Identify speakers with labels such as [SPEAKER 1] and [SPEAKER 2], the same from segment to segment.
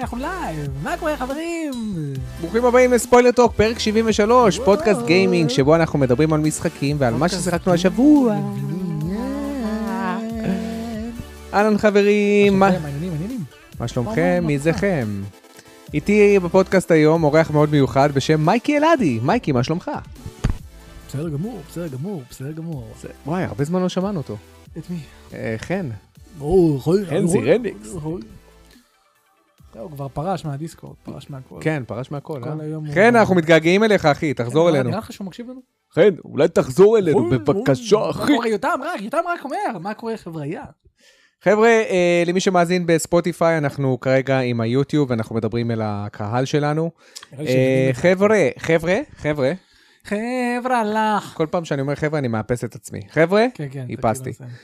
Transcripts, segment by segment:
[SPEAKER 1] אנחנו לייב, מה קורה חברים?
[SPEAKER 2] ברוכים הבאים לספוילר טוק, פרק 73, פודקאסט גיימינג, שבו אנחנו מדברים על משחקים ועל מה ששיחקנו השבוע. אה. אהלן חברים, מה-
[SPEAKER 1] מה? אה. אוקיי, מעניינים, מעניינים.
[SPEAKER 2] מה שלומכם? מי זכם? איתי בפודקאסט היום אורח מאוד מיוחד בשם מייקי אלעדי. מייקי, מה שלומך?
[SPEAKER 1] בסדר גמור, בסדר גמור, בסדר גמור.
[SPEAKER 2] וואי, הרבה זמן לא שמענו אותו.
[SPEAKER 1] את מי?
[SPEAKER 2] אה, חן.
[SPEAKER 1] ברור, יכול...
[SPEAKER 2] חנזי
[SPEAKER 1] יכול-
[SPEAKER 2] רניקס.
[SPEAKER 1] יכול- לא, הוא כבר פרש מהדיסקורד, פרש מהכל.
[SPEAKER 2] כן, פרש מהכל,
[SPEAKER 1] כל היום
[SPEAKER 2] אה?
[SPEAKER 1] הוא-
[SPEAKER 2] חן, אנחנו מתגעגעים אליך, אחי, תחזור
[SPEAKER 1] נראה-
[SPEAKER 2] אלינו.
[SPEAKER 1] אה, נראה לך שהוא מקשיב לנו?
[SPEAKER 2] חן, אולי תחזור
[SPEAKER 1] אוי, אוי, מה קורה? יותם רק, יותם רק אומר, מה קורה
[SPEAKER 2] אה,
[SPEAKER 1] חבריה?
[SPEAKER 2] חבר'ה, אה, למי שמאזין בספוטיפיי, אנחנו כרגע עם היוטיוב, אנחנו מדברים אל הקהל שלנו.
[SPEAKER 1] נראה לי
[SPEAKER 2] אה,
[SPEAKER 1] שהבינו את זה.
[SPEAKER 2] חבר'ה, חבר'ה, חבר'ה,
[SPEAKER 1] חברה לך.
[SPEAKER 2] כל פעם שאני אומר חבר'ה, אני מאפס את עצמי. חבר'ה,
[SPEAKER 1] כן, כן.
[SPEAKER 2] איפסתי.
[SPEAKER 1] זה כאילו זה.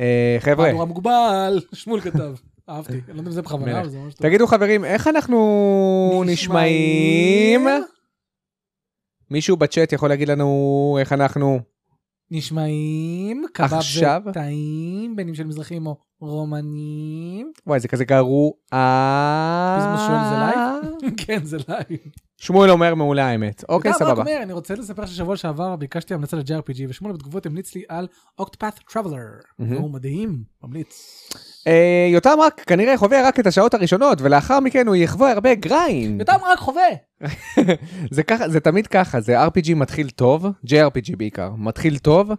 [SPEAKER 2] אה, חבר'ה,
[SPEAKER 1] מהדורה מוגבל, שמול כתב. אהבתי, אני לא יודע אם זה בכוונה,
[SPEAKER 2] מלך.
[SPEAKER 1] אבל זה ממש טוב.
[SPEAKER 2] תגידו חברים, איך אנחנו נשמעים? מישהו בצ'אט יכול להגיד לנו איך אנחנו...
[SPEAKER 1] נשמעים, קבב
[SPEAKER 2] עכשיו?
[SPEAKER 1] זה טעים, בין אם של מזרחים או רומנים.
[SPEAKER 2] וואי, זה כזה גרוע.
[SPEAKER 1] פזמוס שואל, "זה לייב?" כן, זה לייב.
[SPEAKER 2] שמואל אומר מעולה האמת. אוקיי,
[SPEAKER 1] אתה רק
[SPEAKER 2] סבבה.
[SPEAKER 1] אומר, אני רוצה לספר ששבוע שעבר ביקשתי המלצה ל-JRPG, ושמואל בתגובות המליץ לי על אוקטפאט טראבלר.
[SPEAKER 2] מהמם.
[SPEAKER 1] הוא מדהים, ממליץ.
[SPEAKER 2] אה, יותם רק כנראה חווה רק את השעות הראשונות, ולאחר מכן הוא יחווה הרבה גריינד.
[SPEAKER 1] ואתה רק חווה.
[SPEAKER 2] זה ככה, זה תמיד ככה, זה RPG מתחיל טוב, JRPG בעיקר, מתחיל טוב,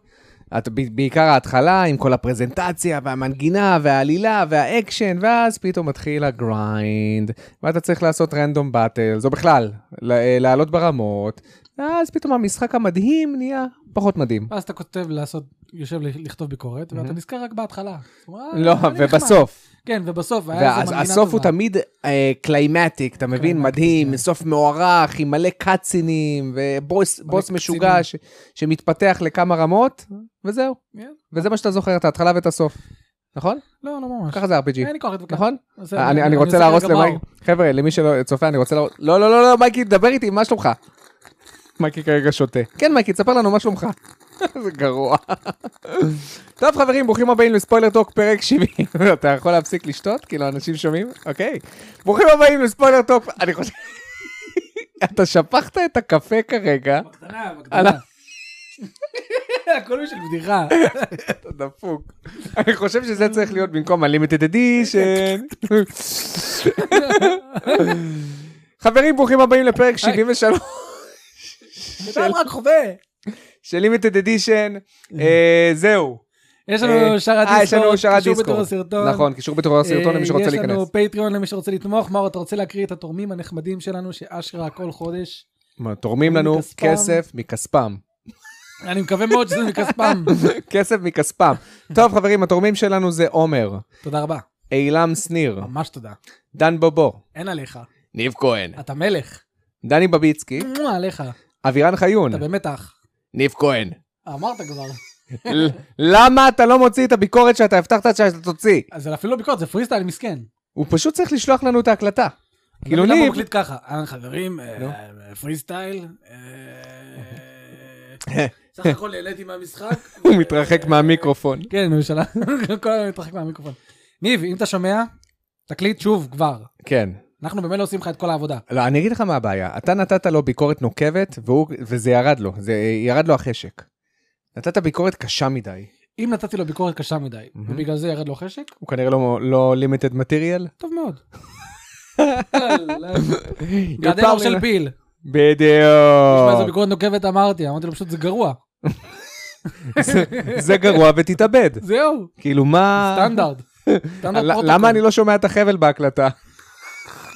[SPEAKER 2] את, ב- בעיקר ההתחלה עם כל הפרזנטציה והמנגינה והעלילה והאקשן, ואז פתאום מתחיל הגריינד, ואתה צריך לעשות רנדום באטל, זו בכלל, ל- אה, לעלות ברמות, ואז פתאום המשחק המדהים נהיה פחות מדהים.
[SPEAKER 1] ואז אתה כותב לעשות, יושב ל- לכתוב ביקורת, ואתה
[SPEAKER 2] מהמם.
[SPEAKER 1] נזכר רק בהתחלה. אז הוא אומר,
[SPEAKER 2] לא,
[SPEAKER 1] "אה, אני נחמד."
[SPEAKER 2] ובסוף,
[SPEAKER 1] כן, ובסוף, היה איזה
[SPEAKER 2] ואז
[SPEAKER 1] מנגינה
[SPEAKER 2] הסוף הוא
[SPEAKER 1] טובה.
[SPEAKER 2] תמיד אה, קליימטיק, אתה מבין?
[SPEAKER 1] Climactic,
[SPEAKER 2] מדהים,
[SPEAKER 1] כן.
[SPEAKER 2] סוף מוערך, עם מלא קאצינים, ובוס
[SPEAKER 1] מלא
[SPEAKER 2] בוס
[SPEAKER 1] קצינים.
[SPEAKER 2] משוגע ש- שמתפתח לכמה רמות, וזהו.
[SPEAKER 1] כן.
[SPEAKER 2] וזה מה שאתה זוכר, את ההתחלה ואת הסוף. נכון?
[SPEAKER 1] לא, לא ממש.
[SPEAKER 2] ככה זה RPG,
[SPEAKER 1] אין לי כוח להתווכח.
[SPEAKER 2] נכון?
[SPEAKER 1] בסדר,
[SPEAKER 2] אני אני רוצה
[SPEAKER 1] עושה
[SPEAKER 2] להרוס
[SPEAKER 1] כרגע
[SPEAKER 2] למייקי,
[SPEAKER 1] בר.
[SPEAKER 2] חבר'ה, למי שלא צופה, אני רוצה להרוס... לא, לא, לא, לא, מייקי, דבר איתי, מה שלומך? מייקי כרגע שותה. כן, מייקי, תספר לנו מה שלומך. זה גרוע. טוב, חברים, ברוכים הבאים לספוילר טוק פרק 70. אתה יכול להפסיק לשתות? כאילו, אנשים שומעים? אוקיי. ברוכים הבאים לספוילר טוק, אני חושב... אתה שפכת את הקפה כרגע,
[SPEAKER 1] בקטנה, בקטנה. הכל בשביל בדיחה.
[SPEAKER 2] אתה דפוק. אני חושב שזה צריך להיות במקום ה-limited edition. חברים, ברוכים הבאים לפרק 73.
[SPEAKER 1] אדם רק חווה.
[SPEAKER 2] של לימיטד אדישן, זהו.
[SPEAKER 1] יש
[SPEAKER 2] אה,
[SPEAKER 1] לנו שער
[SPEAKER 2] אה,
[SPEAKER 1] הדיסקורד.
[SPEAKER 2] יש לנו שער
[SPEAKER 1] קישור בתור
[SPEAKER 2] הדיסקורד.
[SPEAKER 1] הסרטון.
[SPEAKER 2] נכון, קישור בתור הסרטון
[SPEAKER 1] אה,
[SPEAKER 2] למי שרוצה
[SPEAKER 1] יש
[SPEAKER 2] להיכנס.
[SPEAKER 1] לנו פטריון למי שרוצה לתמוך. מאור, אתה רוצה להקריא את התורמים הנחמדים שלנו שאשרה כל חודש?
[SPEAKER 2] מה, תורמים לנו
[SPEAKER 1] מכספם.
[SPEAKER 2] כסף מכספם.
[SPEAKER 1] אני מקווה מאוד שזה מכספם.
[SPEAKER 2] כסף מכספם. טוב, חברים, התורמים שלנו זה עומר,
[SPEAKER 1] תודה רבה.
[SPEAKER 2] אילם שניר,
[SPEAKER 1] ממש תודה.
[SPEAKER 2] דן בובו,
[SPEAKER 1] אין עליך.
[SPEAKER 2] ניב כהן,
[SPEAKER 1] אתה מלך.
[SPEAKER 2] דני בביצקי,
[SPEAKER 1] מואה עליך.
[SPEAKER 2] אבירן חיון,
[SPEAKER 1] אתה באמת אח.
[SPEAKER 2] ניב כהן.
[SPEAKER 1] אמרת כבר.
[SPEAKER 2] ל- למה אתה לא מוציא את הביקורת שאתה הבטחת שאתה תוציא?
[SPEAKER 1] אז זה אפילו לא ביקורת, זה פריסטייל מסכן.
[SPEAKER 2] הוא פשוט צריך לשלוח לנו את ההקלטה.
[SPEAKER 1] אני
[SPEAKER 2] כאילו
[SPEAKER 1] לא מבין למה
[SPEAKER 2] ניב,
[SPEAKER 1] הוא מקליט ככה. אהלן חברים, אה,
[SPEAKER 2] נו.
[SPEAKER 1] אה, פרי סטייל. אה, סך הכל נהניתי מהמשחק.
[SPEAKER 2] הוא מתרחק מהמיקרופון.
[SPEAKER 1] כן, הוא שלח, כל היום מתרחק מהמיקרופון. ניב, אם אתה שומע, תקליט שוב כבר.
[SPEAKER 2] כן.
[SPEAKER 1] אנחנו באמת לא עושים לך את כל העבודה.
[SPEAKER 2] לא, אני אגיד לך מה הבעיה. אתה נתת לו ביקורת נוקבת, והוא, וזה ירד לו, זה ירד לו החשק. נתת ביקורת קשה מדי.
[SPEAKER 1] אם נתתי לו ביקורת קשה מדי,
[SPEAKER 2] מהמם.
[SPEAKER 1] ובגלל זה ירד לו חשק,
[SPEAKER 2] הוא כנראה לא, לא limited material.
[SPEAKER 1] טוב מאוד. גדל אור של פיל. תשמע, איזה
[SPEAKER 2] בדיוק.
[SPEAKER 1] ביקורת נוקבת אמרתי, אמרתי לו פשוט זה גרוע.
[SPEAKER 2] זה- זה גרוע ותתאבד.
[SPEAKER 1] זהו,
[SPEAKER 2] כאילו מה...
[SPEAKER 1] סטנדרט. סטנדרט
[SPEAKER 2] ל-
[SPEAKER 1] פרוטוקול.
[SPEAKER 2] למה אני לא שומע את החבל בהקלטה?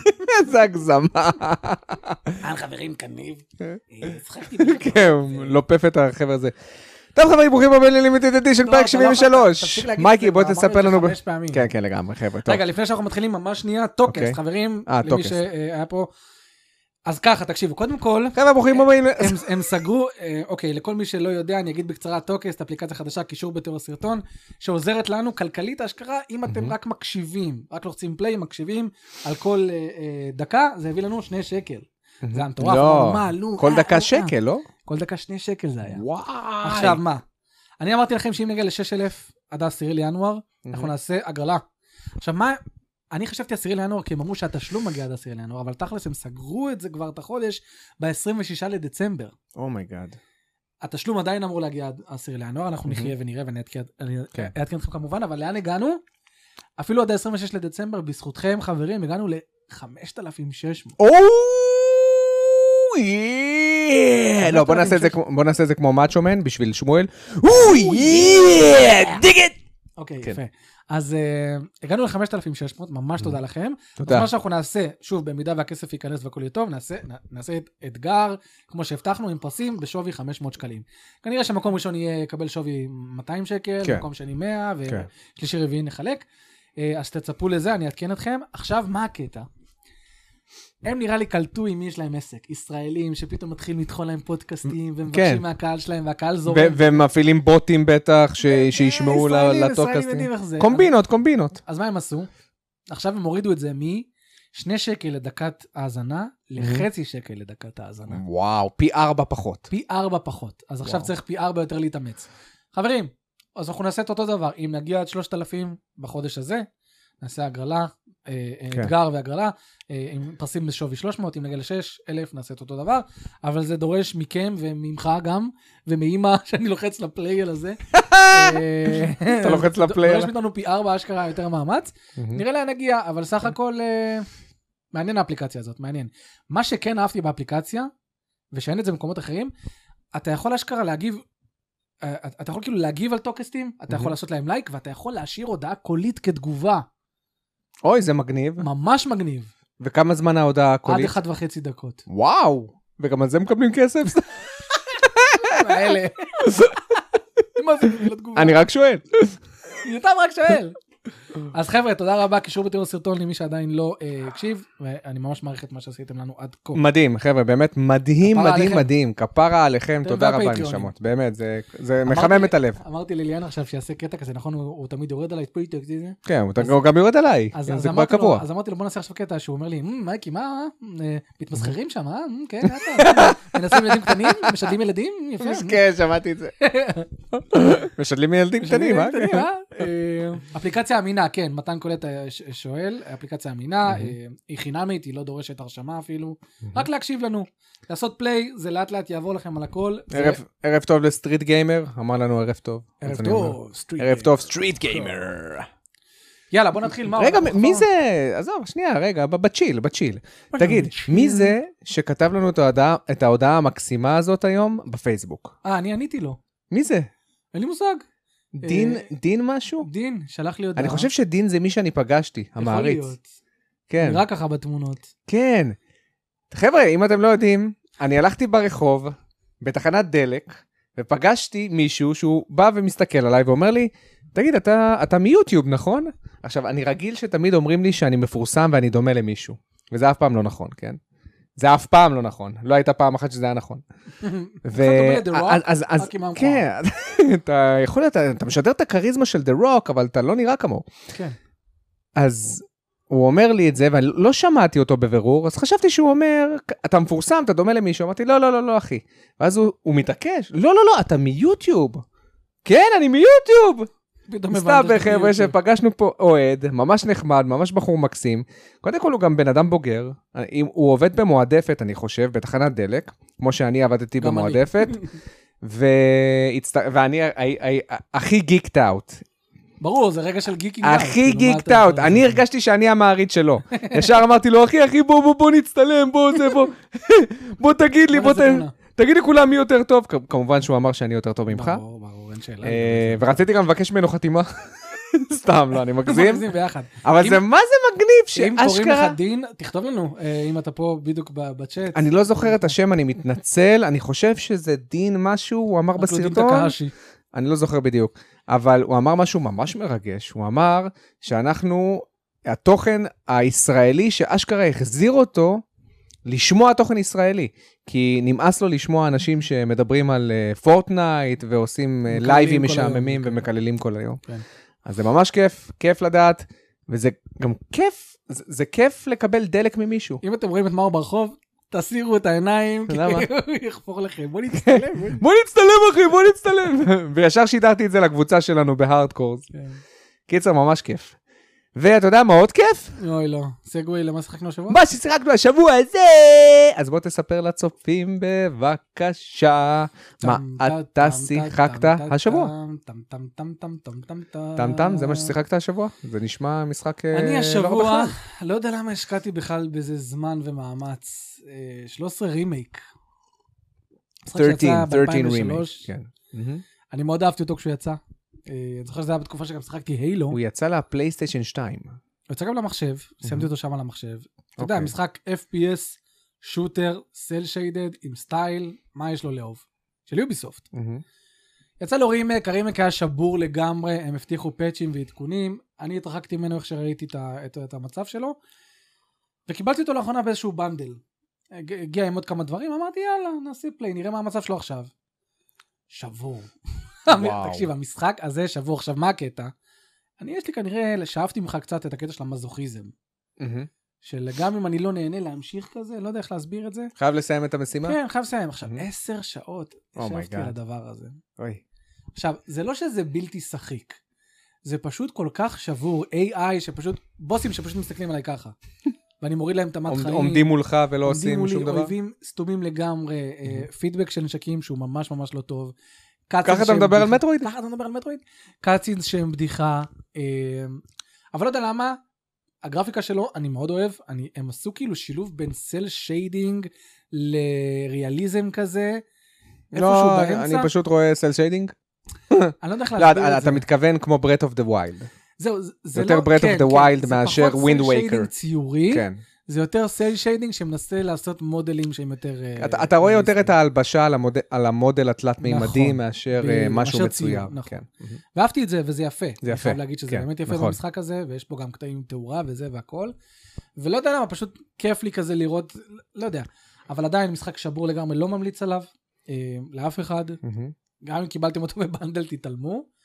[SPEAKER 2] איזה הגזמה.
[SPEAKER 1] אהלן אה, חברים, כניב. אה, הצחקתי
[SPEAKER 2] כן, הוא לופף את החבר הזה. טוב חברים, ברוכים הבאים ללימיטד אדישן
[SPEAKER 1] לא,
[SPEAKER 2] פרק 73. מייקי, בוא תספר לנו... ב- כן, כן, לגמרי, חבר'ה, טוב.
[SPEAKER 1] רגע, לפני שאנחנו מתחילים, ממש שנייה, טוקס,
[SPEAKER 2] אוקיי.
[SPEAKER 1] חברים,
[SPEAKER 2] אה,
[SPEAKER 1] למי
[SPEAKER 2] טוקס.
[SPEAKER 1] שהיה פה. אז ככה, תקשיבו, קודם כל,
[SPEAKER 2] חבר'ה,
[SPEAKER 1] אה,
[SPEAKER 2] ברוכים הבאים... ל-
[SPEAKER 1] הם, הם סגרו, אה, אוקיי, לכל מי שלא יודע, אני אגיד בקצרה, טוקסט, אפליקציה חדשה, קישור בתיאור הסרטון, שעוזרת לנו כלכלית אשכרה, אם אתם
[SPEAKER 2] מהמם.
[SPEAKER 1] רק מקשיבים, רק לוחצים פליי, מקשיבים, על כל אה, אה, דקה, זה הביא לנו שני שקל. זה היה מטורף,
[SPEAKER 2] לא,
[SPEAKER 1] אמרנו, מה, נו,
[SPEAKER 2] כל
[SPEAKER 1] אה, אה,
[SPEAKER 2] דקה שקל, לא?
[SPEAKER 1] אה. כל דקה שני שקל זה היה.
[SPEAKER 2] וואי.
[SPEAKER 1] עכשיו מה? אני
[SPEAKER 2] Mhm.
[SPEAKER 1] אמרתי לכם שאם נגיע ל-6,000 עד ה-10 לינואר, אנחנו נעשה הגרלה. עכשיו מה, אני חשבתי 10 לינואר כי הם אמרו שהתשלום מגיע עד 10 לינואר, אבל תכלס הם סגרו את זה כבר את החודש ב-26 לדצמבר.
[SPEAKER 2] אומייגאד.
[SPEAKER 1] התשלום עדיין אמור להגיע עד 10 לינואר, אנחנו נחיה ונראה ונעדכן
[SPEAKER 2] כן.
[SPEAKER 1] אני אעדכן אתכם כמובן, אבל לאן הגענו? אפילו עד ה-26 לדצמבר, בזכותכם חברים, הגענו ל-5,600.
[SPEAKER 2] אוי! Oh לא, בוא נעשה את זה כמו- בוא נעשה את זה כמו מאצ'ומן בשביל שמואל. Oh
[SPEAKER 1] Oh
[SPEAKER 2] אוי! דיג איט!
[SPEAKER 1] אוקיי,
[SPEAKER 2] כן.
[SPEAKER 1] יפה. אז אה, הגענו ל-5,600, ממש תודה לכם. אז
[SPEAKER 2] תודה.
[SPEAKER 1] מה שאנחנו נעשה, שוב, במידה והכסף ייכנס והכל יהיה טוב, נעשה, נ- נעשה את- אתגר, כמו שהבטחנו, עם פרסים בשווי 500 שקלים. כנראה שמקום ראשון יהיה, יקבל שווי 200 שקל,
[SPEAKER 2] כן.
[SPEAKER 1] מקום שני 100,
[SPEAKER 2] כן.
[SPEAKER 1] ושלישי רביעי נחלק. אה, אז תצפו לזה, אני אעדכן אתכם. עכשיו, מה הקטע? הם נראה לי קלטו עם מי יש להם עסק. ישראלים שפתאום מתחילים לטחון להם פודקאסטים, ומבקשים
[SPEAKER 2] כן.
[SPEAKER 1] מהקהל שלהם, והקהל
[SPEAKER 2] ו-
[SPEAKER 1] זורם.
[SPEAKER 2] ומפעילים בוטים בטח, ש- שישמעו ל-
[SPEAKER 1] אה, ישראלים, ישראלים
[SPEAKER 2] לטוקאסטים.
[SPEAKER 1] יודעים איך זה.
[SPEAKER 2] קומבינות, קומבינות.
[SPEAKER 1] אז מה הם עשו? עכשיו הם הורידו את זה משני שקל לדקת האזנה לחצי שקל לדקת האזנה.
[SPEAKER 2] וואו, פי ארבע פחות.
[SPEAKER 1] פי ארבע פחות. אז עכשיו
[SPEAKER 2] וואו.
[SPEAKER 1] צריך פי ארבע יותר להתאמץ. חברים, אז אנחנו נעשה את אותו דבר. אם נגיע עד 3,000 בחודש הזה, נעשה הגרלה, אה, אה,
[SPEAKER 2] כן.
[SPEAKER 1] אתגר והגרלה, אה, עם פרסים בשווי 300, אם נגיע ל-6,000 נעשה את אותו דבר, אבל זה דורש מכם וממך גם, ומאימא שאני לוחץ לפליי על הזה. אה,
[SPEAKER 2] אתה לוחץ לפליי על
[SPEAKER 1] דורש מאיתנו פי ארבע אשכרה יותר מאמץ. נראה לאן נגיע, אבל סך הכל אה, מעניין האפליקציה הזאת, מעניין. מה שכן אהבתי באפליקציה, ושאין את זה במקומות אחרים, אתה יכול אשכרה להגיב, אה, אתה אתה יכול כאילו להגיב על טוקסטים, אתה יכול
[SPEAKER 2] Mhm.
[SPEAKER 1] לעשות להם לייק, ואתה יכול להשאיר הודעה קולית כתגובה.
[SPEAKER 2] אוי, זה מגניב.
[SPEAKER 1] ממש מגניב.
[SPEAKER 2] וכמה זמן ההודעה
[SPEAKER 1] עד
[SPEAKER 2] הקולית?
[SPEAKER 1] אחת וחצי דקות.
[SPEAKER 2] וואו! וגם על זה מקבלים כסף?
[SPEAKER 1] האלה. מה זה כאילו לתגובה?
[SPEAKER 2] אני רק שואל.
[SPEAKER 1] סתם רק שואל. אז חבר'ה, תודה רבה, קישור בתיאור הסרטון למי שעדיין לא אה, הקשיב, ואני ממש מעריך את מה שעשיתם לנו עד כה.
[SPEAKER 2] מדהים, חבר'ה, באמת מדהים,
[SPEAKER 1] כפרה
[SPEAKER 2] מדהים,
[SPEAKER 1] עליכם.
[SPEAKER 2] מדהים. כפרה עליכם,
[SPEAKER 1] אתם
[SPEAKER 2] תודה רבה,
[SPEAKER 1] והפטריונים.
[SPEAKER 2] נשמות. באמת, זה- זה
[SPEAKER 1] אמרתי-
[SPEAKER 2] מחמם את הלב.
[SPEAKER 1] אמרתי לליאן עכשיו שיעשה קטע כזה, נכון? הוא הוא תמיד יורד עליי, פוליטוק, זה זה.
[SPEAKER 2] כן, הוא
[SPEAKER 1] אז-
[SPEAKER 2] הוא גם יורד עליי, כן,
[SPEAKER 1] אז- אז
[SPEAKER 2] זה כבר
[SPEAKER 1] אמרתי לו-
[SPEAKER 2] קבוע.
[SPEAKER 1] אז אמרתי לו, בוא נעשה עכשיו קטע שהוא אומר לי, "מ, מייקי, מה? אה, מתמסחרים שם, אה? מ, כן, לאט לאט. מנסים ילדים קטנים? משדלים ילדים? יפה. מ,
[SPEAKER 2] מסכן, כן, שמעתי את זה. משדלים ילדים
[SPEAKER 1] משדלים
[SPEAKER 2] קטנים, אה?
[SPEAKER 1] ילדים קטנים, אה? אה, אפליקציה אמינה, כן, מתן קולט אה, ש- שואל, אפליקציה אמינה, אה, היא חינמית, היא לא דורשת הרשמה אפילו, רק להקשיב לנו. לעשות פליי, זה לאט לאט יעבור לכם על הכל. זה-
[SPEAKER 2] ערב- ערב טוב לסטריט גיימר, אמר לנו ערב טוב.
[SPEAKER 1] אה? ערב
[SPEAKER 2] אז אני אומר,
[SPEAKER 1] טוב, סטריט.
[SPEAKER 2] ערב טוב, סטריט גיימר.
[SPEAKER 1] יאללה, בוא נתחיל. מה,
[SPEAKER 2] רגע,
[SPEAKER 1] אנחנו
[SPEAKER 2] מי
[SPEAKER 1] כבר-
[SPEAKER 2] זה? עזוב, שנייה, רגע, ב- בצ'יל, בצ'יל. תגיד,
[SPEAKER 1] בצ'יל?
[SPEAKER 2] מי זה שכתב לנו את ההודעה- את ההודעה המקסימה הזאת היום בפייסבוק?
[SPEAKER 1] אה, אני עניתי לו.
[SPEAKER 2] מי זה?
[SPEAKER 1] אין לי מושג.
[SPEAKER 2] דין,
[SPEAKER 1] אה,
[SPEAKER 2] דין משהו?
[SPEAKER 1] דין, שלח לי הודעה.
[SPEAKER 2] אני חושב שדין זה מי שאני פגשתי,
[SPEAKER 1] לא. יכול
[SPEAKER 2] המעריץ.
[SPEAKER 1] להיות.
[SPEAKER 2] כן,
[SPEAKER 1] נראה ככה בתמונות.
[SPEAKER 2] כן. חבר'ה, אם אתם לא יודעים, אני הלכתי ברחוב, בתחנת דלק, ופגשתי מישהו שהוא בא ומסתכל עליי ואומר לי, תגיד, אתה, אתה מיוטיוב, נכון? עכשיו, אני רגיל שתמיד אומרים לי שאני מפורסם ואני דומה למישהו, וזה אף פעם לא נכון, כן? זה אף פעם לא נכון, לא הייתה פעם אחת שזה היה נכון. ו...
[SPEAKER 1] דומה ל-The Rock,
[SPEAKER 2] אז- אז, אז,
[SPEAKER 1] רק עם המכוער.
[SPEAKER 2] כן, אתה יכול, להיות- אתה, אתה משדר את הכריזמה של דה רוק, אבל אתה לא נראה כמוהו.
[SPEAKER 1] כן.
[SPEAKER 2] אז הוא אומר לי את זה, ואני לא שמעתי אותו בבירור, אז חשבתי שהוא אומר, אתה מפורסם, אתה דומה למישהו. אמרתי, לא, לא, לא, לא, אחי. ואז הוא, הוא מתעקש, לא, לא, לא, אתה מיוטיוב. כן, אני מיוטיוב.
[SPEAKER 1] פתאום
[SPEAKER 2] סתם,
[SPEAKER 1] הבנת שזה
[SPEAKER 2] חבר'ה,
[SPEAKER 1] יוטיוב.
[SPEAKER 2] שפגשנו פה אוהד, ממש נחמד, ממש בחור מקסים. קודם כל, הוא גם בן אדם בוגר. אם- הוא עובד במועדפת, אני חושב, בתחנת דלק, כמו שאני עבדתי
[SPEAKER 1] גם אני.
[SPEAKER 2] במועדפת. והצט... ואני ה- ה- ה- הכי גיקט אאוט,
[SPEAKER 1] ברור, זה רגע של גיקינג. אאוט,
[SPEAKER 2] הכי
[SPEAKER 1] כאילו, מה
[SPEAKER 2] גיקט
[SPEAKER 1] אתה-
[SPEAKER 2] אאוט, אני הרגשתי שאני המעריץ שלו. ישר אמרתי לו, אחי, אחי, בוא, בוא, בוא נצטלם, בוא, זה, בוא, בוא תגיד לי,
[SPEAKER 1] בוא
[SPEAKER 2] בוא,
[SPEAKER 1] נעשה
[SPEAKER 2] ת-
[SPEAKER 1] תמונה.
[SPEAKER 2] תגיד לכולם מי יותר טוב. כ- כמובן שהוא אמר שאני יותר טוב ממך.
[SPEAKER 1] ברור, ברור, אין שאלה.
[SPEAKER 2] אה, ורציתי גם לבקש ממנו חתימה. סתם, לא, אני מגזים.
[SPEAKER 1] מגזים ביחד.
[SPEAKER 2] אבל
[SPEAKER 1] אם-
[SPEAKER 2] זה מה זה מגניב
[SPEAKER 1] אם קוראים
[SPEAKER 2] שאשכרה...
[SPEAKER 1] לך דין, תכתוב לנו, אה, אם אתה פה בדיוק ב- בצ'אט.
[SPEAKER 2] אני לא זוכר את השם, אני מתנצל, אני חושב שזה דין משהו, הוא אמר
[SPEAKER 1] אנחנו לא יודעים את
[SPEAKER 2] בסרטון.
[SPEAKER 1] הקהשי.
[SPEAKER 2] אני לא זוכר בדיוק, אבל הוא אמר משהו ממש מרגש, הוא אמר שאנחנו, התוכן הישראלי שאשכרה החזיר אותו לשמוע תוכן ישראלי, כי נמאס לו לשמוע אנשים שמדברים על אה, פורטנייט ועושים אה,
[SPEAKER 1] מקללים
[SPEAKER 2] לייבים
[SPEAKER 1] כל
[SPEAKER 2] משעממים
[SPEAKER 1] היום,
[SPEAKER 2] ומקללים כל היום.
[SPEAKER 1] כן.
[SPEAKER 2] אז זה ממש כיף, כיף לדעת, וזה גם כיף, זה, זה כיף לקבל דלק ממישהו.
[SPEAKER 1] אם אתם רואים את מאור ברחוב, תסירו את העיניים, כי
[SPEAKER 2] למה?
[SPEAKER 1] הוא יחפור לכם. בוא נצטלם. בוא נ-
[SPEAKER 2] בוא נצטלם אחי, בוא נצטלם. וישר שידרתי את זה לקבוצה שלנו בהארדקורס.
[SPEAKER 1] כן.
[SPEAKER 2] קיצר, ממש כיף. ואתה יודע מה עוד כיף?
[SPEAKER 1] אוי לא, סגווי למה שחקנו השבוע?
[SPEAKER 2] מה ששיחקנו השבוע הזה! אז בוא תספר לצופים בבקשה, מה
[SPEAKER 1] טם,
[SPEAKER 2] אתה
[SPEAKER 1] טם,
[SPEAKER 2] שיחקת
[SPEAKER 1] טם, טם,
[SPEAKER 2] השבוע.
[SPEAKER 1] טם, טם, טם, טם, טם, טם, טם, טם.
[SPEAKER 2] טם טם, זה מה ששיחקת השבוע? זה נשמע משחק אה,
[SPEAKER 1] אני
[SPEAKER 2] לא רע
[SPEAKER 1] השבוע,
[SPEAKER 2] בכלל.
[SPEAKER 1] לא יודע למה השקעתי בכלל בזה זמן ומאמץ. אה, 13 רימייק. משחק שיצא
[SPEAKER 2] 13, 13
[SPEAKER 1] ב-2003.
[SPEAKER 2] רימייק. כן. מהמם.
[SPEAKER 1] אני מאוד אהבתי אותו כשהוא יצא. אה, אני זוכר שזה היה בתקופה שגם שיחקתי הילו. הוא
[SPEAKER 2] הוא יצא לפלייסטיישן 2.
[SPEAKER 1] יצא גם למחשב, סיימתי אותו שם על המחשב. אתה יודע,
[SPEAKER 2] אוקיי.
[SPEAKER 1] משחק FPS, שוטר, סל שיידד, עם סטייל, מה יש לו לאהוב? של יוביסופט.
[SPEAKER 2] מהמם.
[SPEAKER 1] יצא לו רימק, הרימק היה שבור לגמרי, הם הבטיחו פאצ'ים ועדכונים, אני התרחקתי ממנו איך שראיתי את, ה, את, את המצב שלו, וקיבלתי אותו לאחרונה באיזשהו בנדל. הג- הגיע עם עוד כמה דברים, אמרתי יאללה, נעשה פליי, נראה מה המצב שלו עכשיו. שבור.
[SPEAKER 2] וואו.
[SPEAKER 1] תקשיב, המשחק הזה שבור. עכשיו, מה הקטע? אני, יש לי כנראה, שאפתי ממך קצת את הקטע של המזוכיזם,
[SPEAKER 2] מהמם.
[SPEAKER 1] של גם אם אני לא נהנה להמשיך כזה, לא יודע איך להסביר את זה.
[SPEAKER 2] חייב לסיים את המשימה?
[SPEAKER 1] כן, חייב לסיים עכשיו,
[SPEAKER 2] Mhm.
[SPEAKER 1] עשר שעות
[SPEAKER 2] Oh my
[SPEAKER 1] ישבתי
[SPEAKER 2] God.
[SPEAKER 1] על הדבר הזה.
[SPEAKER 2] אוי.
[SPEAKER 1] עכשיו, זה לא שזה בלתי שחיק, זה פשוט כל כך שבור, AI שפשוט, בוסים שפשוט מסתכלים עליי ככה. ואני מוריד להם את המת
[SPEAKER 2] עומד-
[SPEAKER 1] חיים.
[SPEAKER 2] עומדים מולך ולא
[SPEAKER 1] עומדים
[SPEAKER 2] עושים
[SPEAKER 1] מולי,
[SPEAKER 2] שום דבר?
[SPEAKER 1] אויבים סתומים לגמרי, אה, פידבק של נשקים שהוא ממש ממש לא טוב.
[SPEAKER 2] ככה אתה מדבר על מטרואיד?
[SPEAKER 1] ככה אתה מדבר על מטרואיד? קאצינס שהם בדיחה. אה, אבל לא יודע למה, הגרפיקה שלו, אני מאוד אוהב, אני, הם עשו כאילו שילוב בין סל שיידינג לריאליזם כזה. איפשהו
[SPEAKER 2] לא,
[SPEAKER 1] באמצע,
[SPEAKER 2] אני פשוט רואה סל שיידינג.
[SPEAKER 1] אני לא יודע איך
[SPEAKER 2] לא,
[SPEAKER 1] להסביר
[SPEAKER 2] אתה-
[SPEAKER 1] את זה.
[SPEAKER 2] אתה מתכוון כמו ברט אוף דה ויילד.
[SPEAKER 1] זהו, זה- זה
[SPEAKER 2] יותר
[SPEAKER 1] לא...
[SPEAKER 2] Breath of
[SPEAKER 1] כן,
[SPEAKER 2] the
[SPEAKER 1] כן,
[SPEAKER 2] Wild
[SPEAKER 1] זה
[SPEAKER 2] מאשר
[SPEAKER 1] פחות
[SPEAKER 2] Wind
[SPEAKER 1] cell
[SPEAKER 2] Waker.
[SPEAKER 1] shading ציורי,
[SPEAKER 2] כן.
[SPEAKER 1] זה יותר סייל שיידינג שמנסה לעשות מודלים שהם יותר... אה,
[SPEAKER 2] אתה אתה רואה יותר את
[SPEAKER 1] ריאליסטיים.
[SPEAKER 2] ההלבשה על המודל- על המודל התלת-מימדי
[SPEAKER 1] נכון.
[SPEAKER 2] מאשר
[SPEAKER 1] בדיוק,
[SPEAKER 2] אה, משהו
[SPEAKER 1] מאשר
[SPEAKER 2] מצויר.
[SPEAKER 1] ציור, נכון.
[SPEAKER 2] כן. מהמם.
[SPEAKER 1] ואהבתי את זה, וזה יפה. אני
[SPEAKER 2] יפה,
[SPEAKER 1] חייב להגיד שזה
[SPEAKER 2] כן,
[SPEAKER 1] באמת יפה
[SPEAKER 2] נכון.
[SPEAKER 1] במשחק הזה, ויש פה גם קטעים עם תאורה וזה והכל. ולא יודע למה, פשוט כיף לי כזה לראות, לא יודע. אבל עדיין משחק שבור לגמרי, לא ממליץ עליו, אה, לאף אחד.
[SPEAKER 2] מהמם.
[SPEAKER 1] גם אם קיבלתם אותו בבנדל, תתעלמו.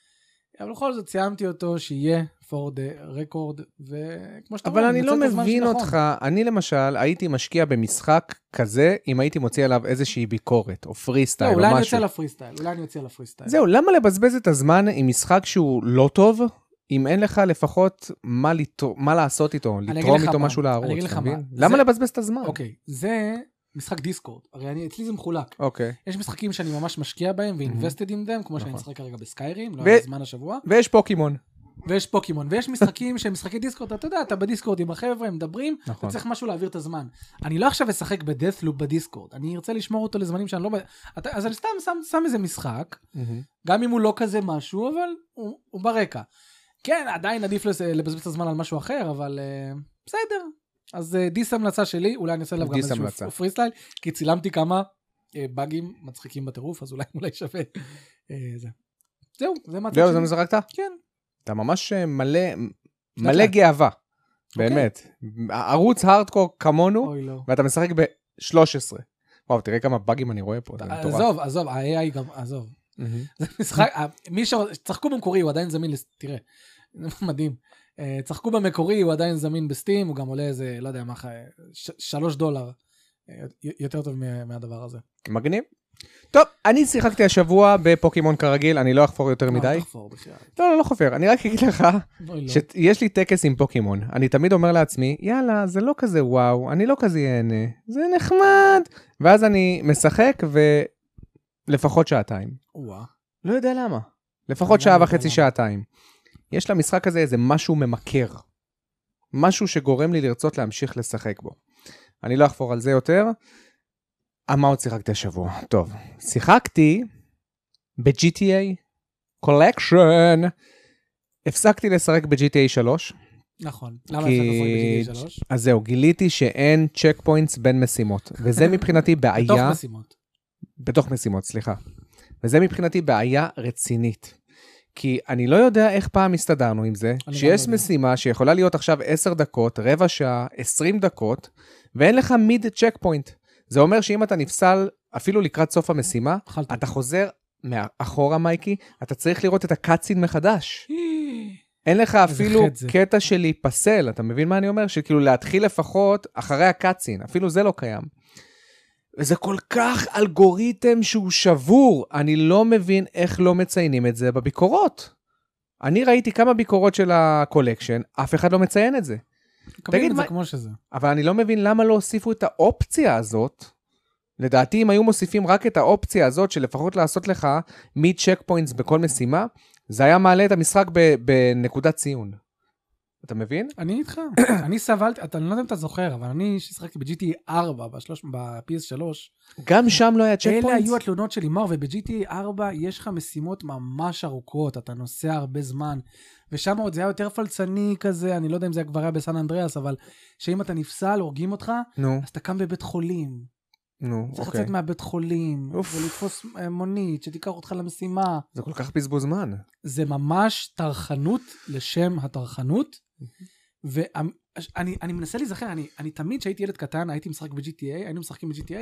[SPEAKER 1] אבל בכל זאת סיימתי אותו, שיהיה for the record, וכמו שאתה
[SPEAKER 2] אבל
[SPEAKER 1] אומר,
[SPEAKER 2] אני
[SPEAKER 1] אמצא
[SPEAKER 2] לא
[SPEAKER 1] את הזמן
[SPEAKER 2] מבין
[SPEAKER 1] שנכון.
[SPEAKER 2] אותך. אני למשל הייתי משקיע במשחק כזה אם הייתי מוציא עליו איזושהי ביקורת או פרי
[SPEAKER 1] לא,
[SPEAKER 2] סטייל
[SPEAKER 1] אולי
[SPEAKER 2] או
[SPEAKER 1] אני יוצא
[SPEAKER 2] משהו.
[SPEAKER 1] לפרי סטייל, אולי אני יוצא לפרי סטייל.
[SPEAKER 2] זהו, למה לבזבז את הזמן עם משחק שהוא לא טוב, אם אין לך לפחות מה לתר- מה לעשות איתו,
[SPEAKER 1] אגיד
[SPEAKER 2] לתרום
[SPEAKER 1] לך
[SPEAKER 2] איתו
[SPEAKER 1] מה,
[SPEAKER 2] משהו
[SPEAKER 1] אני
[SPEAKER 2] לערוץ,
[SPEAKER 1] אגיד לך
[SPEAKER 2] אתה
[SPEAKER 1] מה,
[SPEAKER 2] מבין?
[SPEAKER 1] זה-
[SPEAKER 2] למה לבזבז את הזמן?
[SPEAKER 1] אוקיי, זה משחק דיסקורד, הרי אני, אצלי זה מחולק.
[SPEAKER 2] אוקיי.
[SPEAKER 1] יש משחקים שאני ממש משקיע בהם ו-invested in them, כמו שאני
[SPEAKER 2] Mhm. נכון.
[SPEAKER 1] משחק כרגע בסקיירים, לא
[SPEAKER 2] ו-
[SPEAKER 1] היה לי זמן השבוע,
[SPEAKER 2] ויש פוקימון.
[SPEAKER 1] ויש פוקימון, ויש משחקים שהם משחקי דיסקורד, אתה יודע, אתה בדיסקורד עם החבר'ה, הם מדברים, אתה
[SPEAKER 2] נכון.
[SPEAKER 1] צריך משהו להעביר את הזמן. אני לא עכשיו אשחק בדאט'לופ בדיסקורד, אני ארצה לשמור אותו לזמנים שאני לא... ב- אתה- אז אני סתם שם- שם איזה משחק, גם אם הוא לא כזה משהו, אבל הוא, הוא ברקע. כן, עדיין עדיף לס- לבזבז את הזמן על משהו אחר, אבל uh, בסדר. אז uh, דיס המלצה שלי, אולי אני אעשה עליו גם
[SPEAKER 2] דיס
[SPEAKER 1] איזשהו
[SPEAKER 2] המלצה.
[SPEAKER 1] פ- פרי סטייל, כי צילמתי כמה uh, באגים מצחיקים בטירוף, אז אולי אולי שווה. אה, זה. זהו, זה מה
[SPEAKER 2] זהו, זה מה שזרקת?
[SPEAKER 1] כן.
[SPEAKER 2] אתה ממש אה, מלא, מלא
[SPEAKER 1] לאט.
[SPEAKER 2] גאווה. באמת. ערוץ הארדקור כמונו,
[SPEAKER 1] אוקיי. אוי לא.
[SPEAKER 2] ואתה משחק ב-13. וואו, תראה כמה באגים אני רואה פה, זה מטורף.
[SPEAKER 1] אה, עזוב, עזוב, ה-AI גם, עזוב.
[SPEAKER 2] מהמם.
[SPEAKER 1] זה משחק, ה- מי שצחקו במקורי הוא עדיין זמין, לס- תראה, זה מדהים. אה, צחקו במקורי הוא עדיין זמין בסטים, הוא גם עולה איזה, לא יודע מה, ח- ש- שלוש דולר. אה, י- יותר טוב מה- מהדבר הזה.
[SPEAKER 2] מגניב. טוב, אני שיחקתי השבוע בפוקימון כרגיל, אני לא אחפור יותר
[SPEAKER 1] אה,
[SPEAKER 2] מדי.
[SPEAKER 1] תחפור בכלל.
[SPEAKER 2] לא, לא, לא חופר, אני רק אגיד לך
[SPEAKER 1] אוי, לא.
[SPEAKER 2] שיש לי טקס עם פוקימון. אני תמיד אומר לעצמי, יאללה, זה לא כזה וואו, אני לא כזה ייהנה, זה נחמד. ואז אני משחק ולפחות שעתיים.
[SPEAKER 1] וואה.
[SPEAKER 2] לא יודע למה.
[SPEAKER 1] גם
[SPEAKER 2] לפחות שעה
[SPEAKER 1] לא יודע
[SPEAKER 2] וחצי,
[SPEAKER 1] למה.
[SPEAKER 2] שעתיים. יש למשחק הזה איזה משהו ממכר. משהו שגורם לי לרצות להמשיך לשחק בו. אני לא אחפור על זה יותר. אה, מה עוד שיחקתי השבוע? טוב, שיחקתי ב-GTA Collection. הפסקתי לשחק ב-GTA 3,
[SPEAKER 1] נכון. למה
[SPEAKER 2] כי-
[SPEAKER 1] יש לך פריט ב-GTA 3?
[SPEAKER 2] אז זהו, גיליתי שאין צ'ק פוינטס בין משימות, וזה מבחינתי בעיה.
[SPEAKER 1] בתוך משימות.
[SPEAKER 2] בתוך משימות, סליחה. וזה מבחינתי בעיה רצינית. כי אני לא יודע איך פעם הסתדרנו עם זה,
[SPEAKER 1] גם לא
[SPEAKER 2] שיש
[SPEAKER 1] יודע.
[SPEAKER 2] משימה שיכולה להיות עכשיו 10 דקות, רבע שעה, 20 דקות, ואין לך מיד צ'ק פוינט. זה אומר שאם אתה נפסל אפילו לקראת סוף המשימה,
[SPEAKER 1] אכלת.
[SPEAKER 2] אתה חוזר מאחורה, מייקי, אתה צריך לראות את הקאצין מחדש. אין לך אפילו
[SPEAKER 1] חטא זה.
[SPEAKER 2] קטע של להיפסל, אתה מבין מה אני אומר? שכאילו להתחיל לפחות אחרי הקאצין, אפילו זה לא קיים. וזה כל כך אלגוריתם שהוא שבור, אני לא מבין איך לא מציינים את זה בביקורות. אני ראיתי כמה ביקורות של הקולקשן, אף אחד לא מציין את זה.
[SPEAKER 1] תגיד את זה
[SPEAKER 2] מה-
[SPEAKER 1] כמו שזה.
[SPEAKER 2] אבל אני לא מבין למה לא הוסיפו את האופציה הזאת. לדעתי, אם היו מוסיפים רק את האופציה הזאת, של לפחות לעשות לך מ-check points בכל משימה, זה היה מעלה את המשחק ב- בנקודת ציון. אתה מבין?
[SPEAKER 1] אני איתך, אני סבלתי, אתה- אני לא יודע אם אתה זוכר, אבל אני ששיחקתי ב-GTA 4, ב-PS3,
[SPEAKER 2] גם שם לא היה check
[SPEAKER 1] אלה
[SPEAKER 2] points.
[SPEAKER 1] היו התלונות שלי, מור, וב-GTA 4 יש לך משימות ממש ארוכות, אתה נוסע הרבה זמן, ושם עוד זה היה יותר פלצני כזה, אני לא יודע אם זה כבר היה בסן אנדריאס, אבל שאם אתה נפסל, הורגים אותך,
[SPEAKER 2] נו,
[SPEAKER 1] אז אתה קם בבית חולים.
[SPEAKER 2] נו,
[SPEAKER 1] צריך
[SPEAKER 2] אוקיי.
[SPEAKER 1] לצאת מהבית חולים,
[SPEAKER 2] אוף.
[SPEAKER 1] ולתפוס אה, מונית שתיקח אותך למשימה.
[SPEAKER 2] זה כל כך בזבוז זמן.
[SPEAKER 1] זה ממש טרחנות לשם הטרחנות.
[SPEAKER 2] Mm-hmm.
[SPEAKER 1] ואני אני מנסה להיזכר, אני, אני תמיד כשהייתי ילד קטן הייתי משחק ב-GTA, היינו משחקים ב-GTA,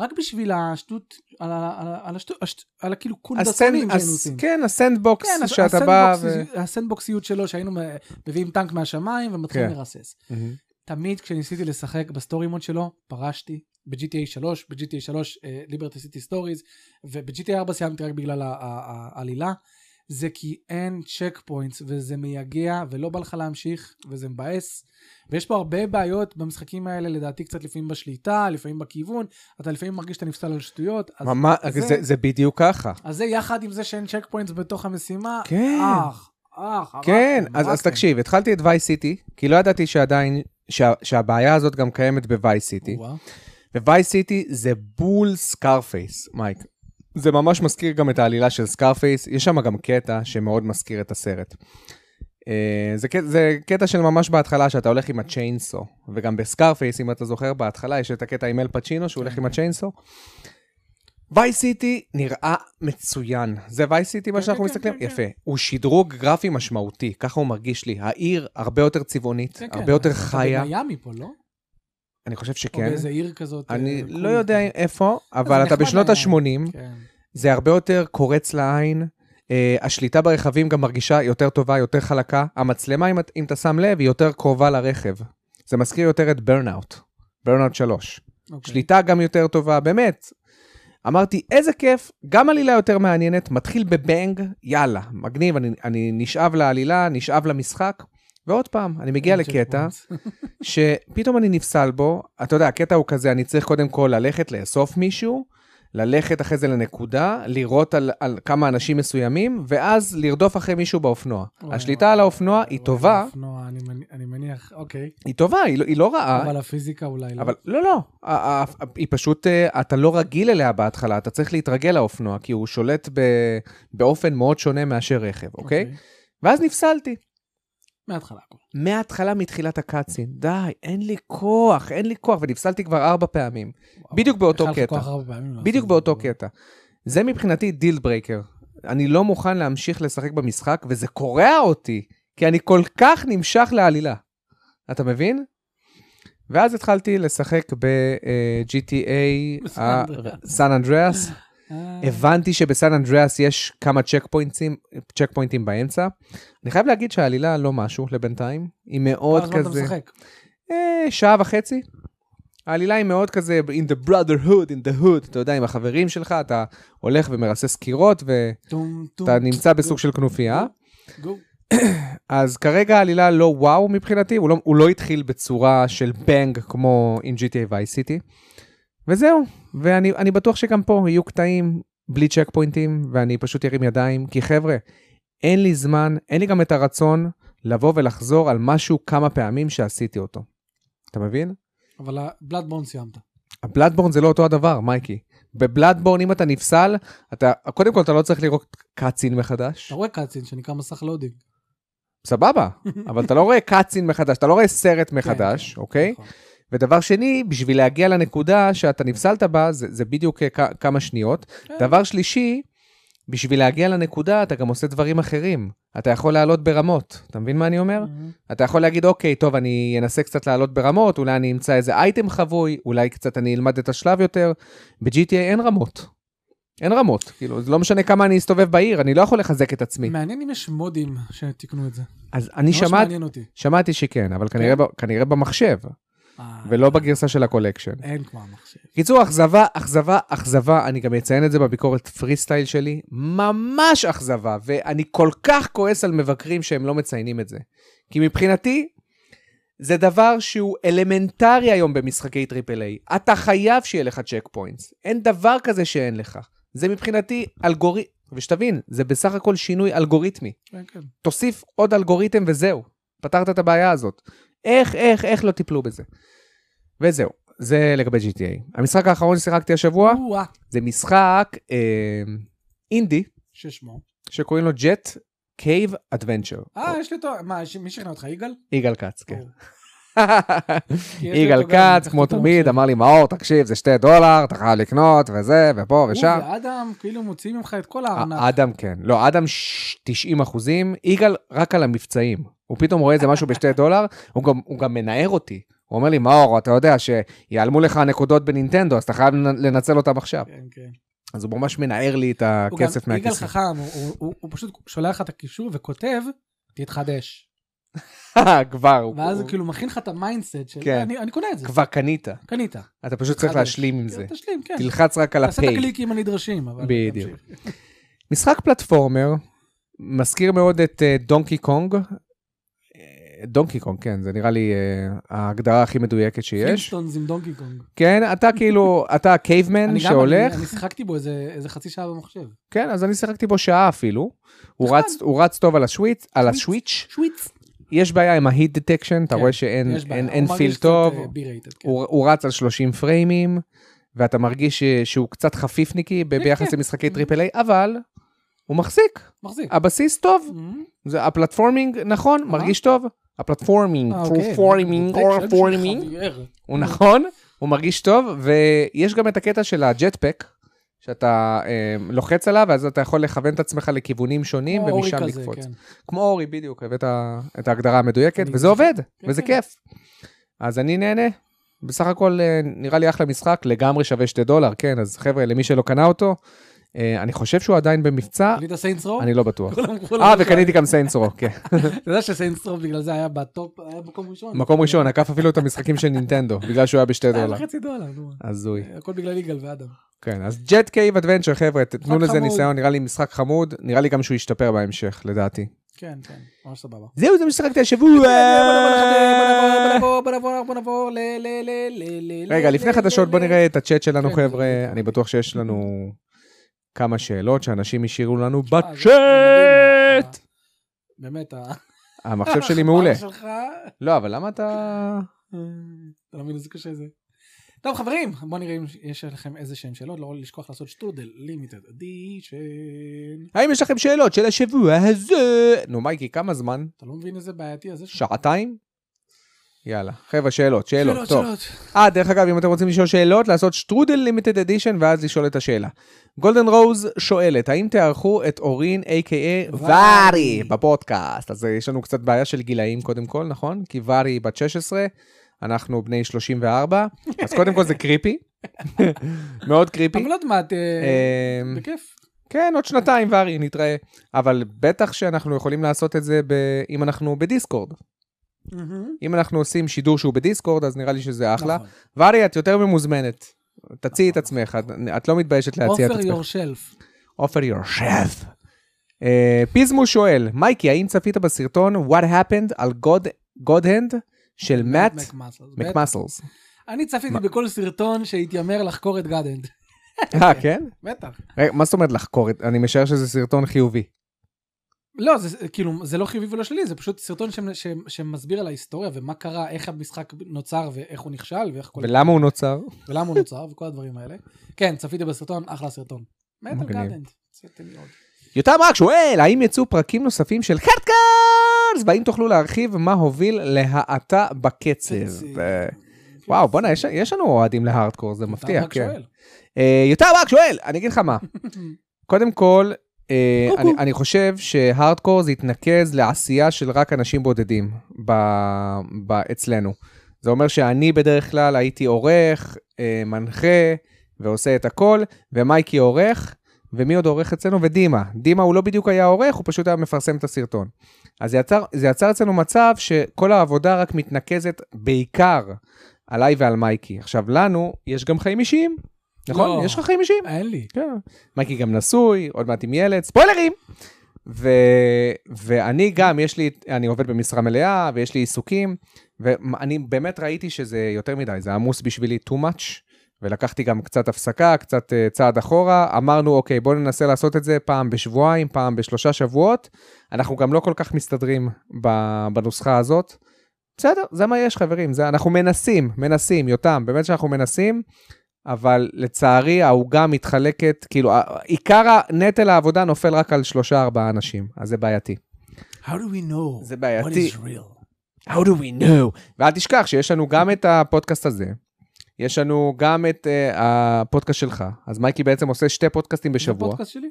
[SPEAKER 1] רק בשביל השטות, על, ה- על, ה- על השטות, השט, על הכאילו קונדסונים
[SPEAKER 2] הסנד-
[SPEAKER 1] שהיינו
[SPEAKER 2] הס-
[SPEAKER 1] עושים.
[SPEAKER 2] כן, הסנדבוקס
[SPEAKER 1] כן, הס-
[SPEAKER 2] שאתה בא ו...
[SPEAKER 1] הסנדבוקס- הסנדבוקסיות שלו, שהיינו מ- מביאים טנק מהשמיים ומתחילים
[SPEAKER 2] כן.
[SPEAKER 1] לרסס.
[SPEAKER 2] מהמם.
[SPEAKER 1] תמיד כשניסיתי לשחק בסטורי מוד שלו, פרשתי ב-GTA 3, ב-GTA 3 ליברטי סיטי סטוריז, וב-GTA 4 סיימתי רק בגלל ה- ה- ה- העלילה. זה כי אין צ'ק פוינטס וזה מייגע ולא בא לך להמשיך וזה מבאס ויש פה הרבה בעיות במשחקים האלה לדעתי קצת לפעמים בשליטה לפעמים בכיוון אתה לפעמים מרגיש שאתה נפסל על שטויות אז,
[SPEAKER 2] ממש- זה- זה בדיוק ככה.
[SPEAKER 1] אז זה יחד עם זה שאין צ'ק פוינטס בתוך המשימה
[SPEAKER 2] כן.
[SPEAKER 1] אך אך
[SPEAKER 2] כן,
[SPEAKER 1] הרגתם,
[SPEAKER 2] אז, אז
[SPEAKER 1] הרגתם.
[SPEAKER 2] תקשיב, התחלתי את ווי סיטי, כי לא ידעתי שעדיין, שה, שהבעיה הזאת גם קיימת בווי סיטי.
[SPEAKER 1] וואו.
[SPEAKER 2] וווי סיטי זה בול סקארפייס, מייק. זה ממש מזכיר גם את העלילה של סקארפייס, יש שם גם קטע שמאוד מזכיר את הסרט. אה, זה, קט- זה קטע של ממש בהתחלה שאתה הולך עם הצ'יינסו, וגם בסקארפייס, אם אתה זוכר, בהתחלה יש את הקטע עם אל פצ'ינו שהוא הולך עם
[SPEAKER 1] כן.
[SPEAKER 2] הצ'יינסו. ווי סיטי נראה מצוין, זה ווי סיטי מה
[SPEAKER 1] כן,
[SPEAKER 2] שאנחנו
[SPEAKER 1] כן,
[SPEAKER 2] מסתכלים,
[SPEAKER 1] כן, כן.
[SPEAKER 2] יפה. הוא שדרוג גרפי משמעותי, ככה הוא מרגיש לי. העיר הרבה יותר צבעונית,
[SPEAKER 1] כן, כן,
[SPEAKER 2] הרבה יותר
[SPEAKER 1] אתה
[SPEAKER 2] חיה,
[SPEAKER 1] במיאמי פה לא?
[SPEAKER 2] אני חושב
[SPEAKER 1] או
[SPEAKER 2] שכן.
[SPEAKER 1] באיזה עיר כזאת.
[SPEAKER 2] כן. אני
[SPEAKER 1] אה,
[SPEAKER 2] לא
[SPEAKER 1] קולית
[SPEAKER 2] יודע
[SPEAKER 1] כזאת.
[SPEAKER 2] איפה,
[SPEAKER 1] זה
[SPEAKER 2] אבל אתה
[SPEAKER 1] נחמד
[SPEAKER 2] בשנות
[SPEAKER 1] היה.
[SPEAKER 2] ה-80,
[SPEAKER 1] כן.
[SPEAKER 2] זה הרבה יותר קורץ לעין. אה, השליטה ברכבים גם מרגישה יותר טובה, יותר חלקה. המצלמה, אם, את- אם אתה שם לב, היא יותר קרובה לרכב. זה מזכיר יותר את ברנאוט, ברנאוט 3.
[SPEAKER 1] אוקיי.
[SPEAKER 2] שליטה גם יותר טובה, באמת. אמרתי, איזה כיף, גם עלילה יותר מעניינת, מתחיל בבנג, יאללה, מגניב, אני, אני נשאב לעלילה, נשאב למשחק, ועוד פעם, אני מגיע
[SPEAKER 1] אין check
[SPEAKER 2] לקטע,
[SPEAKER 1] points.
[SPEAKER 2] שפתאום אני נפסל בו, אתה יודע, הקטע הוא כזה, אני צריך קודם כל ללכת לאסוף מישהו, ללכת אחרי זה לנקודה, לראות על, על כמה אנשים מסוימים, ואז לרדוף אחרי מישהו באופנוע.
[SPEAKER 1] וואי,
[SPEAKER 2] השליטה
[SPEAKER 1] וואי,
[SPEAKER 2] על האופנוע
[SPEAKER 1] וואי, וואי,
[SPEAKER 2] היא
[SPEAKER 1] על
[SPEAKER 2] טובה,
[SPEAKER 1] האופנוע, אני מנ- אני מניח, אוקיי.
[SPEAKER 2] היא טובה, היא לא, היא לא רעה,
[SPEAKER 1] אבל הפיזיקה אולי לא.
[SPEAKER 2] אבל לא, לא, ה- ה- ה- היא פשוט, אה, אתה לא רגיל אליה בהתחלה, אתה צריך להתרגל לאופנוע, כי הוא שולט ב, באופן מאוד שונה מאשר רכב, אוקיי? Okay. ואז נפסלתי.
[SPEAKER 1] מההתחלה הכל.
[SPEAKER 2] מההתחלה, מתחילת הקאצין, די, אין לי כוח, אין לי כוח, ונפסלתי כבר ארבע פעמים.
[SPEAKER 1] וואו.
[SPEAKER 2] בדיוק באותו
[SPEAKER 1] היה לך
[SPEAKER 2] קטע.
[SPEAKER 1] כל כך הרבה פעמים לעשות את
[SPEAKER 2] בדיוק
[SPEAKER 1] זה.
[SPEAKER 2] באותו קטע. זה מבחינתי דיל ברייקר. אני לא מוכן להמשיך לשחק במשחק, וזה קורע אותי, כי אני כל כך נמשך לעלילה. אתה מבין? ואז התחלתי לשחק אה, ב-GTA
[SPEAKER 1] בסן
[SPEAKER 2] אה,
[SPEAKER 1] אנדריאס.
[SPEAKER 2] סן אנדריאס.
[SPEAKER 1] אה,
[SPEAKER 2] הבנתי שבסן אנדריאס יש כמה צ'ק פוינטים, צ'ק פוינטים באמצע. אני חייב להגיד שהעלילה לא משהו לבינתיים, היא מאוד
[SPEAKER 1] כמה זמן לא, אתה
[SPEAKER 2] כזה...
[SPEAKER 1] משחק?
[SPEAKER 2] אה, שעה וחצי. העלילה היא מאוד כזה in the brotherhood, in the hood, אתה יודע, עם החברים שלך, אתה הולך ומרסס קירות ואתה
[SPEAKER 1] טום, טום,
[SPEAKER 2] נמצא בסוג
[SPEAKER 1] טום,
[SPEAKER 2] של כנופיה.
[SPEAKER 1] גו.
[SPEAKER 2] אז כרגע העלילה לא וואו מבחינתי, הוא לא, הוא לא התחיל בצורה של בנג כמו עם GTA Vice City. וזהו, ואני אני בטוח שגם פה יהיו קטעים בלי צ'ק פוינטים, ואני פשוט ארים ידיים, כי חבר'ה, אין לי זמן, אין לי גם את הרצון לבוא ולחזור על משהו כמה פעמים שעשיתי אותו. אתה מבין?
[SPEAKER 1] אבל הבלאדבון סיימת.
[SPEAKER 2] הבלאדבורן זה לא אותו הדבר, מייקי. בבלאדבורן, אם אתה נפסל, אתה, קודם כל אתה לא צריך לראות קאצין מחדש.
[SPEAKER 1] אתה רואה קאצין שנקרא מסך לודינג.
[SPEAKER 2] סבבה, אבל אתה לא רואה קאצין מחדש, אתה לא רואה סרט מחדש, אוקיי?
[SPEAKER 1] נכון.
[SPEAKER 2] ודבר שני, בשביל להגיע לנקודה שאתה נפסלת בה, זה, זה בדיוק אה, כ- כמה שניות.
[SPEAKER 1] כן.
[SPEAKER 2] דבר שלישי, בשביל להגיע לנקודה, אתה גם עושה דברים אחרים. אתה יכול לעלות ברמות, אתה מבין מה אני אומר? אתה יכול להגיד, אוקיי, טוב, אני אנסה קצת לעלות ברמות, אולי אני אמצא איזה אייטם חבוי, אולי קצת אני אלמד את השלב יותר. ב-GTA אין רמות. אין רמות. כאילו, זה לא משנה כמה אני אסתובב בעיר, אני לא יכול לחזק את עצמי.
[SPEAKER 1] מעניין אם יש מודים שתיקנו את זה.
[SPEAKER 2] אז אני
[SPEAKER 1] ממש לא
[SPEAKER 2] שמעתי,
[SPEAKER 1] מעניין כן. אותי.
[SPEAKER 2] שמעתי שכן, אבל כנראה ב- כנראה במחשב.
[SPEAKER 1] אה,
[SPEAKER 2] ולא בגרסה של הקולקשן.
[SPEAKER 1] אין כמו המחשב.
[SPEAKER 2] קיצור, אכזבה, אכזבה, אכזבה, אני גם אציין את זה בביקורת פרי סטייל שלי, ממש אכזבה, ואני כל כך כועס על מבקרים שהם לא מציינים את זה. כי מבחינתי, זה דבר שהוא אלמנטרי היום במשחקי טריפל איי. אתה חייב שיהיה לך צ'ק פוינטס. אין דבר כזה שאין לך. זה מבחינתי אלגוריתם, ושתבין, זה בסך הכל שינוי אלגוריתמי.
[SPEAKER 1] כן, כן.
[SPEAKER 2] תוסיף עוד אלגוריתם וזהו, פתרת את הבעיה הזאת. איך, איך, איך לא טיפלו בזה. וזהו, זה לגבי GTA. המשחק האחרון ששיחקתי השבוע,
[SPEAKER 1] וואה,
[SPEAKER 2] זה משחק אה, אינדי,
[SPEAKER 1] ששמו.
[SPEAKER 2] שקוראים לו Jet Cave Adventure.
[SPEAKER 1] אה, יש לי אותו, מה, יש- מי שכנע אותך, יגאל?
[SPEAKER 2] יגאל כץ, כן.
[SPEAKER 1] או. כי יש לי
[SPEAKER 2] יגאל
[SPEAKER 1] אותו גם,
[SPEAKER 2] כץ, כמו
[SPEAKER 1] תחתום
[SPEAKER 2] תמיד,
[SPEAKER 1] עכשיו.
[SPEAKER 2] אמר לי, מאור, תקשיב, זה שתי דולר, אתה חייב לקנות, וזה, ופה
[SPEAKER 1] הוא
[SPEAKER 2] ושם.
[SPEAKER 1] ואדם כאילו מוציאים ממך את כל הארנק.
[SPEAKER 2] אה, אדם כן. לא, אדם ש- 90 אחוזים, יגאל רק על המבצעים. הוא פתאום רואה איזה משהו בשתי דולר, הוא גם, הוא גם מנער אותי. הוא אומר לי, מאור, אתה יודע שיעלמו לך הנקודות בנינטנדו, אז אתה חייב לנ- לנצל אותם עכשיו.
[SPEAKER 1] כן, כן.
[SPEAKER 2] אז הוא ממש מנער לי את
[SPEAKER 1] הוא גם-
[SPEAKER 2] הכסף
[SPEAKER 1] יגאל
[SPEAKER 2] מהכיסים.
[SPEAKER 1] חכם, הוא- הוא- הוא- הוא פשוט שולח לך את הקישור וכותב, תתחדש.
[SPEAKER 2] כבר, הוא-
[SPEAKER 1] ואז הוא
[SPEAKER 2] הוא-
[SPEAKER 1] כאילו מכין לך את המיינדסט של,
[SPEAKER 2] כן.
[SPEAKER 1] אני אני קונה את זה,
[SPEAKER 2] כבר קנית.
[SPEAKER 1] קנית.
[SPEAKER 2] אתה פשוט צריך
[SPEAKER 1] חדש.
[SPEAKER 2] להשלים עם
[SPEAKER 1] כן,
[SPEAKER 2] זה.
[SPEAKER 1] תשלים, כן.
[SPEAKER 2] תלחץ רק על
[SPEAKER 1] תעשה את
[SPEAKER 2] הפיי.
[SPEAKER 1] הקליקים הנדרשים, אבל...
[SPEAKER 2] בדיוק.
[SPEAKER 1] תמשיך.
[SPEAKER 2] משחק פלטפורמר, מזכיר מאוד את אה, דונקי קונג. דונקי קונג, כן, זה נראה לי אה, ההגדרה הכי מדויקת שיש.
[SPEAKER 1] פלינסטונס עם דונקי קונג.
[SPEAKER 2] כן, אתה כאילו, אתה
[SPEAKER 1] אני
[SPEAKER 2] הקייבמן
[SPEAKER 1] גם-
[SPEAKER 2] שהולך,
[SPEAKER 1] אני- אני שיחקתי בו איזה איזה חצי שעה במחשב.
[SPEAKER 2] כן, אז אני שיחקתי בו שעה אפילו. הוא
[SPEAKER 1] נחמד.
[SPEAKER 2] רץ, הוא רץ טוב על השוויץ, על
[SPEAKER 1] שוויץ.
[SPEAKER 2] השוויץ'.
[SPEAKER 1] שוויץ.
[SPEAKER 2] יש בעיה עם ההיט דטקשן, אתה
[SPEAKER 1] כן,
[SPEAKER 2] רואה שאין
[SPEAKER 1] יש בעיה.
[SPEAKER 2] אין-
[SPEAKER 1] הוא
[SPEAKER 2] אין
[SPEAKER 1] מרגיש
[SPEAKER 2] פיל
[SPEAKER 1] קצת,
[SPEAKER 2] טוב,
[SPEAKER 1] אה, B-rated, כן.
[SPEAKER 2] הוא הוא רץ על 30 פריימים, ואתה מרגיש ש- שהוא קצת חפיפניקי ב-
[SPEAKER 1] כן,
[SPEAKER 2] ביחס
[SPEAKER 1] כן.
[SPEAKER 2] למשחקי טריפל איי, אבל הוא מחזיק,
[SPEAKER 1] מחזיק.
[SPEAKER 2] הבסיס טוב,
[SPEAKER 1] אמ,
[SPEAKER 2] זה הפלטפורמינג נכון, מרגיש טוב, הפלטפורמינג,
[SPEAKER 1] אה, אוקיי.
[SPEAKER 2] פורמינג,
[SPEAKER 1] טקסט של
[SPEAKER 2] פורמינג,
[SPEAKER 1] חבייר.
[SPEAKER 2] הוא נכון, הוא מרגיש טוב, ויש גם את הקטע של הג'טפק, שאתה אה, לוחץ עליו, אז אתה יכול לכוון את עצמך לכיוונים שונים
[SPEAKER 1] כמו אורי
[SPEAKER 2] ומשם
[SPEAKER 1] כזה,
[SPEAKER 2] לקפוץ.
[SPEAKER 1] כן.
[SPEAKER 2] כמו אורי, בדיוק, הבאת את ההגדרה המדויקת,
[SPEAKER 1] אני-
[SPEAKER 2] וזה עובד,
[SPEAKER 1] כן,
[SPEAKER 2] וזה
[SPEAKER 1] כן.
[SPEAKER 2] כיף. אז אני נהנה. בסך הכל אה, נראה לי אחלה משחק, לגמרי שווה 2 דולר, כן, אז חבר'ה, למי שלא קנה אותו, אה, אני חושב שהוא עדיין במבצע,
[SPEAKER 1] קנית סיינסרו?
[SPEAKER 2] אה, אני לא בטוח.
[SPEAKER 1] כולם אמרו לו,
[SPEAKER 2] אה, וקניתי גם סיינסרו, כן.
[SPEAKER 1] אתה יודע שסיינסרו בגלל זה היה בטופ, היה במקום ראשון.
[SPEAKER 2] מקום ראשון, עקף אפילו את המשחקים של נינטנדו, בגלל שהוא היה בשתי
[SPEAKER 1] היה
[SPEAKER 2] דולר.
[SPEAKER 1] וחצי דולר, נו.
[SPEAKER 2] הזוי.
[SPEAKER 1] הכל בגלל יגאל ואדם.
[SPEAKER 2] כן, אז ג'ט קייב אדוונצ'ר, חבר'ה, תתנו
[SPEAKER 1] משחק
[SPEAKER 2] לזה
[SPEAKER 1] חמוד.
[SPEAKER 2] ניסיון, נראה לי משחק חמוד, נראה לי גם שהוא ישתפר בהמשך, לדעתי.
[SPEAKER 1] כן, כן, ממש סבבה.
[SPEAKER 2] זהו, זה משחקתי השבוע.
[SPEAKER 1] בוא נעבור, בוא נעבור, בוא נעבור, ל... ל- ל- ל- ל-
[SPEAKER 2] רגע,
[SPEAKER 1] ל-
[SPEAKER 2] לפני
[SPEAKER 1] ל-
[SPEAKER 2] חדשות בוא
[SPEAKER 1] ל-
[SPEAKER 2] נראה את הצ'אט שלנו,
[SPEAKER 1] כן,
[SPEAKER 2] חבר'ה,
[SPEAKER 1] כן,
[SPEAKER 2] אני בטוח שיש לנו כמה שאלות שאנשים השאירו לנו
[SPEAKER 1] אה, זה- זה מדהים, אה.
[SPEAKER 2] בצ'אט.
[SPEAKER 1] ה- באמת, ה-
[SPEAKER 2] אה, המחשב שלי מעולה.
[SPEAKER 1] שלך,
[SPEAKER 2] לא, אבל למה אתה...
[SPEAKER 1] אה, אתה לא מבין איזה קשה זה. טוב חברים, בוא נראה אם יש לכם איזה שהם שאלות, לא לשכוח לעשות שטרודל, לימיטד אדישן.
[SPEAKER 2] האם יש לכם שאלות של השבוע הזה? נו, מייקי, כמה זמן?
[SPEAKER 1] אתה לא מבין איזה בעייתי הזה שלך?
[SPEAKER 2] שעתיים? יאללה, חבר'ה, שאלות, שאלות, טוב.
[SPEAKER 1] שאלות.
[SPEAKER 2] אה, דרך אגב, אם אתם רוצים לשאול שאלות, לעשות שטרודל לימיטד אדישן ואז לשאול את השאלה. גולדן רוז שואלת, האם תערכו את אורין, a.k.a. וארי,
[SPEAKER 1] וארי.
[SPEAKER 2] בפודקאסט? אז אה, יש לנו קצת בעיה של גילאים קודם כל, נכון? כי וארי היא בת 16, אנחנו בני 34, אז קודם כל זה קריפי, מאוד קריפי.
[SPEAKER 1] אבל עוד מעט, אה,
[SPEAKER 2] אמ,
[SPEAKER 1] בכיף.
[SPEAKER 2] כן, עוד שנתיים וארי, נתראה. אבל בטח שאנחנו יכולים לעשות את זה ב- אם אנחנו בדיסקורד. אם אנחנו עושים שידור שהוא בדיסקורד, אז נראה לי שזה אחלה.
[SPEAKER 1] נכון.
[SPEAKER 2] ורי, את יותר ממוזמנת. תציעי את עצמך, את, את לא מתביישת להציע את
[SPEAKER 1] offer
[SPEAKER 2] עצמך.
[SPEAKER 1] yourself.
[SPEAKER 2] אופר יור שף. אה, פיזמו שואל, מייקי, האם צפית בסרטון What happened על גודהנד של מאט
[SPEAKER 1] McMuscles.
[SPEAKER 2] מקמאסלס?
[SPEAKER 1] אני צפיתי בכל סרטון שהתיימר לחקור את גאדנד.
[SPEAKER 2] אה, כן?
[SPEAKER 1] בטח.
[SPEAKER 2] רגע, מה זאת אומרת לחקור? את- אני משער שזה סרטון חיובי.
[SPEAKER 1] לא, זה כאילו, זה לא חיובי ולא שלילי, זה פשוט סרטון שמ- שמ- שמסביר על ההיסטוריה ומה קרה, איך המשחק נוצר ואיך הוא נכשל ואיך כל...
[SPEAKER 2] ולמה הוא נוצר?
[SPEAKER 1] ולמה הוא נוצר וכל הדברים האלה. כן, צפיתי בסרטון, אחלה סרטון. מת על
[SPEAKER 2] מגניב.
[SPEAKER 1] גאדנד. זה תן לי עוד.
[SPEAKER 2] יותם רק שואל, האם יצאו פרקים נוספים של חדקארס? והאם תוכלו להרחיב מה הוביל להאטה בקצב?
[SPEAKER 1] קצב.
[SPEAKER 2] אה, וואו, בואנה, יש- יש לנו אוהדים להארדקור, זה
[SPEAKER 1] אתה
[SPEAKER 2] מפתיע,
[SPEAKER 1] רק
[SPEAKER 2] כן.
[SPEAKER 1] שואל.
[SPEAKER 2] אה, יותר רק שואל, אני אגיד לך מה. קודם כל, אה,
[SPEAKER 1] קוקו.
[SPEAKER 2] אני, אני חושב שהארדקור זה התנקז לעשייה של רק אנשים בודדים ב, ב, אצלנו. זה אומר שאני בדרך כלל הייתי עורך, אה, מנחה ועושה את הכל, ומייקי עורך, ומי עוד עורך אצלנו? ודימה. דימה הוא לא בדיוק היה עורך, הוא פשוט היה מפרסם את הסרטון. אז זה יצר, זה יצר אצלנו מצב שכל העבודה רק מתנקזת בעיקר עליי ועל מייקי. עכשיו, לנו יש גם חיים אישיים, נכון?
[SPEAKER 1] לא.
[SPEAKER 2] יש לך חיים אישיים?
[SPEAKER 1] אין לי.
[SPEAKER 2] כן. מייקי גם נשוי, עוד מעט עם ילד, ספוילרים! ו... ואני גם, יש לי, אני עובד במשרה מלאה, ויש לי עיסוקים, ואני באמת ראיתי שזה יותר מדי, זה עמוס בשבילי too much, ולקחתי גם קצת הפסקה, קצת אה, צעד אחורה, אמרנו, אוקיי, בואו ננסה לעשות את זה פעם בשבועיים, פעם בשלושה שבועות, אנחנו גם לא כל כך מסתדרים ב- בנוסחה הזאת. בסדר, זה מה יש, חברים, זה, אנחנו מנסים, מנסים, יותם, באמת שאנחנו מנסים, אבל לצערי העוגה מתחלקת, כאילו, ה- עיקר נטל העבודה נופל רק על שלושה-ארבעה אנשים, אז זה בעייתי.
[SPEAKER 1] How do we know
[SPEAKER 2] זה
[SPEAKER 1] what
[SPEAKER 2] בעייתי.
[SPEAKER 1] is real?
[SPEAKER 2] How do we know? ואל תשכח שיש לנו גם את הפודקאסט הזה, יש לנו גם את uh, הפודקאסט שלך, אז מייקי בעצם עושה שתי פודקאסטים
[SPEAKER 1] זה
[SPEAKER 2] בשבוע,
[SPEAKER 1] הפודקאסט שלי?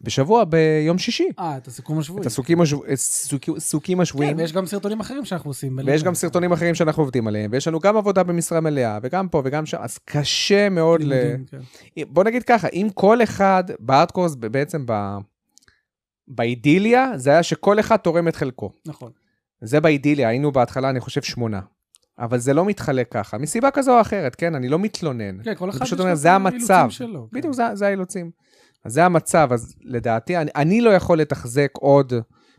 [SPEAKER 2] בשבוע ביום שישי.
[SPEAKER 1] אה, את הסיכום השבועי.
[SPEAKER 2] את הסוכים השב- אה, סוכי- סוכים השבועיים.
[SPEAKER 1] כן, ויש גם סרטונים אחרים שאנחנו עושים.
[SPEAKER 2] ויש גם סרטונים אחרים שאנחנו עובדים עליהם, ויש לנו גם עבודה במשרה מלאה, וגם פה וגם שם, אז קשה מאוד ל...
[SPEAKER 1] לימודים, כן.
[SPEAKER 2] בוא נגיד ככה, אם כל אחד בארטקורס ב- בעצם ב... באידיליה, זה היה שכל אחד תורם את חלקו.
[SPEAKER 1] נכון.
[SPEAKER 2] זה באידיליה, היינו בהתחלה, אני חושב, שמונה. אבל זה לא מתחלק ככה, מסיבה כזו או אחרת, כן? אני לא מתלונן.
[SPEAKER 1] כן, כל אחד
[SPEAKER 2] פשוט
[SPEAKER 1] יש לו
[SPEAKER 2] אומר,
[SPEAKER 1] את
[SPEAKER 2] זה
[SPEAKER 1] האילוצים
[SPEAKER 2] המצב.
[SPEAKER 1] שלו, כן.
[SPEAKER 2] בדיוק, זה, זה האילוצים. אז זה המצב, אז לדעתי, אני, אני לא יכול לתחזק עוד,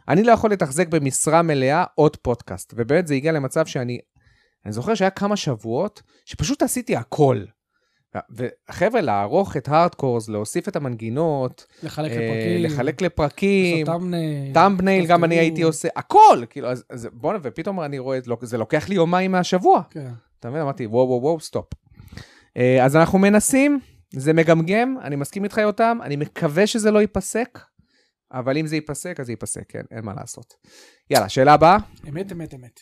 [SPEAKER 2] אני לא יכול לתחזק במשרה מלאה עוד פודקאסט. ובאמת זה הגיע למצב שאני, אני זוכר שהיה כמה שבועות שפשוט עשיתי הכל. וחבר'ה, לערוך את הארדקורס, להוסיף את המנגינות,
[SPEAKER 1] לחלק
[SPEAKER 2] אה,
[SPEAKER 1] לפרקים.
[SPEAKER 2] לחלק לפרקים,
[SPEAKER 1] לעשות thumbnail.
[SPEAKER 2] טאמבנייל גם אני
[SPEAKER 1] תפתרו.
[SPEAKER 2] הייתי עושה, הכל! כאילו, אז, אז בוא'נה, ופתאום אני רואה, לא- זה לוקח לי יומיים מהשבוע.
[SPEAKER 1] כן.
[SPEAKER 2] אתה מבין? אמרתי, וואו, וואו, וואו, סטופ. אה, אז אנחנו מנסים, זה מגמגם, אני מסכים איתך, יותם, אני מקווה שזה לא ייפסק, אבל אם זה ייפסק, אז זה ייפסק, כן, אין מה לעשות. יאללה, שאלה הבאה.
[SPEAKER 1] אמת, אמת, אמת.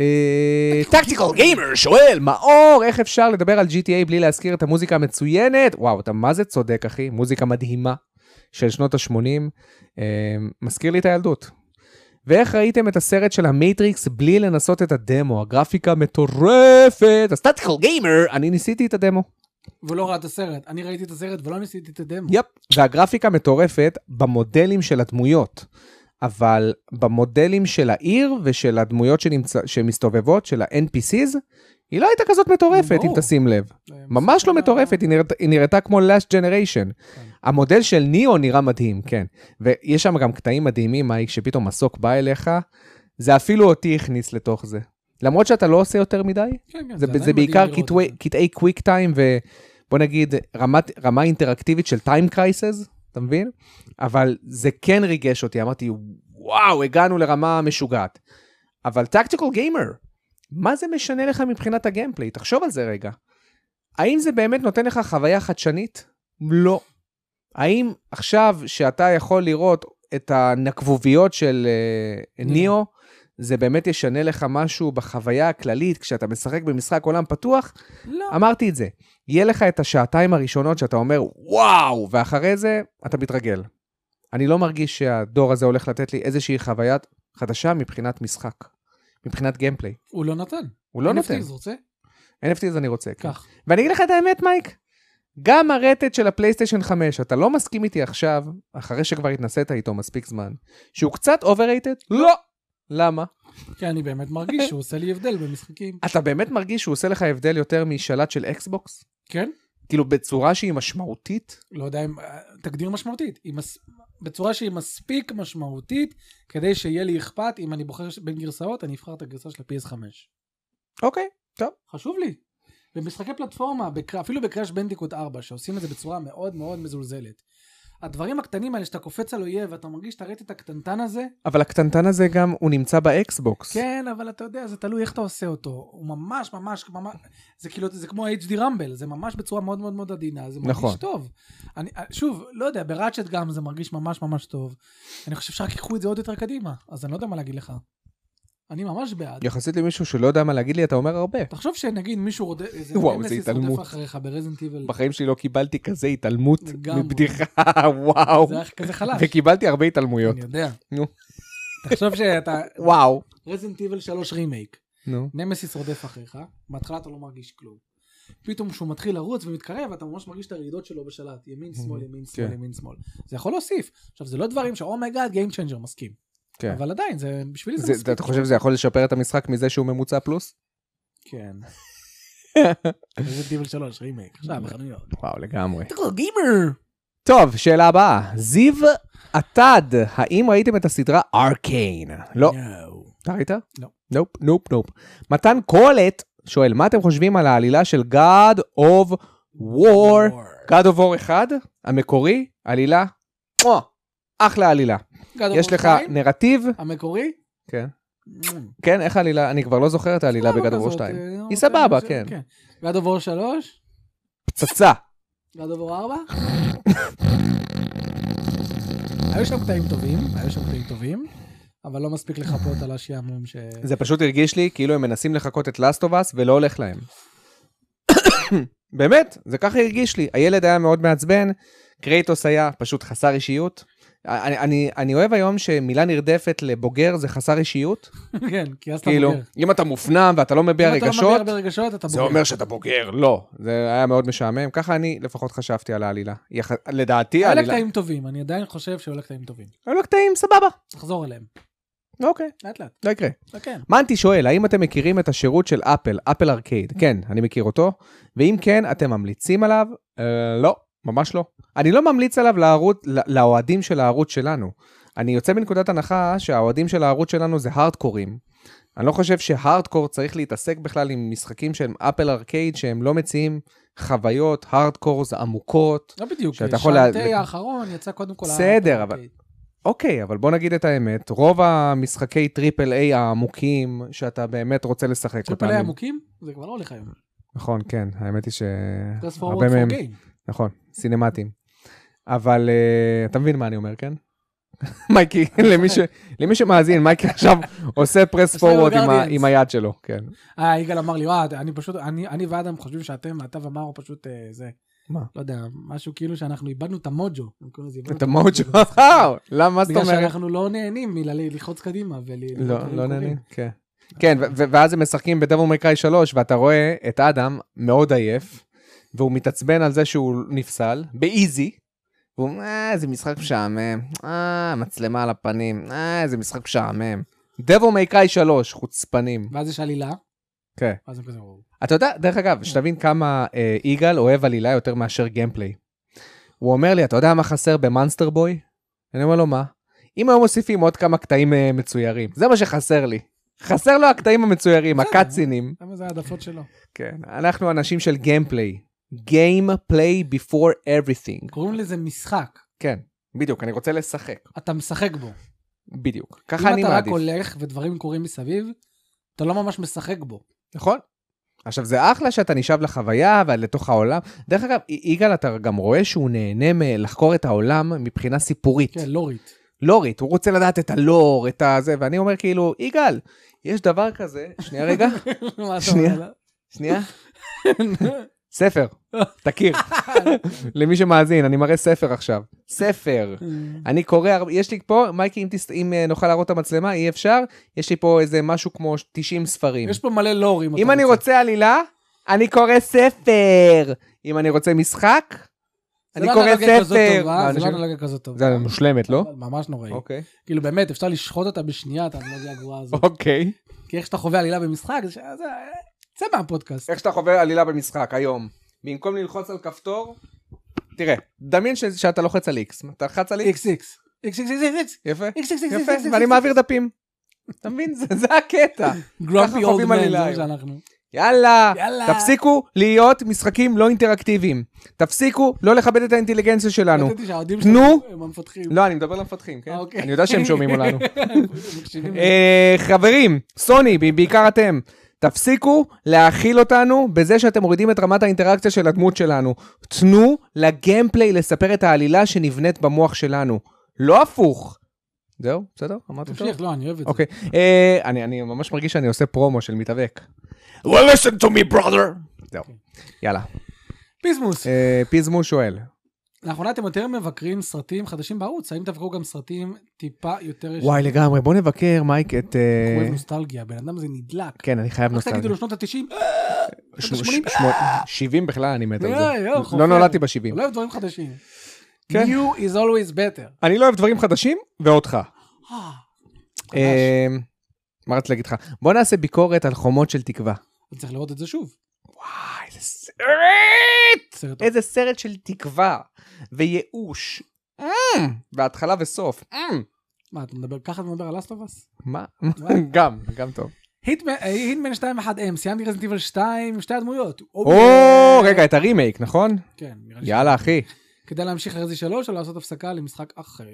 [SPEAKER 2] אה, טקטיקל גיימר שואל, מאור, איך אפשר לדבר על GTA בלי להזכיר את המוזיקה המצוינת? וואו, אתה מה זה צודק, אחי? מוזיקה מדהימה של שנות ה-80. מזכיר לי את הילדות. ואיך ראיתם את הסרט של המייטריקס בלי לנסות את הדמו? הגרפיקה מטורפת! אז טקטיקל גיימר, אני ניסיתי את הדמו.
[SPEAKER 1] והוא לא ראה את הסרט. אני ראיתי את הסרט ולא ניסיתי את הדמו.
[SPEAKER 2] יפ. והגרפיקה מטורפת במודלים של הדמויות, אבל במודלים של העיר ושל הדמויות שנמצא, שמסתובבות, של ה-NPCs, היא לא הייתה כזאת מטורפת, אם
[SPEAKER 1] ברור.
[SPEAKER 2] תשים לב.
[SPEAKER 1] אה,
[SPEAKER 2] ממש
[SPEAKER 1] מסכים.
[SPEAKER 2] לא מטורפת, היא נראית- היא נראתה כמו last generation.
[SPEAKER 1] כן.
[SPEAKER 2] המודל של ניאו נראה מדהים, כן. ויש שם גם קטעים מדהימים, מייק, שפתאום מסוק בא אליך, זה אפילו אותי הכניס לתוך זה. למרות שאתה לא עושה יותר מדי,
[SPEAKER 1] כן, כן,
[SPEAKER 2] זה, זה,
[SPEAKER 1] עדיין
[SPEAKER 2] זה
[SPEAKER 1] מדהים
[SPEAKER 2] בעיקר
[SPEAKER 1] לראות את
[SPEAKER 2] קטעי- קטעי קוויק טיים ובוא נגיד רמת, רמה אינטראקטיבית של טיים קרייסס, אתה מבין? אבל זה כן ריגש אותי, אמרתי וואו, הגענו לרמה משוגעת. אבל טקטיקל גיימר, מה זה משנה לך מבחינת הגיימפליי? תחשוב על זה רגע. האם זה באמת נותן לך חוויה חדשנית? לא. האם עכשיו שאתה יכול לראות את הנקבוביות של אה,
[SPEAKER 1] ניאו.
[SPEAKER 2] ניאו, זה באמת ישנה לך משהו בחוויה הכללית כשאתה משחק במשחק עולם פתוח?
[SPEAKER 1] זה. לא.
[SPEAKER 2] אמרתי את זה. יהיה לך את השעתיים הראשונות שאתה אומר, וואו, ואחרי זה אתה מתרגל. אני לא מרגיש שהדור הזה הולך לתת לי איזושהי חוויה חדשה מבחינת משחק, מבחינת גיימפליי.
[SPEAKER 1] הוא לא נתן.
[SPEAKER 2] הוא לא
[SPEAKER 1] NFT
[SPEAKER 2] נותן.
[SPEAKER 1] זה רוצה?
[SPEAKER 2] NFT אז אני רוצה. כן.
[SPEAKER 1] קח.
[SPEAKER 2] ואני אגיד לך את האמת, מייק, גם הרטט של הפלייסטיישן 5, אתה לא מסכים איתי עכשיו, אחרי שכבר התנסית איתו מספיק זמן, שהוא קצת overrated? לא. למה?
[SPEAKER 1] כי אני באמת מרגיש שהוא עושה לי הבדל במשחקים.
[SPEAKER 2] אתה באמת מרגיש שהוא עושה לך הבדל יותר משלט של אקסבוקס?
[SPEAKER 1] כן?
[SPEAKER 2] כאילו בצורה שהיא משמעותית?
[SPEAKER 1] לא יודע אם... אה, תגדיר משמעותית. היא מס- בצורה שהיא מספיק משמעותית, כדי שיהיה לי אכפת, אם אני בוחר ש- בין גרסאות, אני אבחר את הגרסה של ה-PS5.
[SPEAKER 2] אוקיי.
[SPEAKER 1] חשוב לי. במשחקי פלטפורמה, בק- אפילו בקראש בנדיקוט 4, שעושים את זה בצורה מאוד מאוד מזולזלת. הדברים הקטנים האלה שאתה קופץ על אויב ואתה מרגיש את הרטט הקטנטן הזה,
[SPEAKER 2] אבל הקטנטן הזה גם, הוא נמצא באקסבוקס.
[SPEAKER 1] כן, אבל אתה יודע, זה תלוי איך אתה עושה אותו. הוא ממש ממש ממש, זה כאילו, זה כמו ה-HD רמבל, זה ממש בצורה מאוד מאוד מאוד עדינה, זה מרגיש
[SPEAKER 2] נכון.
[SPEAKER 1] טוב. אני, שוב, לא יודע, בראצ'ט גם זה מרגיש ממש ממש טוב. אני חושב שרק ייקחו את זה עוד יותר קדימה, אז אני לא יודע מה להגיד לך. אני ממש בעד.
[SPEAKER 2] יחסית למישהו שלא יודע מה להגיד לי, אתה אומר הרבה.
[SPEAKER 1] תחשוב שנגיד מישהו רודף, איזה
[SPEAKER 2] וואו,
[SPEAKER 1] נמסיס
[SPEAKER 2] זה התעלמות.
[SPEAKER 1] רודף אחריך ברזנט איבל,
[SPEAKER 2] בחיים שלי לא קיבלתי כזה התעלמות
[SPEAKER 1] לגמרי.
[SPEAKER 2] מבדיחה, וואו.
[SPEAKER 1] זה היה כזה חלש.
[SPEAKER 2] וקיבלתי הרבה התעלמויות.
[SPEAKER 1] אני יודע.
[SPEAKER 2] נו.
[SPEAKER 1] תחשוב שאתה,
[SPEAKER 2] וואו.
[SPEAKER 1] רזנט איבל 3 רימייק.
[SPEAKER 2] נו.
[SPEAKER 1] נמסיס רודף אחריך, בהתחלה אתה לא מרגיש כלום. פתאום כשהוא מתחיל לרוץ ומתקרב, אתה ממש מרגיש את הרעידות שלו בשלט, ימין, שמאל, ימין, שמאל,
[SPEAKER 2] כן.
[SPEAKER 1] ימין, שמאל. זה יכול להוסיף. עכשיו, זה לא דברים שאומייגאד, גיים צ'נג'ר מסכים.
[SPEAKER 2] כן.
[SPEAKER 1] אבל עדיין, זה, בשבילי זה
[SPEAKER 2] זה-
[SPEAKER 1] מספיק.
[SPEAKER 2] אתה חושב שזה יכול לשפר את המשחק מזה שהוא ממוצע פלוס?
[SPEAKER 1] כן. איזה דיבל 3, רימייק. עכשיו, בחנויות.
[SPEAKER 2] וואו, לגמרי.
[SPEAKER 1] תראו, גימר!
[SPEAKER 2] טוב, שאלה הבאה. זיו עתד, האם ראיתם את הסדרה ארקיין? לא. אתה ראית?
[SPEAKER 1] לא.
[SPEAKER 2] נופ, נופ, נופ. מתן קולט שואל, מה אתם חושבים על העלילה של God of War? God of War 1, המקורי, עלילה, מואה, אחלה עלילה. יש לך נרטיב,
[SPEAKER 1] המקורי? Mm.
[SPEAKER 2] כן, כן, איך העלילה, אני כבר לא זוכר את העלילה בגד אבור 2.
[SPEAKER 1] אה,
[SPEAKER 2] היא סבבה, כן.
[SPEAKER 1] גד אבור 3?
[SPEAKER 2] פצצה.
[SPEAKER 1] גד אבור 4? היו שם קטעים טובים, היו שם קטעים טובים, אבל לא מספיק לחפות על השעמום ש...
[SPEAKER 2] זה פשוט הרגיש לי כאילו הם מנסים לחקות את Last of Us ולא הולך להם. באמת, זה ככה הרגיש לי. הילד היה מאוד מעצבן, קרייטוס היה פשוט חסר אישיות. אני, אני, אני אוהב היום שמילה נרדפת לבוגר זה חסר אישיות.
[SPEAKER 1] כן, כי אז אתה
[SPEAKER 2] כאילו,
[SPEAKER 1] בוגר.
[SPEAKER 2] אם אתה מופנם ואתה לא מביע
[SPEAKER 1] אם אתה לא
[SPEAKER 2] רגשות,
[SPEAKER 1] מביע ברגשות, אתה
[SPEAKER 2] זה
[SPEAKER 1] בוגר.
[SPEAKER 2] אומר שאתה בוגר. לא, זה היה מאוד משעמם. ככה אני לפחות חשבתי על העלילה. יח... לדעתי
[SPEAKER 1] היו לה
[SPEAKER 2] העלילה...
[SPEAKER 1] קטעים טובים, אני עדיין חושב שהיו לה קטעים טובים.
[SPEAKER 2] היו לה קטעים, סבבה.
[SPEAKER 1] תחזור אליהם,
[SPEAKER 2] אוקיי,
[SPEAKER 1] לאט לאט.
[SPEAKER 2] לא יקרה.
[SPEAKER 1] אה, כן.
[SPEAKER 2] מנטי שואל, האם אתם מכירים את השירות של אפל, אפל ארקייד? כן, אני מכיר אותו. ואם כן, אתם ממליצים עליו? אה, לא, ממש לא. אני לא ממליץ עליו לערוץ, לא- לאוהדים של הערוץ שלנו. אני יוצא מנקודת הנחה שהאוהדים של הערוץ שלנו זה הארדקורים. אני לא חושב שהארדקור צריך להתעסק בכלל עם משחקים שהם אפל ארקייד, שהם לא מציעים חוויות, הארדקורס עמוקות.
[SPEAKER 1] לא בדיוק,
[SPEAKER 2] שאתה יכול לה-
[SPEAKER 1] שעתי האחרון יצא קודם כל...
[SPEAKER 2] בסדר, אבל-
[SPEAKER 1] הארקייד.
[SPEAKER 2] אוקיי, אבל בוא נגיד את האמת, רוב המשחקי טריפל איי העמוקים, שאתה באמת רוצה לשחק אותם.
[SPEAKER 1] טריפל איי
[SPEAKER 2] הם-
[SPEAKER 1] עמוקים? זה כבר לא הולך היום.
[SPEAKER 2] נכון, כן, האמת היא
[SPEAKER 1] פרס
[SPEAKER 2] שהרבה
[SPEAKER 1] פורוורד
[SPEAKER 2] מהם,
[SPEAKER 1] פור גיים.
[SPEAKER 2] נכון, סינמטיים. אבל אה, אתה מבין מה אני אומר, כן? מייקי, למי ש- למי שמאזין, מייקי עכשיו עושה פרס
[SPEAKER 1] עושה לו
[SPEAKER 2] פורוורד עם ה-
[SPEAKER 1] Guardians.
[SPEAKER 2] עם היד שלו, כן.
[SPEAKER 1] אה, יגאל אמר לי, אוהד, אני פשוט, אני- אני ואדם חושבים שאתם, אתה ומארו פשוט אה, זה,
[SPEAKER 2] מה?
[SPEAKER 1] לא יודע, משהו כאילו שאנחנו איבדנו את המוג'ו. הם קוראים לזה, איבדנו
[SPEAKER 2] את המוג'ו,
[SPEAKER 1] במשחק.
[SPEAKER 2] למה מה זאת
[SPEAKER 1] בגלל
[SPEAKER 2] אומרת?
[SPEAKER 1] שאנחנו לא נהנים מללחוץ קדימה ול... לראות כאילו,
[SPEAKER 2] לא,
[SPEAKER 1] דברים
[SPEAKER 2] לא
[SPEAKER 1] קורים.
[SPEAKER 2] נהנים, כן. כן, ו- ו- ואז הם משחקים בדבו מקראי 3, ואתה רואה את אדם מאוד עייף, והוא מתעצבן על זה שהוא נפסל, באיזי. והוא, אומר, אה, איזה משחק משעמם, אה, מצלמה על הפנים, אה, איזה משחק משעמם. דבו מקראי 3, חוצפנים.
[SPEAKER 1] ואז יש עלילה,
[SPEAKER 2] כן.
[SPEAKER 1] ואז הם כזה, וואו.
[SPEAKER 2] אתה יודע, דרך אגב, שתבין כמה אה, יגאל אוהב עלילה יותר מאשר גיימפליי. הוא אומר לי, אתה יודע מה חסר במאנסטר בוי? אני אומר לו, מה? אם היו מוסיפים עוד כמה קטעים אה, מצוירים, זה מה שחסר לי. חסר לו הקטעים המצוירים,
[SPEAKER 1] בסדר.
[SPEAKER 2] הקאצינים.
[SPEAKER 1] למה זה העדפות שלו?
[SPEAKER 2] כן, אנחנו אנשים של גיימפליי. גיימפליי before everything.
[SPEAKER 1] קוראים לזה משחק,
[SPEAKER 2] כן, בדיוק, אני רוצה לשחק.
[SPEAKER 1] אתה משחק בו.
[SPEAKER 2] בדיוק. ככה
[SPEAKER 1] אם
[SPEAKER 2] אני
[SPEAKER 1] אתה רק
[SPEAKER 2] מעדיף.
[SPEAKER 1] הולך ודברים קורים מסביב, אתה לא ממש משחק בו.
[SPEAKER 2] נכון. עכשיו, זה אחלה שאתה נשאב לחוויה ולתוך העולם. דרך אגב, י- יגאל, אתה גם רואה שהוא נהנה מלחקור את העולם מבחינה סיפורית.
[SPEAKER 1] כן, לורית.
[SPEAKER 2] לורית, הוא רוצה לדעת את הלור, את הזה, ואני אומר כאילו, יגאל, יש דבר כזה, שנייה רגע,
[SPEAKER 1] מה אתה אומר?
[SPEAKER 2] שנייה. שנייה, ספר, תכיר, למי שמאזין, אני מראה ספר עכשיו, ספר. אני קורא, הרבה- יש לי פה, מייקי, אם, תס... אם אה, נוכל להראות את המצלמה, אי אפשר, יש לי פה איזה משהו כמו 90 ספרים.
[SPEAKER 1] יש פה מלא לור אם אתה
[SPEAKER 2] אם אני רוצה עלילה, אני קורא ספר. אם אני רוצה משחק,
[SPEAKER 1] זה
[SPEAKER 2] אני
[SPEAKER 1] לא
[SPEAKER 2] קורא
[SPEAKER 1] אנלוגיה כזאת
[SPEAKER 2] ספר.
[SPEAKER 1] טובה,
[SPEAKER 2] מה,
[SPEAKER 1] זה לא
[SPEAKER 2] אנשים-
[SPEAKER 1] אנלוגיה כזאת טובה.
[SPEAKER 2] זה מושלמת, לא?
[SPEAKER 1] ממש נוראי.
[SPEAKER 2] אוקיי.
[SPEAKER 1] כאילו באמת, אפשר לשחוט אותה בשנייה, את האנלוגיה הגרועה הזאת.
[SPEAKER 2] אוקיי.
[SPEAKER 1] כי איך שאתה חווה עלילה במשחק, זה ש- זה... צא מהפודקאסט.
[SPEAKER 2] איך שאתה חווה עלילה במשחק היום, במקום ללחוץ על כפתור, תראה, דמיין ש- שאתה לוחץ על איקס. אתה לחץ על איקס,
[SPEAKER 1] איקס איקס. איקס איקס איקס איקס.
[SPEAKER 2] יפה,
[SPEAKER 1] איקס איקס איקס
[SPEAKER 2] יפה,
[SPEAKER 1] איקס.
[SPEAKER 2] ואני מעביר דפים. אתה מבין? זה זה הקטע. ככה
[SPEAKER 1] גרומפי אולד
[SPEAKER 2] חווים
[SPEAKER 1] מן, זה
[SPEAKER 2] עלילה
[SPEAKER 1] מה
[SPEAKER 2] היום.
[SPEAKER 1] שאנחנו.
[SPEAKER 2] יאללה,
[SPEAKER 1] יאללה.
[SPEAKER 2] תפסיקו להיות משחקים לא אינטראקטיביים. תפסיקו לא לכבד את האינטליגנציה שלנו.
[SPEAKER 1] חשבתי שהאוהדים
[SPEAKER 2] תנו.
[SPEAKER 1] שלנו הם המפתחים.
[SPEAKER 2] לא, אני מדבר למפתחים, כן?
[SPEAKER 1] אה, אוקיי.
[SPEAKER 2] אני יודע שהם שומעים אותנו.
[SPEAKER 1] הם מקשיבים.
[SPEAKER 2] אה, חברים, סוני, ב- בעיקר אתם, תפסיקו להאכיל אותנו בזה שאתם מורידים את רמת האינטראקציה של הדמות שלנו. תנו לגיימפליי לספר את העלילה שנבנית במוח שלנו. לא הפוך. זהו, בסדר? אמרתי טוב?
[SPEAKER 1] תמשיך, לא, אני אוהב את זה.
[SPEAKER 2] אוקיי. אה, אני אני ממש מרגיש שאני עושה פרומו של מתאבק. Well, listen to me, brother. זהו. יאללה.
[SPEAKER 1] פיזמוס.
[SPEAKER 2] אה, פיזמו שואל.
[SPEAKER 1] לאחרונה אתם יותר מבקרים סרטים חדשים בערוץ, האם תבקרו גם סרטים טיפה יותר... יש-
[SPEAKER 2] וואי, לגמרי, בוא נבקר, מייק, את... אה,
[SPEAKER 1] הוא אוהב נוסטלגיה, בן אדם זה נדלק.
[SPEAKER 2] כן, אני חייב
[SPEAKER 1] רק תגידו אה,
[SPEAKER 2] נוסטלגיה.
[SPEAKER 1] לו שנות ה-90,
[SPEAKER 2] ש-
[SPEAKER 1] שנות ה-שמונים.
[SPEAKER 2] ש- שמונה- 70 בכלל אני מת על
[SPEAKER 1] אה,
[SPEAKER 2] זה.
[SPEAKER 1] אה, חופר.
[SPEAKER 2] אה! לא נולדתי ב-70.
[SPEAKER 1] הוא לא אוהב דברים חדשים.
[SPEAKER 2] כן.
[SPEAKER 1] New is always better.
[SPEAKER 2] אני לא אוהב דברים חדשים, ואותך. אמ,
[SPEAKER 1] אה,
[SPEAKER 2] אה, מה רציתי להגיד לך? בוא נעשה ביקורת על חומות של תקווה.
[SPEAKER 1] אני צריך לראות את זה שוב.
[SPEAKER 2] וואי, איזה סרט!
[SPEAKER 1] סרט טוב.
[SPEAKER 2] איזה סרט של תקווה וייאוש. אה, בהתחלה וסוף. אה.
[SPEAKER 1] מה, אתה מדבר ככה אתה מדבר על Last of Us?
[SPEAKER 2] מה?
[SPEAKER 1] וואי.
[SPEAKER 2] גם, גם טוב.
[SPEAKER 1] היטמן 2-1M, סיימתי רזנטיבל 2 עם שתי הדמויות. אוקיי.
[SPEAKER 2] או, רגע, את הרימייק, נכון?
[SPEAKER 1] כן, נראה לי
[SPEAKER 2] יאללה, אחי.
[SPEAKER 1] ש- כדאי להמשיך לרזי 3 או לעשות הפסקה למשחק אחר.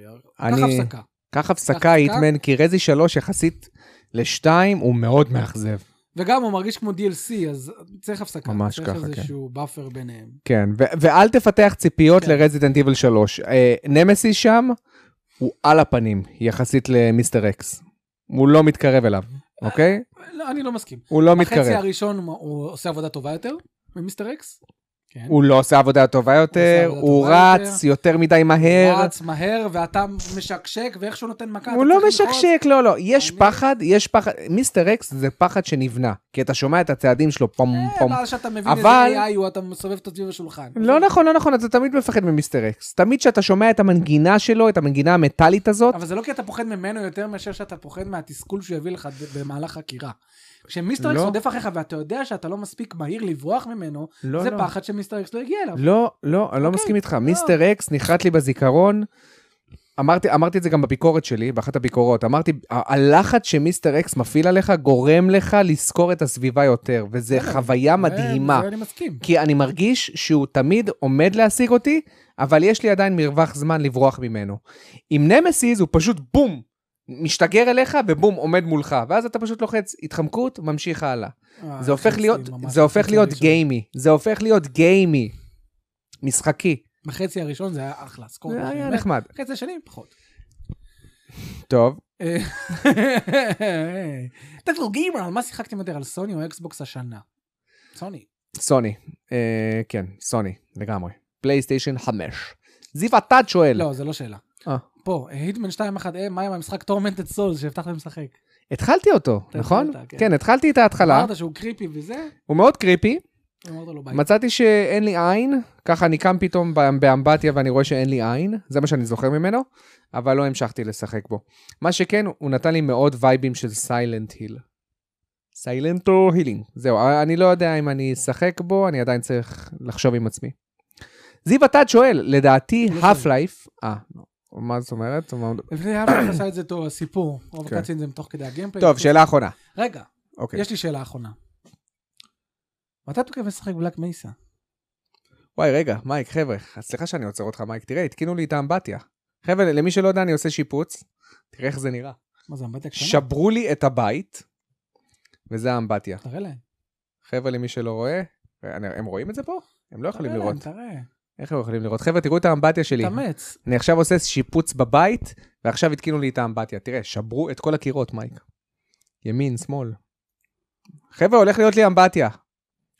[SPEAKER 2] אני-
[SPEAKER 1] קח הפסקה.
[SPEAKER 2] קח
[SPEAKER 1] הפסקה.
[SPEAKER 2] הפסקה, היטמן, כי רזי 3 יחסית לשתיים הוא מאוד מאכזב.
[SPEAKER 1] וגם הוא מרגיש כמו DLC, אז צריך הפסקה.
[SPEAKER 2] ממש
[SPEAKER 1] צריך
[SPEAKER 2] ככה,
[SPEAKER 1] איזשהו באפר ביניהם.
[SPEAKER 2] כן, ו- ואל תפתח ציפיות
[SPEAKER 1] כן.
[SPEAKER 2] לרזידנט איבל 3. אה, נמסיס שם הוא על הפנים יחסית למיסטר אקס. הוא לא מתקרב אליו, אוקיי?
[SPEAKER 1] לא, אני לא מסכים.
[SPEAKER 2] הוא לא
[SPEAKER 1] החצי
[SPEAKER 2] מתקרב.
[SPEAKER 1] הראשון הוא- הוא עושה עבודה טובה יותר ממיסטר אקס. כן.
[SPEAKER 2] הוא לא עושה עבודה טובה יותר,
[SPEAKER 1] עבודה
[SPEAKER 2] הוא
[SPEAKER 1] טובה
[SPEAKER 2] רץ יותר מדי מהר.
[SPEAKER 1] רץ מהר ואתה משקשק ואיכשהו נותן מכה.
[SPEAKER 2] הוא
[SPEAKER 1] אתה
[SPEAKER 2] לא
[SPEAKER 1] צריך ללחוץ.
[SPEAKER 2] משקשק, לא, לא. יש
[SPEAKER 1] אני-
[SPEAKER 2] פחד, יש פחד. מיסטר אקס זה פחד שנבנה, כי אתה שומע את הצעדים שלו פום
[SPEAKER 1] אה,
[SPEAKER 2] פום.
[SPEAKER 1] ואז שאתה מבין
[SPEAKER 2] אבל-
[SPEAKER 1] איזה AI הוא, אתה מסובב אותו סביב השולחן.
[SPEAKER 2] לא נכון, לא נכון, אתה תמיד מפחד ממיסטר אקס. תמיד כשאתה שומע את המנגינה שלו, את המנגינה המטאלית הזאת,
[SPEAKER 1] אבל זה לא כי אתה פוחד ממנו יותר מאשר שאתה פוחד מהתסכול שהוא יביא לך ד- במהלך חקירה. כשמיסטר אקס
[SPEAKER 2] לא.
[SPEAKER 1] רודף אחריך ואתה יודע שאתה לא מספיק מהיר לברוח ממנו,
[SPEAKER 2] לא,
[SPEAKER 1] זה
[SPEAKER 2] לא.
[SPEAKER 1] פחד שמיסטר אקס לא הגיע אליו.
[SPEAKER 2] לא, לא, אני לא
[SPEAKER 1] אוקיי,
[SPEAKER 2] מסכים איתך.
[SPEAKER 1] לא.
[SPEAKER 2] מיסטר אקס נחרט לי בזיכרון. אמרתי, אמרתי את זה גם בביקורת שלי, באחת הביקורות. אמרתי, ה- הלחץ שמיסטר אקס מפעיל עליך גורם לך לזכור את הסביבה יותר, וזו
[SPEAKER 1] בסדר,
[SPEAKER 2] חוויה
[SPEAKER 1] זה-
[SPEAKER 2] מדהימה.
[SPEAKER 1] כן. זה אני מסכים.
[SPEAKER 2] כי אני מרגיש שהוא תמיד עומד להשיג אותי, אבל יש לי עדיין מרווח זמן לברוח ממנו. עם נמסיס הוא פשוט בום, משתגר אליך ובום, עומד מולך, ואז אתה פשוט לוחץ התחמקות, ממשיך הלאה.
[SPEAKER 1] אה,
[SPEAKER 2] זה הופך
[SPEAKER 1] חצי,
[SPEAKER 2] להיות,
[SPEAKER 1] ממש,
[SPEAKER 2] זה הופך
[SPEAKER 1] חצי
[SPEAKER 2] להיות
[SPEAKER 1] הראשון.
[SPEAKER 2] גיימי, זה הופך להיות גיימי. משחקי,
[SPEAKER 1] בחצי הראשון זה היה אחלה, סקור.
[SPEAKER 2] זה היה
[SPEAKER 1] באמת.
[SPEAKER 2] נחמד.
[SPEAKER 1] חצי השני פחות.
[SPEAKER 2] טוב,
[SPEAKER 1] אה, תגידו גיימר, על מה שיחקתם יותר, על סוני או אקסבוקס השנה? סוני.
[SPEAKER 2] סוני, אה, כן, סוני, לגמרי. פלייסטיישן 5. זיו עתד שואל,
[SPEAKER 1] לא, זה לא שאלה.
[SPEAKER 2] אה.
[SPEAKER 1] פה, היטמן 2-1, אה, מה עם המשחק טורמנטד סול שהבטחת לי לשחק?
[SPEAKER 2] התחלתי אותו,
[SPEAKER 1] אתה
[SPEAKER 2] נכון?
[SPEAKER 1] התחלת, כן.
[SPEAKER 2] כן, התחלתי את ההתחלה,
[SPEAKER 1] אמרת שהוא קריפי וזה,
[SPEAKER 2] הוא מאוד קריפי,
[SPEAKER 1] אמרת לו ביי.
[SPEAKER 2] מצאתי שאין לי עין, ככה אני קם פתאום ב- באמבטיה ואני רואה שאין לי עין, זה מה שאני זוכר ממנו, אבל לא המשכתי לשחק בו. מה שכן, הוא נתן לי מאוד וייבים של סיילנט היל. סיילנט או הילינג. זהו, א- אני לא יודע אם אני אשחק בו, אני עדיין צריך לחשוב עם עצמי. זיו עתד שואל, לדעתי,
[SPEAKER 1] לא
[SPEAKER 2] האף לייף, אה, מה זאת אומרת? מה-
[SPEAKER 1] לפני אבי עשה את זה טוב, הסיפור. רוב
[SPEAKER 2] כן.
[SPEAKER 1] הקאצין זה מתוך כדי הגיימפליי.
[SPEAKER 2] טוב, שאלה אחרונה.
[SPEAKER 1] רגע,
[SPEAKER 2] אוקיי.
[SPEAKER 1] יש לי שאלה אחרונה. מתי אתה מתכוון לשחק בלק מייסה?
[SPEAKER 2] וואי, רגע, מייק, חבר'ה, סליחה שאני עוצר אותך, מייק, תראה, התקינו לי את האמבטיה. חבר'ה, למי שלא יודע, אני עושה שיפוץ, תראה איך זה נראה.
[SPEAKER 1] מה זה, אמבטיה קטנה?
[SPEAKER 2] כן. שברו לי את הבית, וזה האמבטיה.
[SPEAKER 1] תראה להם.
[SPEAKER 2] חבר'ה, למי שלא רואה, אני- הם רואים את זה פה? הם לא יכולים
[SPEAKER 1] תראה להם,
[SPEAKER 2] לראות.
[SPEAKER 1] תראה.
[SPEAKER 2] איך הם יכולים לראות? חבר'ה, תראו את האמבטיה שלי.
[SPEAKER 1] תאמץ.
[SPEAKER 2] אני עכשיו עושה שיפוץ בבית, ועכשיו התקינו לי את האמבטיה. תראה, שברו את כל הקירות, מייק. ימין, שמאל. חבר'ה, הולך להיות לי אמבטיה.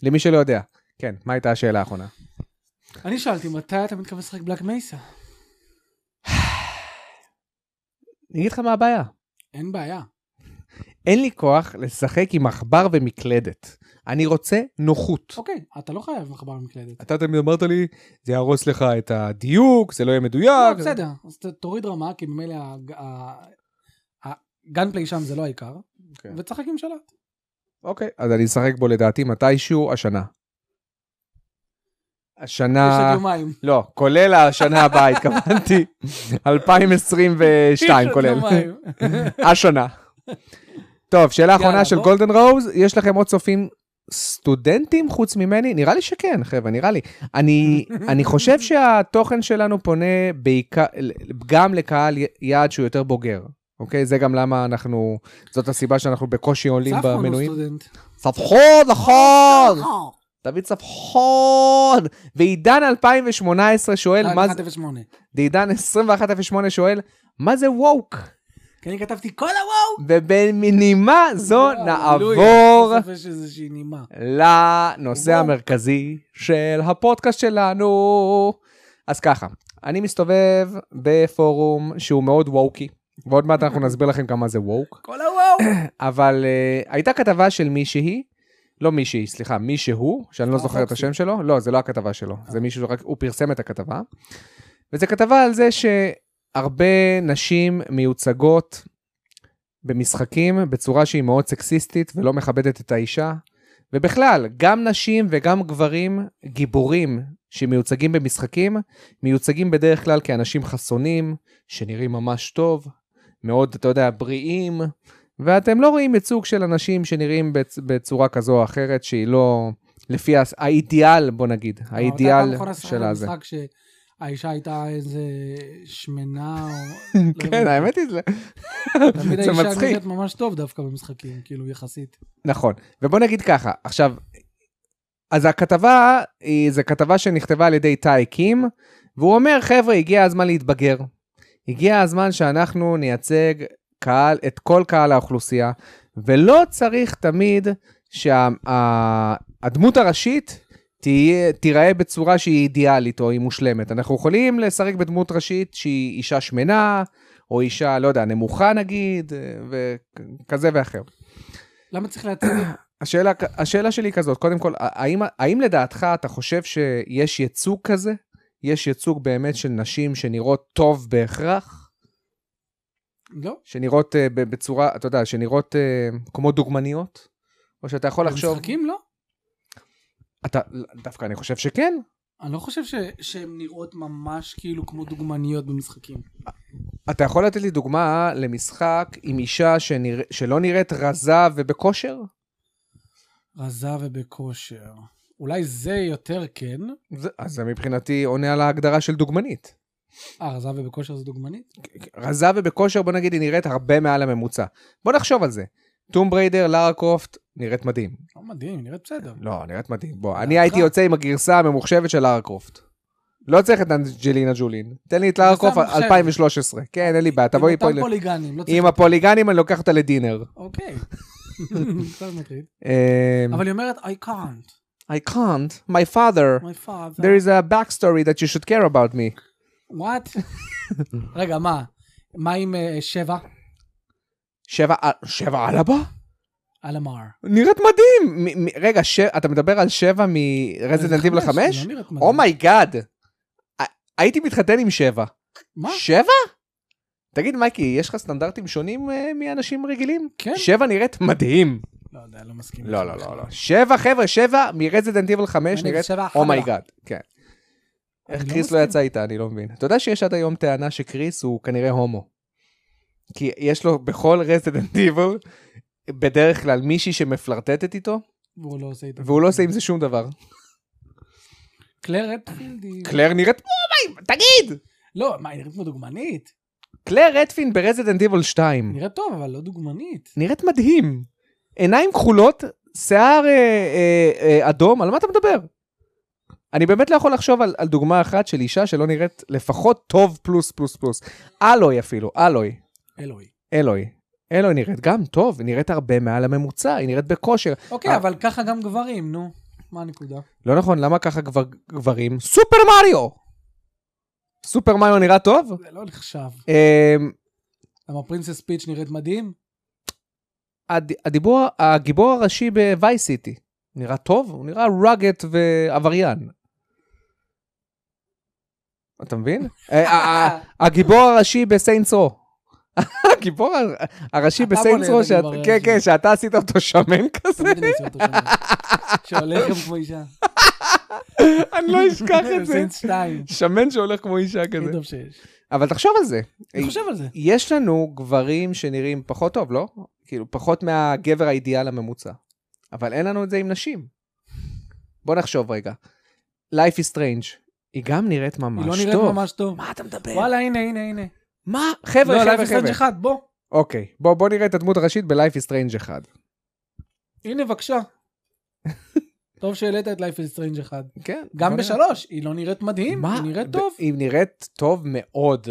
[SPEAKER 2] למי שלא יודע. כן, מה הייתה השאלה האחרונה?
[SPEAKER 1] אני שאלתי, מתי אתה מתכוון לשחק בלק מייסה?
[SPEAKER 2] אני אגיד לך מה הבעיה.
[SPEAKER 1] אין בעיה.
[SPEAKER 2] אין לי כוח לשחק עם עכבר ומקלדת. אני רוצה נוחות.
[SPEAKER 1] אוקיי, אתה לא חייב מחבר מקלדת.
[SPEAKER 2] אתה תמיד אמרת לי, זה יהרוס לך את הדיוק, זה לא יהיה
[SPEAKER 1] לא,
[SPEAKER 2] מדויק.
[SPEAKER 1] בסדר, אז ת- תוריד רמה, כי ממילא הג- ה- הגאנפליי שם זה לא העיקר,
[SPEAKER 2] כן.
[SPEAKER 1] ותשחק עם שלט.
[SPEAKER 2] אוקיי, אז אני אשחק בו לדעתי מתישהו השנה.
[SPEAKER 1] יש
[SPEAKER 2] השנה,
[SPEAKER 1] עוד יומיים.
[SPEAKER 2] לא, כולל השנה הבאה, התכוונתי, 2022
[SPEAKER 1] יש עוד
[SPEAKER 2] כולל,
[SPEAKER 1] יומיים.
[SPEAKER 2] השנה. טוב, שאלה
[SPEAKER 1] יאללה,
[SPEAKER 2] אחרונה של
[SPEAKER 1] בוא.
[SPEAKER 2] גולדן רוז, יש לכם עוד צופים סטודנטים חוץ ממני? נראה לי שכן, חבר'ה, נראה לי. אני, אני חושב שהתוכן שלנו פונה בעיקר, גם לקהל י- יעד שהוא יותר בוגר, אוקיי? זה גם למה אנחנו, זאת הסיבה שאנחנו בקושי עולים
[SPEAKER 1] צפון הוא
[SPEAKER 2] במנויים.
[SPEAKER 1] סטודנט.
[SPEAKER 2] ספחון, נכון! דוד ספחון! ועידן 2018
[SPEAKER 1] אה,
[SPEAKER 2] שואל, מה זה...
[SPEAKER 1] 108.
[SPEAKER 2] ועידן 2108 שואל, מה זה ווק?
[SPEAKER 1] כי אני כתבתי כל הוואו.
[SPEAKER 2] ובין מנימה זו
[SPEAKER 1] וואו,
[SPEAKER 2] לא נעבור
[SPEAKER 1] אלוהים, בסוף יש איזושהי נימה.
[SPEAKER 2] לנושא
[SPEAKER 1] וואו.
[SPEAKER 2] המרכזי של הפודקאסט שלנו. אז ככה, אני מסתובב בפורום שהוא מאוד ווקי, ועוד מעט אנחנו נסביר לכם גם מה זה ווק.
[SPEAKER 1] כל הוואו.
[SPEAKER 2] אבל uh, הייתה כתבה של מישהי, לא מישהי, סליחה, מישהו, שאני לא
[SPEAKER 1] אה,
[SPEAKER 2] זוכר את
[SPEAKER 1] פוקסי.
[SPEAKER 2] השם שלו, לא, זה לא הכתבה שלו, זה מישהו, רק הוא פרסם את הכתבה. וזו כתבה על זה שהרבה נשים מיוצגות במשחקים בצורה שהיא מאוד סקסיסטית ולא מכבדת את האישה, ובכלל, גם נשים וגם גברים גיבורים שמיוצגים במשחקים, מיוצגים בדרך כלל כאנשים חסונים, שנראים ממש טוב, מאוד, אתה יודע, בריאים, ואתם לא רואים ייצוג של אנשים שנראים בצ- בצורה כזו או אחרת שהיא לא... לפי הס- האידיאל, בוא נגיד, האידיאל של הזה.
[SPEAKER 1] משחק שהאישה הייתה איזה שמנה, או... לא
[SPEAKER 2] כן,
[SPEAKER 1] הבנתי.
[SPEAKER 2] האמת היא, זה-
[SPEAKER 1] תמיד
[SPEAKER 2] כן, זה
[SPEAKER 1] האישה
[SPEAKER 2] מצחיק.
[SPEAKER 1] נראית ממש טוב דווקא במשחקים, כאילו, יחסית.
[SPEAKER 2] נכון, ובוא נגיד ככה, עכשיו, אז הכתבה, היא- זו כתבה שנכתבה על ידי טאי קים, והוא אומר, חבר'ה, הגיע הזמן להתבגר. הגיע הזמן שאנחנו נייצג קהל, את כל קהל האוכלוסייה, ולא צריך תמיד שהדמות הראשית תהיה, תיראה בצורה שהיא אידיאלית או היא מושלמת. אנחנו יכולים לשחק בדמות ראשית שהיא אישה שמנה, או אישה, לא יודע, נמוכה נגיד, וכזה ואחר.
[SPEAKER 1] למה צריך להציג?
[SPEAKER 2] השאלה, השאלה שלי היא כזאת, קודם כל, האם, האם לדעתך אתה חושב שיש ייצוג כזה? יש ייצוג באמת של נשים שנראות טוב בהכרח?
[SPEAKER 1] לא.
[SPEAKER 2] שנראות uh, בצורה, אתה יודע, שנראות uh, כמו דוגמניות? או שאתה יכול לחשוב...
[SPEAKER 1] במשחקים לא?
[SPEAKER 2] אתה, דווקא אני חושב שכן.
[SPEAKER 1] אני לא חושב ש- שהן נראות ממש כאילו כמו דוגמניות במשחקים.
[SPEAKER 2] אתה יכול לתת לי דוגמה למשחק עם אישה שנרא, שלא נראית רזה ובכושר?
[SPEAKER 1] רזה ובכושר. אולי זה יותר כן.
[SPEAKER 2] זה, אז זה מבחינתי עונה על ההגדרה של דוגמנית.
[SPEAKER 1] אה, רזה ובכושר זה דוגמנית?
[SPEAKER 2] רזה ובכושר, בוא נגיד, היא נראית הרבה מעל הממוצע. בוא נחשוב על זה. טום בריידר, לארה קרופט, נראית מדהים.
[SPEAKER 1] לא מדהים, היא נראית בסדר.
[SPEAKER 2] לא, נראית מדהים. בוא, אני
[SPEAKER 1] דעתך?
[SPEAKER 2] הייתי יוצא עם הגרסה הממוחשבת של לארה קרופט. לא צריך את אנג'לינה ג'ולין. תן לי את לארה
[SPEAKER 1] גרסה
[SPEAKER 2] קרופט
[SPEAKER 1] ממוחשבת.
[SPEAKER 2] 2013. כן, אין לי בעיה, תבואי פה.
[SPEAKER 1] עם אותם פוליגנים, לא צריך...
[SPEAKER 2] עם הפוליגנים אני לוקח אותה לדינר.
[SPEAKER 1] אוקיי. קצת מטריד.
[SPEAKER 2] אמ,
[SPEAKER 1] אבל היא אומרת, I can't,
[SPEAKER 2] I can't, my father,
[SPEAKER 1] my father.
[SPEAKER 2] there is a backstory that you should care about me.
[SPEAKER 1] וואט? רגע, מה? מה עם אה, שבע?
[SPEAKER 2] שבע, ע- שבע על הבא?
[SPEAKER 1] על המר.
[SPEAKER 2] נראית מדהים! מ- מ- רגע, ש- אתה מדבר על שבע מרזידנט איבל חמש? Oh
[SPEAKER 1] לא נראית מדהים.
[SPEAKER 2] אומייגאד. הייתי מתחתן עם שבע.
[SPEAKER 1] מה?
[SPEAKER 2] שבע? תגיד, מייקי, יש לך סטנדרטים שונים אה, מאנשים רגילים?
[SPEAKER 1] כן.
[SPEAKER 2] שבע נראית מדהים.
[SPEAKER 1] לא יודע, לא מסכים.
[SPEAKER 2] לא, לא, לא, לא. שבע, חבר'ה, שבע מרזידנט איבל
[SPEAKER 1] אני
[SPEAKER 2] 5 נראית
[SPEAKER 1] שבע אחלה.
[SPEAKER 2] אומייגאד. כן. איך
[SPEAKER 1] אני לא
[SPEAKER 2] קריס לא
[SPEAKER 1] מסכים.
[SPEAKER 2] יצא איתה, אני לא מבין. אתה יודע שיש עד היום טענה שקריס הוא כנראה הומו. כי יש לו בכל רזידנט איבל, בדרך כלל מישהי שמפלרטטת איתו,
[SPEAKER 1] והוא לא עושה איתו.
[SPEAKER 2] והוא לא עושה עם זה שום דבר.
[SPEAKER 1] קלרת פילדי.
[SPEAKER 2] קלר נראית אומי, תגיד!
[SPEAKER 1] לא, מה, היא נראית כמו דוגמנית?
[SPEAKER 2] קלר רדפין ברזידנט איבל 2.
[SPEAKER 1] היא נראית טוב, אבל לא דוגמנית.
[SPEAKER 2] נראית מדהים. עיניים כחולות, שיער אה, אה, אה, אדום, על מה אתה מדבר? אני באמת לא יכול לחשוב על, על דוגמה אחת של אישה שלא נראית לפחות טוב פלוס פלוס פלוס. אלוי אפילו, אלוי,
[SPEAKER 1] אלוהי.
[SPEAKER 2] אלוי. אלוי נראית גם טוב, היא נראית הרבה מעל הממוצע, היא נראית בכושר.
[SPEAKER 1] אוקיי,
[SPEAKER 2] אה.
[SPEAKER 1] אבל ככה גם גברים, נו. מה הנקודה?
[SPEAKER 2] לא נכון, למה ככה גבר, גברים? סופר מריו! סופר מריו נראה טוב?
[SPEAKER 1] זה לא נחשב.
[SPEAKER 2] אה,
[SPEAKER 1] למה פרינסס פיץ' נראית מדהים?
[SPEAKER 2] הד- הדיבור, הגיבור הראשי בווי סיטי. נראה טוב? הוא נראה רגט ועבריין. אתה מבין? אה, ה- ה- הגיבור הראשי בסיינס רו. הגיבור הר- הראשי
[SPEAKER 1] אתה
[SPEAKER 2] בסיינס
[SPEAKER 1] בונה
[SPEAKER 2] רו,
[SPEAKER 1] את
[SPEAKER 2] שאת-
[SPEAKER 1] הגיבור
[SPEAKER 2] כן,
[SPEAKER 1] הראשי.
[SPEAKER 2] כן, שאתה עשית אותו שמן כזה,
[SPEAKER 1] תמיד אני עושה אותו שם. שהולך גם כמו אישה.
[SPEAKER 2] אני לא אשכח את זה.
[SPEAKER 1] סינס שתיים.
[SPEAKER 2] שמן שהולך כמו אישה
[SPEAKER 1] הכי
[SPEAKER 2] כזה.
[SPEAKER 1] טוב שיש.
[SPEAKER 2] אבל תחשוב על זה.
[SPEAKER 1] אני חושב על זה.
[SPEAKER 2] יש לנו גברים שנראים פחות טוב, לא? כאילו, פחות מהגבר האידיאל הממוצע. אבל אין לנו את זה עם נשים. בוא נחשוב רגע. Life is Strange, היא גם נראית ממש
[SPEAKER 1] היא
[SPEAKER 2] טוב.
[SPEAKER 1] לא נראית ממש טוב.
[SPEAKER 2] מה אתה מדבר?
[SPEAKER 1] וואלה, הנה, הנה, הנה.
[SPEAKER 2] מה?
[SPEAKER 1] לא,
[SPEAKER 2] חבר'ה,
[SPEAKER 1] לייב
[SPEAKER 2] חבר'ה,
[SPEAKER 1] אסטרנג'
[SPEAKER 2] חבר'ה.
[SPEAKER 1] אחד, בוא.
[SPEAKER 2] אוקיי, בוא, בוא נראה את הדמות הראשית ב-Life is Strange 1.
[SPEAKER 1] הנה, בבקשה. טוב שהעלית את לייפ סטרנג' אחד.
[SPEAKER 2] כן.
[SPEAKER 1] גם
[SPEAKER 2] בוא נראה.
[SPEAKER 1] בשלוש, היא לא נראית מדהים,
[SPEAKER 2] מה?
[SPEAKER 1] היא נראית
[SPEAKER 2] ב-
[SPEAKER 1] טוב.
[SPEAKER 2] היא נראית טוב מאוד.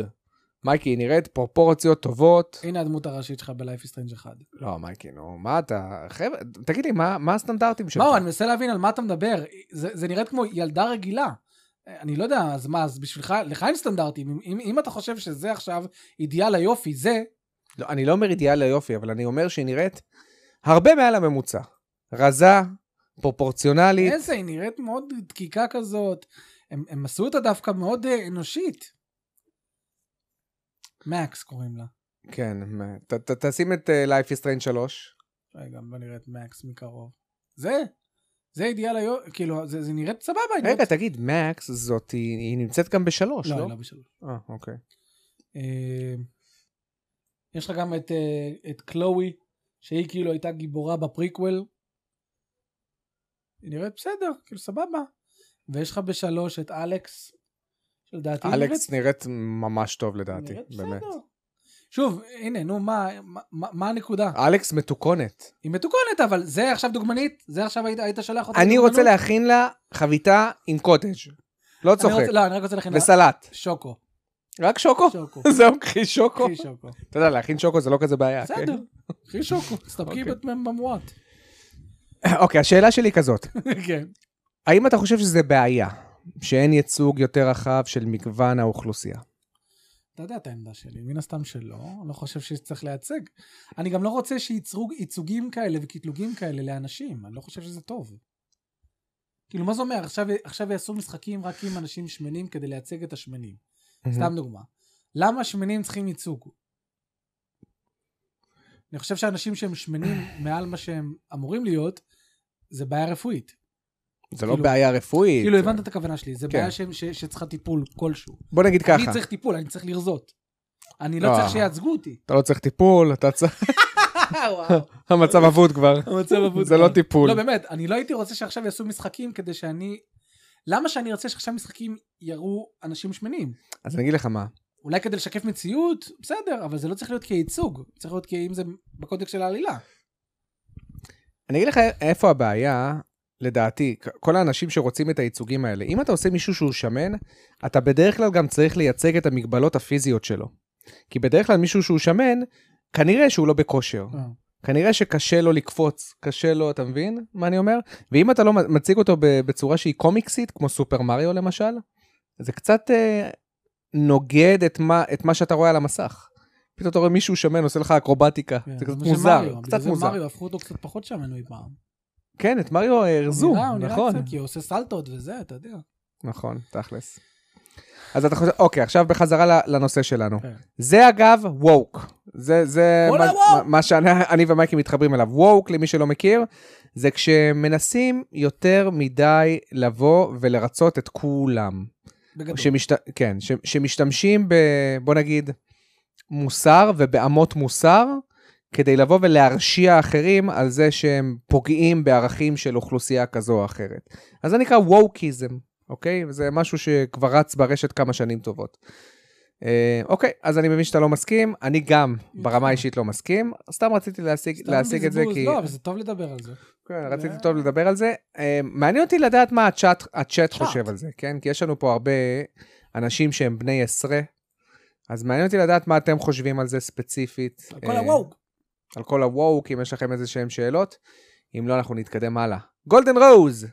[SPEAKER 2] מייקי, היא נראית פרופורציות טובות.
[SPEAKER 1] הנה הדמות הראשית שלך בלייפ סטרנג' אחד.
[SPEAKER 2] לא, מייקי, נו, מה אתה... חבר'ה, תגיד לי, מה, מה הסטנדרטים שלך?
[SPEAKER 1] מה, אני מנסה להבין על מה אתה מדבר. זה זה נראית כמו ילדה רגילה. אני לא יודע, אז מה, אז בשבילך, לך אין סטנדרטים. אם- אם- אם אתה חושב שזה עכשיו אידיאל היופי, זה,
[SPEAKER 2] לא, אני לא אומר אידיאל היופי, אבל אני אומר שהיא נראית הרבה מעל הממוצע. רזה, פרופורציונלית.
[SPEAKER 1] איזה, היא נראית מאוד דקיקה כזאת. הם, הם עשו אותה דווקא מאוד אה, אנושית. מקס קוראים לה.
[SPEAKER 2] כן, מה- ת- ת- תשים את אה, Life is Strange 3.
[SPEAKER 1] רגע, בוא נראה את מקס מקרוב. זה? זה אידיאל היום, כאילו, זה זה נראית סבבה. היא
[SPEAKER 2] רגע,
[SPEAKER 1] נראית-
[SPEAKER 2] תגיד, מקס זאת, היא היא נמצאת גם בשלוש,
[SPEAKER 1] לא,
[SPEAKER 2] לא?
[SPEAKER 1] היא לא בשלוש.
[SPEAKER 2] אה, אוקיי.
[SPEAKER 1] אה, יש לך גם את, אה, את קלואי, שהיא כאילו הייתה גיבורה בפריקוול. היא נראית בסדר, כאילו סבבה. ויש לך בשלוש את אלכס, שלדעתי
[SPEAKER 2] אלכס נראית ממש טוב
[SPEAKER 1] נראית-
[SPEAKER 2] לדעתי,
[SPEAKER 1] נראית
[SPEAKER 2] באמת.
[SPEAKER 1] בסדר. שוב, הנה, נו, מה, מה, מה- מה הנקודה?
[SPEAKER 2] אלכס מתוקונת.
[SPEAKER 1] היא מתוקונת, אבל זה עכשיו דוגמנית? זה עכשיו היית, היית שולח אותה
[SPEAKER 2] אני
[SPEAKER 1] לדוגמנות?
[SPEAKER 2] רוצה להכין לה חביתה עם קוטג'. לא
[SPEAKER 1] אני רוצה-
[SPEAKER 2] צוחק.
[SPEAKER 1] לא, אני רק רוצה להכין לה
[SPEAKER 2] וסלט.
[SPEAKER 1] שוקו.
[SPEAKER 2] רק שוקו?
[SPEAKER 1] שוקו.
[SPEAKER 2] זהו, קחי שוקו.
[SPEAKER 1] קחי שוקו.
[SPEAKER 2] אתה יודע, להכין שוקו זה לא כזה בעיה. כן?
[SPEAKER 1] בסדר, קחי שוקו, תסתפקי
[SPEAKER 2] אוקיי.
[SPEAKER 1] במועט.
[SPEAKER 2] אוקיי, השאלה שלי היא כזאת.
[SPEAKER 1] כן.
[SPEAKER 2] האם אתה חושב שזה בעיה שאין ייצוג יותר רחב של מגוון האוכלוסייה?
[SPEAKER 1] אתה יודע את העמדה שלי, מן הסתם שלא, אני לא חושב שצריך לייצג. אני גם לא רוצה שייצרו ייצוגים כאלה וקטלוגים כאלה לאנשים, אני לא חושב שזה טוב. כאילו, מה זה אומר? עכשיו, עכשיו יעשו משחקים רק עם אנשים שמנים כדי לייצג את השמנים. סתם דוגמה. למה שמנים צריכים ייצוג? אני חושב שאנשים שהם שמנים מעל מה שהם אמורים להיות, זה בעיה רפואית.
[SPEAKER 2] זה לא
[SPEAKER 1] כאילו-
[SPEAKER 2] בעיה רפואית.
[SPEAKER 1] כאילו, הבנת את הכוונה שלי, זה
[SPEAKER 2] כן.
[SPEAKER 1] בעיה שהם- ש- שצריכה טיפול כלשהו.
[SPEAKER 2] בוא נגיד
[SPEAKER 1] אני
[SPEAKER 2] ככה,
[SPEAKER 1] צריך טיפול, אני צריך לרזות. אני לא
[SPEAKER 2] לא.
[SPEAKER 1] צריך שייצגו אותי.
[SPEAKER 2] אתה לא צריך טיפול, אתה צריך... המצב אבוד כבר.
[SPEAKER 1] המצב אבוד.
[SPEAKER 2] זה לא
[SPEAKER 1] כבר.
[SPEAKER 2] טיפול.
[SPEAKER 1] לא, באמת, אני לא הייתי רוצה שעכשיו יעשו משחקים כדי שאני... למה שאני ארצה שעכשיו משחקים יראו אנשים שמנים?
[SPEAKER 2] אז אני אגיד לך מה.
[SPEAKER 1] אולי כדי לשקף מציאות, בסדר, אבל זה לא צריך להיות כייצוג, צריך להיות כאם זה בקודקס של העלילה.
[SPEAKER 2] אני אגיד לך איפה הבעיה, לדעתי, כ- כל האנשים שרוצים את הייצוגים האלה. אם אתה עושה מישהו שהוא שמן, אתה בדרך כלל גם צריך לייצג את המגבלות הפיזיות שלו. כי בדרך כלל מישהו שהוא שמן, כנראה שהוא לא בכושר.
[SPEAKER 1] אה,
[SPEAKER 2] כנראה שקשה לו לקפוץ, קשה לו, אתה מבין מה אני אומר? ואם אתה לא מציג אותו ב- בצורה שהיא קומיקסית, כמו סופר מריו למשל, זה קצת אה, נוגד את מה, את מה שאתה רואה על המסך. פתאום אתה רואה מישהו שמן עושה לך אקרובטיקה,
[SPEAKER 1] כן,
[SPEAKER 2] זה
[SPEAKER 1] כמו
[SPEAKER 2] קצת
[SPEAKER 1] של
[SPEAKER 2] מוזר,
[SPEAKER 1] מריו, בגלל
[SPEAKER 2] קצת
[SPEAKER 1] זה
[SPEAKER 2] מוזר.
[SPEAKER 1] מריו הפכו אותו קצת פחות שמן מפעם.
[SPEAKER 2] כן, את מריו אה, הרזו,
[SPEAKER 1] הוא נראה- הוא נראה
[SPEAKER 2] נכון,
[SPEAKER 1] קצת, כי הוא עושה סלטות וזה, אתה יודע.
[SPEAKER 2] נכון, תכלס. אז אתה חושב, אוקיי, עכשיו בחזרה ל- לנושא שלנו.
[SPEAKER 1] כן.
[SPEAKER 2] זה אגב ווק. זה, זה
[SPEAKER 1] כל
[SPEAKER 2] מה,
[SPEAKER 1] ה-woke.
[SPEAKER 2] מה, מה שאני אני ומייקי מתחברים אליו. ווק, למי שלא מכיר, זה כשמנסים יותר מדי לבוא ולרצות את כולם.
[SPEAKER 1] בגדול.
[SPEAKER 2] שמשת... כן, ש... שמשתמשים ב... בוא נגיד, מוסר ובאמות מוסר, כדי לבוא ולהרשיע אחרים על זה שהם פוגעים בערכים של אוכלוסייה כזו או אחרת. אז זה נקרא ווקיזם, אוקיי? וזה משהו שכבר רץ ברשת כמה שנים טובות. אה, אוקיי, אז אני מבין שאתה לא מסכים, אני גם ברמה האישית לא מסכים, סתם רציתי להשיג,
[SPEAKER 1] כן. סתם
[SPEAKER 2] להשיג את זה
[SPEAKER 1] בזבוז.
[SPEAKER 2] כי...
[SPEAKER 1] לא, אבל זה טוב לדבר על זה.
[SPEAKER 2] כן,
[SPEAKER 1] זה-
[SPEAKER 2] רציתי טוב לדבר על זה. אה, מעניין אותי לדעת מה הצ'אט, הצ'אט
[SPEAKER 1] צ'אט.
[SPEAKER 2] חושב על זה, כן? כי יש לנו פה הרבה אנשים שהם בני עשרה, אז מעניין אותי לדעת מה אתם חושבים על זה ספציפית.
[SPEAKER 1] על כל
[SPEAKER 2] אה,
[SPEAKER 1] הוואו.
[SPEAKER 2] על כל הוואוק, אם יש לכם איזה שהם שאלות. אם לא, אנחנו נתקדם הלאה. גולדן רוז!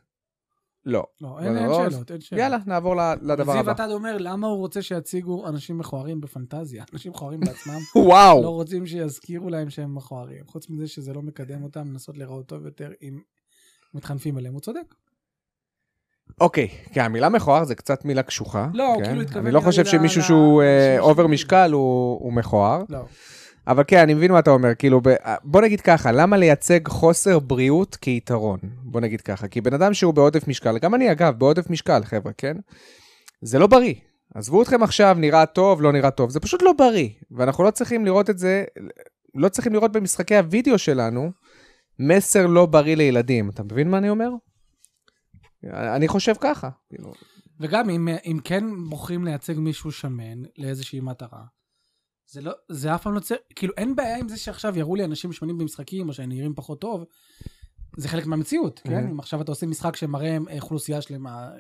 [SPEAKER 2] לא.
[SPEAKER 1] לא,
[SPEAKER 2] אבל
[SPEAKER 1] אין אין
[SPEAKER 2] לא,
[SPEAKER 1] שאלות, אין שאלות.
[SPEAKER 2] יאללה, נעבור ל- לדבר
[SPEAKER 1] כן. זיו
[SPEAKER 2] הבא.
[SPEAKER 1] אתה אומר למה הוא רוצה שיציגו אנשים מכוערים בפנטזיה אנשים מכוערים בעצמם לא
[SPEAKER 2] וואו!
[SPEAKER 1] רוצים שיזכירו להם שהם מכוערים חוץ מזה שזה לא מקדם אותם לנסות להיראות טוב יותר אם מתחנפים אליהם הוא צודק
[SPEAKER 2] אוקיי, כי המילה מכוער זה קצת מילה קשוחה.
[SPEAKER 1] לא, הוא
[SPEAKER 2] כן?
[SPEAKER 1] כאילו התכוון
[SPEAKER 2] אני לא
[SPEAKER 1] נראה לי
[SPEAKER 2] חושב
[SPEAKER 1] ל-
[SPEAKER 2] שמישהו
[SPEAKER 1] ל-
[SPEAKER 2] שהוא
[SPEAKER 1] לאנשים
[SPEAKER 2] אה, אובר
[SPEAKER 1] שמגיעים.
[SPEAKER 2] משקל הוא הוא מכוער.
[SPEAKER 1] לא
[SPEAKER 2] אבל כן, אני מבין מה אתה אומר, כאילו, ב... בוא נגיד ככה, למה לייצג חוסר בריאות כיתרון? בוא נגיד ככה, כי בן אדם שהוא בעודף משקל, גם אני אגב, בעודף משקל, חבר'ה, כן? זה לא בריא. עזבו אתכם עכשיו, נראה טוב, לא נראה טוב, זה פשוט לא בריא. ואנחנו לא צריכים לראות את זה, לא צריכים לראות במשחקי הוידאו שלנו מסר לא בריא לילדים. אתה מבין מה אני אומר? אני חושב ככה. כאילו.
[SPEAKER 1] וגם אם, אם כן בוחרים לייצג מישהו שמן לאיזושהי מטרה זה לא זה אף פעם לא צריך כאילו אין בעיה עם זה שעכשיו יראו לי אנשים שמנים במשחקים או שהם נראים פחות טוב. זה חלק מהמציאות, כן?
[SPEAKER 2] מהמם.
[SPEAKER 1] אם עכשיו אתה עושה משחק שמראה אה, אוכלוסייה שלמה,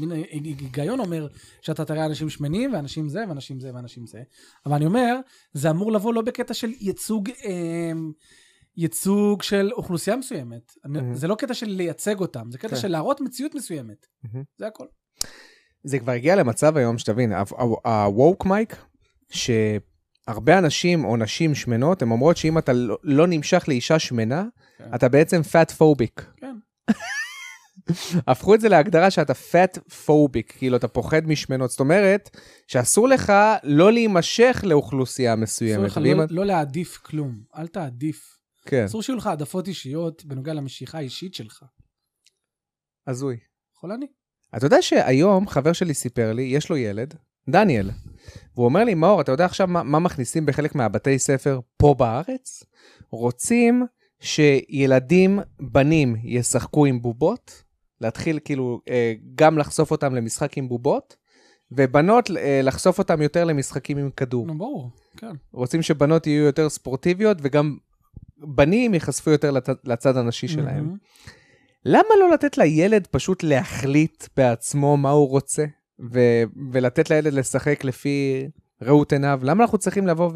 [SPEAKER 1] מין אה, היגיון אומר שאתה תראה אנשים שמנים ואנשים זה ואנשים זה ואנשים זה. אבל אני אומר, זה אמור לבוא לא בקטע של ייצוג, אה, ייצוג של אוכלוסייה מסוימת.
[SPEAKER 2] מהמם.
[SPEAKER 1] אני, זה לא קטע של לייצג אותם, זה קטע
[SPEAKER 2] כן.
[SPEAKER 1] של להראות מציאות מסוימת.
[SPEAKER 2] מהמם.
[SPEAKER 1] זה הכל.
[SPEAKER 2] זה כבר הגיע למצב היום שתבין, הווק מייק, שהרבה אנשים או נשים שמנות, הן אומרות שאם אתה לא- לא נמשך לאישה שמנה,
[SPEAKER 1] כן.
[SPEAKER 2] אתה בעצם פאט פוביק.
[SPEAKER 1] כן.
[SPEAKER 2] הפכו את זה להגדרה שאתה פאט פוביק, כאילו אתה פוחד משמנות, זאת אומרת שאסור לך לא להימשך לאוכלוסייה
[SPEAKER 1] אסור
[SPEAKER 2] מסוימת.
[SPEAKER 1] לך
[SPEAKER 2] ואם
[SPEAKER 1] לא-
[SPEAKER 2] את-
[SPEAKER 1] לא להעדיף כלום, אל תעדיף.
[SPEAKER 2] כן.
[SPEAKER 1] אסור שיהיו לך העדפות אישיות בנוגע למשיכה האישית שלך.
[SPEAKER 2] הזוי.
[SPEAKER 1] חולני.
[SPEAKER 2] אתה יודע שהיום חבר שלי סיפר לי, יש לו ילד, דניאל, והוא אומר לי, מאור, אתה יודע עכשיו מה, מה מכניסים בחלק מהבתי ספר פה בארץ? רוצים שילדים, בנים, ישחקו עם בובות, להתחיל כאילו אה, גם לחשוף אותם למשחק עם בובות, ובנות אה, לחשוף אותם יותר למשחקים עם כדור.
[SPEAKER 1] נו, ברור, כן.
[SPEAKER 2] רוצים שבנות יהיו יותר ספורטיביות וגם בנים ייחשפו יותר לת- לצד הנשי שלהם.
[SPEAKER 1] מהמם.
[SPEAKER 2] למה לא לתת לילד פשוט להחליט בעצמו מה הוא רוצה, ו- ולתת לילד לשחק לפי ראות עיניו? למה אנחנו צריכים לבוא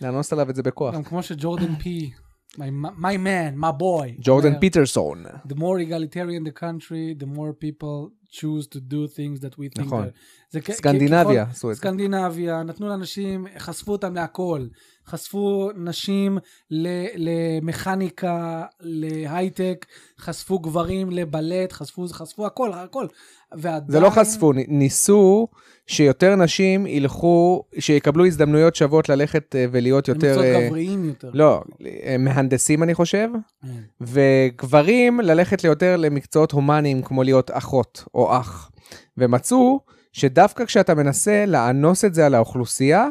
[SPEAKER 2] ולאנוס עליו את זה בכוח?
[SPEAKER 1] גם כמו שג'ורדן פי, my my man, my boy.
[SPEAKER 2] ג'ורדן
[SPEAKER 1] אומר,
[SPEAKER 2] פיטרסון.
[SPEAKER 1] The more egalitarian the country, the more people choose to do things that we think.
[SPEAKER 2] נכון.
[SPEAKER 1] are- זה כ-
[SPEAKER 2] סקנדינביה
[SPEAKER 1] ככל-
[SPEAKER 2] עשו את זה.
[SPEAKER 1] סקנדינביה, נתנו לאנשים, חשפו אותם להכל. חשפו נשים ל- למכניקה, להייטק, חשפו גברים לבלט, חשפו, חשפו הכל, הכל. ועדיין...
[SPEAKER 2] זה לא חשפו, נ- ניסו שיותר נשים ילכו, שיקבלו הזדמנויות שוות ללכת אה, ולהיות יותר...
[SPEAKER 1] למקצועות
[SPEAKER 2] אה,
[SPEAKER 1] גבריים יותר.
[SPEAKER 2] לא, אה, מהנדסים אני חושב,
[SPEAKER 1] כן.
[SPEAKER 2] וגברים ללכת ליותר למקצועות הומניים כמו להיות אחות או אח. ומצאו שדווקא כשאתה מנסה לאנוס את זה על האוכלוסייה,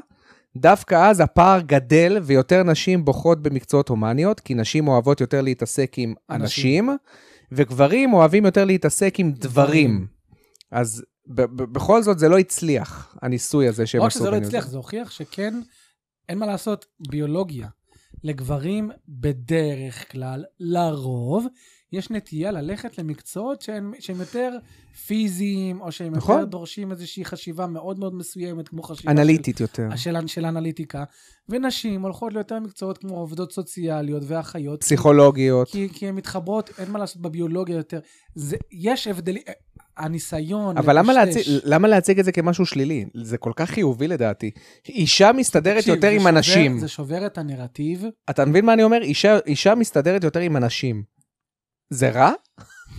[SPEAKER 2] דווקא אז הפער גדל ויותר נשים בוחרות במקצועות הומניות, כי נשים אוהבות יותר להתעסק עם
[SPEAKER 1] אנשים.
[SPEAKER 2] אנשים, וגברים אוהבים יותר להתעסק עם דברים.
[SPEAKER 1] דברים.
[SPEAKER 2] אז ב- ב- בכל זאת זה לא הצליח, הניסוי הזה שהם
[SPEAKER 1] לא רק
[SPEAKER 2] עשו.
[SPEAKER 1] שזה לא
[SPEAKER 2] בינינו.
[SPEAKER 1] הצליח, זה הוכיח שכן, אין מה לעשות, ביולוגיה. לגברים בדרך כלל, לרוב, יש נטייה ללכת למקצועות שהם, שהם יותר פיזיים, או שהם נכון.
[SPEAKER 2] נכון.
[SPEAKER 1] יותר דורשים איזושהי חשיבה מאוד מאוד מסוימת, כמו חשיבה
[SPEAKER 2] אנליטית יותר.
[SPEAKER 1] של, של, של אנליטיקה, ונשים הולכות ליותר מקצועות כמו עובדות סוציאליות ואחיות.
[SPEAKER 2] פסיכולוגיות.
[SPEAKER 1] כי, כי הן מתחברות, אין מה לעשות בביולוגיה יותר. זה, יש הבדלים, אה, הניסיון
[SPEAKER 2] אבל למה
[SPEAKER 1] לטשטש-
[SPEAKER 2] להציג, למה להציג את זה כמשהו שלילי? זה כל כך חיובי לדעתי. אישה מסתדרת
[SPEAKER 1] תקשיב,
[SPEAKER 2] יותר
[SPEAKER 1] זה
[SPEAKER 2] עם
[SPEAKER 1] שובר-
[SPEAKER 2] אנשים.
[SPEAKER 1] זה שובר את הנרטיב,
[SPEAKER 2] אתה מבין מה אני אומר? אישה, אישה מסתדרת יותר עם אנשים. זה רע?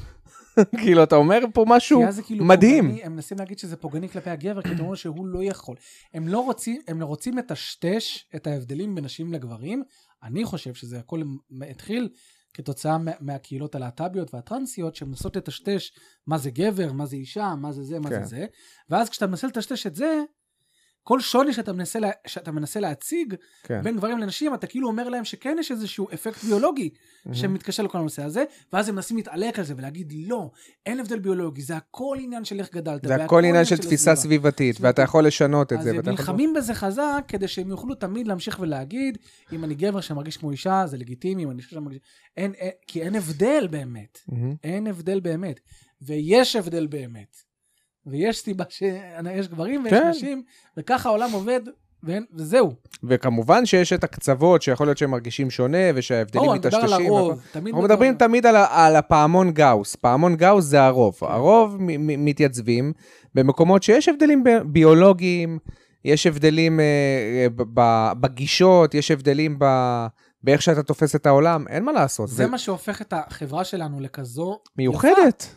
[SPEAKER 2] כאילו, אתה אומר פה משהו...
[SPEAKER 1] כי אז זה כאילו
[SPEAKER 2] מדהים.
[SPEAKER 1] פוגעני, הם מנסים להגיד שזה פוגעני כלפי הגבר, כי אתה אומר שהוא לא יכול. הם לא רוצים, הם רוצים לטשטש את ההבדלים בין נשים לגברים. אני חושב שזה הכל מ- התחיל כתוצאה מה- מהקהילות הלהט"ביות והטרנסיות, שמנסות לטשטש מה זה גבר, מה זה אישה, מה זה זה, מה
[SPEAKER 2] כן.
[SPEAKER 1] זה זה. ואז כשאתה מנסה לטשטש את זה, כל שוני שאתה מנסה, לה, שאתה מנסה להציג
[SPEAKER 2] כן.
[SPEAKER 1] בין גברים לנשים, אתה כאילו אומר להם שכן יש איזשהו אפקט ביולוגי שמתקשר לכל הנושא הזה, ואז הם מנסים להתעלק על זה ולהגיד לא, אין הבדל ביולוגי, זה הכל עניין של איך גדלת.
[SPEAKER 2] זה
[SPEAKER 1] והכל
[SPEAKER 2] הכל עניין של תפיסה
[SPEAKER 1] הסביבה."
[SPEAKER 2] סביבתית,
[SPEAKER 1] סביבתית.
[SPEAKER 2] ואתה יכול לשנות את
[SPEAKER 1] אז
[SPEAKER 2] זה.
[SPEAKER 1] הם
[SPEAKER 2] ואתה יכול-
[SPEAKER 1] נלחמים בזה חזק כדי שהם יוכלו תמיד להמשיך ולהגיד, אם אני גבר שמרגיש כמו אישה, זה לגיטימי, אם אני אישה שמרגיש... אין, אין, כי אין הבדל באמת.
[SPEAKER 2] מהמם.
[SPEAKER 1] אין הבדל באמת. ויש הבדל באמת. ויש סיבה שיש גברים ויש
[SPEAKER 2] כן.
[SPEAKER 1] נשים, וככה העולם עובד, ואין, וזהו.
[SPEAKER 2] וכמובן שיש את הקצוות, שיכול להיות שהם מרגישים שונה, ושההבדלים
[SPEAKER 1] ברור, אני מדבר
[SPEAKER 2] מטשטשים.
[SPEAKER 1] על
[SPEAKER 2] אבל-
[SPEAKER 1] הרוב. תמיד
[SPEAKER 2] אנחנו מדברים
[SPEAKER 1] מדבר-
[SPEAKER 2] תמיד על, ה- על הפעמון גאוס. פעמון גאוס זה
[SPEAKER 1] כן.
[SPEAKER 2] הרוב. הרוב מ- מ- מתייצבים במקומות שיש הבדלים ב- ביולוגיים, יש הבדלים אה, אה, ב- ב- בגישות, יש הבדלים ב... באיך שאתה תופס את העולם, אין מה לעשות.
[SPEAKER 1] זה מה שהופך את החברה שלנו לכזו
[SPEAKER 2] מיוחדת.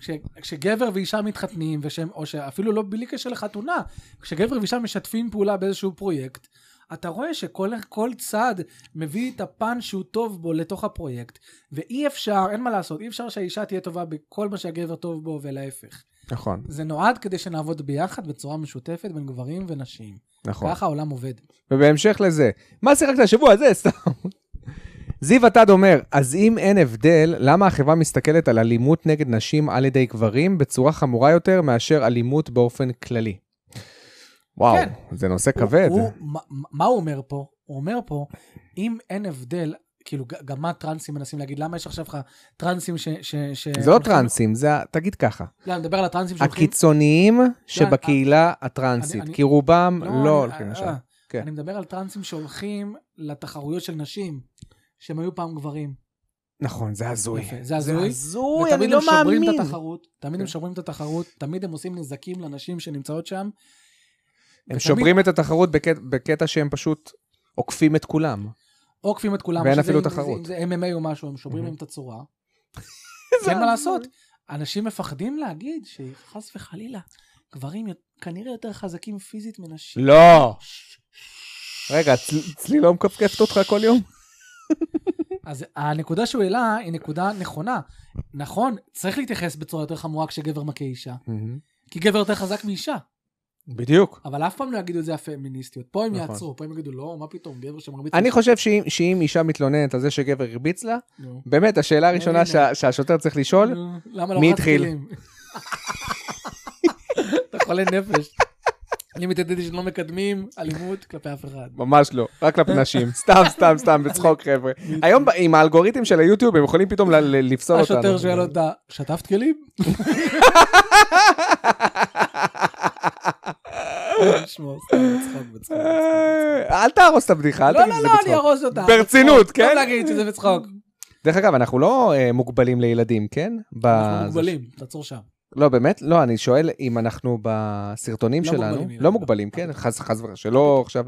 [SPEAKER 1] כש, כשגבר ואישה מתחתנים, ושהם, או שאפילו לא בלי קשר לחתונה, כשגבר ואישה משתפים פעולה באיזשהו פרויקט, אתה רואה שכל כל צד מביא את הפן שהוא טוב בו לתוך הפרויקט, ואי אפשר, אין מה לעשות, אי אפשר שהאישה תהיה טובה בכל מה שהגבר טוב בו ולהפך.
[SPEAKER 2] נכון,
[SPEAKER 1] זה נועד כדי שנעבוד ביחד בצורה משותפת בין גברים ונשים.
[SPEAKER 2] נכון.
[SPEAKER 1] ככה העולם עובד.
[SPEAKER 2] ובהמשך לזה, מה שיחקת השבוע? זה סתם. זיו עתד אומר, אז אם אין הבדל, למה החברה מסתכלת על אלימות נגד נשים על ידי גברים בצורה חמורה יותר מאשר אלימות באופן כללי? וואו,
[SPEAKER 1] כן.
[SPEAKER 2] זה נושא כבד.
[SPEAKER 1] הוא, מה, מה הוא אומר פה? הוא אומר פה, אם אין הבדל, כאילו ג- גם מה טרנסים מנסים להגיד, למה יש עכשיו לך טרנסים ש... ש, ש
[SPEAKER 2] זה לא
[SPEAKER 1] הולכים-
[SPEAKER 2] טרנסים, זה, ה- תגיד ככה,
[SPEAKER 1] לא, אני מדבר על הטרנסים שהולכים...
[SPEAKER 2] הקיצוניים
[SPEAKER 1] אני-
[SPEAKER 2] שבקהילה הטרנסית,
[SPEAKER 1] כן, אה, אני-
[SPEAKER 2] כי רובם
[SPEAKER 1] אני-
[SPEAKER 2] לא הולכים
[SPEAKER 1] אה,
[SPEAKER 2] לשם.
[SPEAKER 1] אה,
[SPEAKER 2] כן.
[SPEAKER 1] אני מדבר על טרנסים שהולכים לתחרויות של נשים, שהם היו פעם גברים.
[SPEAKER 2] נכון, זה הזוי.
[SPEAKER 1] יפה, זה הזוי.
[SPEAKER 2] הזוי, לא
[SPEAKER 1] ותמיד הם שוברים את התחרות, תמיד הם שוברים את התחרות, תמיד הם עושים נזקים לנשים שנמצאות שם.
[SPEAKER 2] כן. הם
[SPEAKER 1] ותמיד
[SPEAKER 2] שוברים את התחרות בקט- בקטע שהם פשוט עוקפים את כולם.
[SPEAKER 1] עוקפים את כולם.
[SPEAKER 2] ואין
[SPEAKER 1] שזה
[SPEAKER 2] אפילו
[SPEAKER 1] אם-
[SPEAKER 2] תחרות.
[SPEAKER 1] אם זה MMA או משהו, הם שוברים
[SPEAKER 2] מהמם.
[SPEAKER 1] להם את הצורה. אין מה לעשות. אנשים מפחדים להגיד שחס וחלילה, גברים יות- כנראה יותר חזקים פיזית מנשים.
[SPEAKER 2] לא. רגע, צל- צליל לא מקפקפת אותך כל יום?
[SPEAKER 1] אז הנקודה שהוא העלה היא נקודה נכונה. נכון, צריך להתייחס בצורה יותר חמורה כשגבר מכה אישה,
[SPEAKER 2] מהמם.
[SPEAKER 1] כי גבר יותר חזק מאישה,
[SPEAKER 2] בדיוק.
[SPEAKER 1] אבל אף פעם לא יגידו את זה הפמיניסטיות. פה הם
[SPEAKER 2] נכון.
[SPEAKER 1] יעצרו, פה הם יגידו, לא, מה פתאום, גבר שמרביץ...
[SPEAKER 2] אני
[SPEAKER 1] לאישה."
[SPEAKER 2] חושב שאם- שאם אישה מתלוננת על זה שגבר הרביץ לה,
[SPEAKER 1] נו.
[SPEAKER 2] באמת, השאלה הראשונה
[SPEAKER 1] הנה.
[SPEAKER 2] שה- שהשוטר צריך לשאול,
[SPEAKER 1] נו, למה לא
[SPEAKER 2] מי
[SPEAKER 1] רצת
[SPEAKER 2] התחיל?
[SPEAKER 1] מילים? אתה חולה נפש. אני מתעדד שלא מקדמים אלימות כלפי אף אחד.
[SPEAKER 2] ממש לא, רק כלפי נשים. סתם, סתם, סתם, בצחוק, חבר'ה. היום ב- עם האלגוריתם של היוטיוב הם יכולים פתאום ל- ל- לפסול אותנו.
[SPEAKER 1] השוטר שואל אותה, שטפת כלים? שמור, סתם, בצחוק, בצחוק.
[SPEAKER 2] אה, אל תהרוס את הבדיחה, אל
[SPEAKER 1] לא,
[SPEAKER 2] תגיד
[SPEAKER 1] לא,
[SPEAKER 2] שזה
[SPEAKER 1] לא, אני
[SPEAKER 2] בצחוק.
[SPEAKER 1] ארוס אותה.
[SPEAKER 2] ברצינות,
[SPEAKER 1] בצחוק.
[SPEAKER 2] כן?
[SPEAKER 1] לא להגיד שזה בצחוק.
[SPEAKER 2] דרך אגב, אנחנו לא אה, מוגבלים לילדים, כן? ב-
[SPEAKER 1] אנחנו
[SPEAKER 2] זה-
[SPEAKER 1] מוגבלים, תעצור שם.
[SPEAKER 2] לא, באמת? לא, אני שואל אם אנחנו בסרטונים
[SPEAKER 1] לא
[SPEAKER 2] שלנו,
[SPEAKER 1] מוגבלים,
[SPEAKER 2] לא
[SPEAKER 1] לא.
[SPEAKER 2] מוגבלים, כן? חס חס וחלילה, שלא עכשיו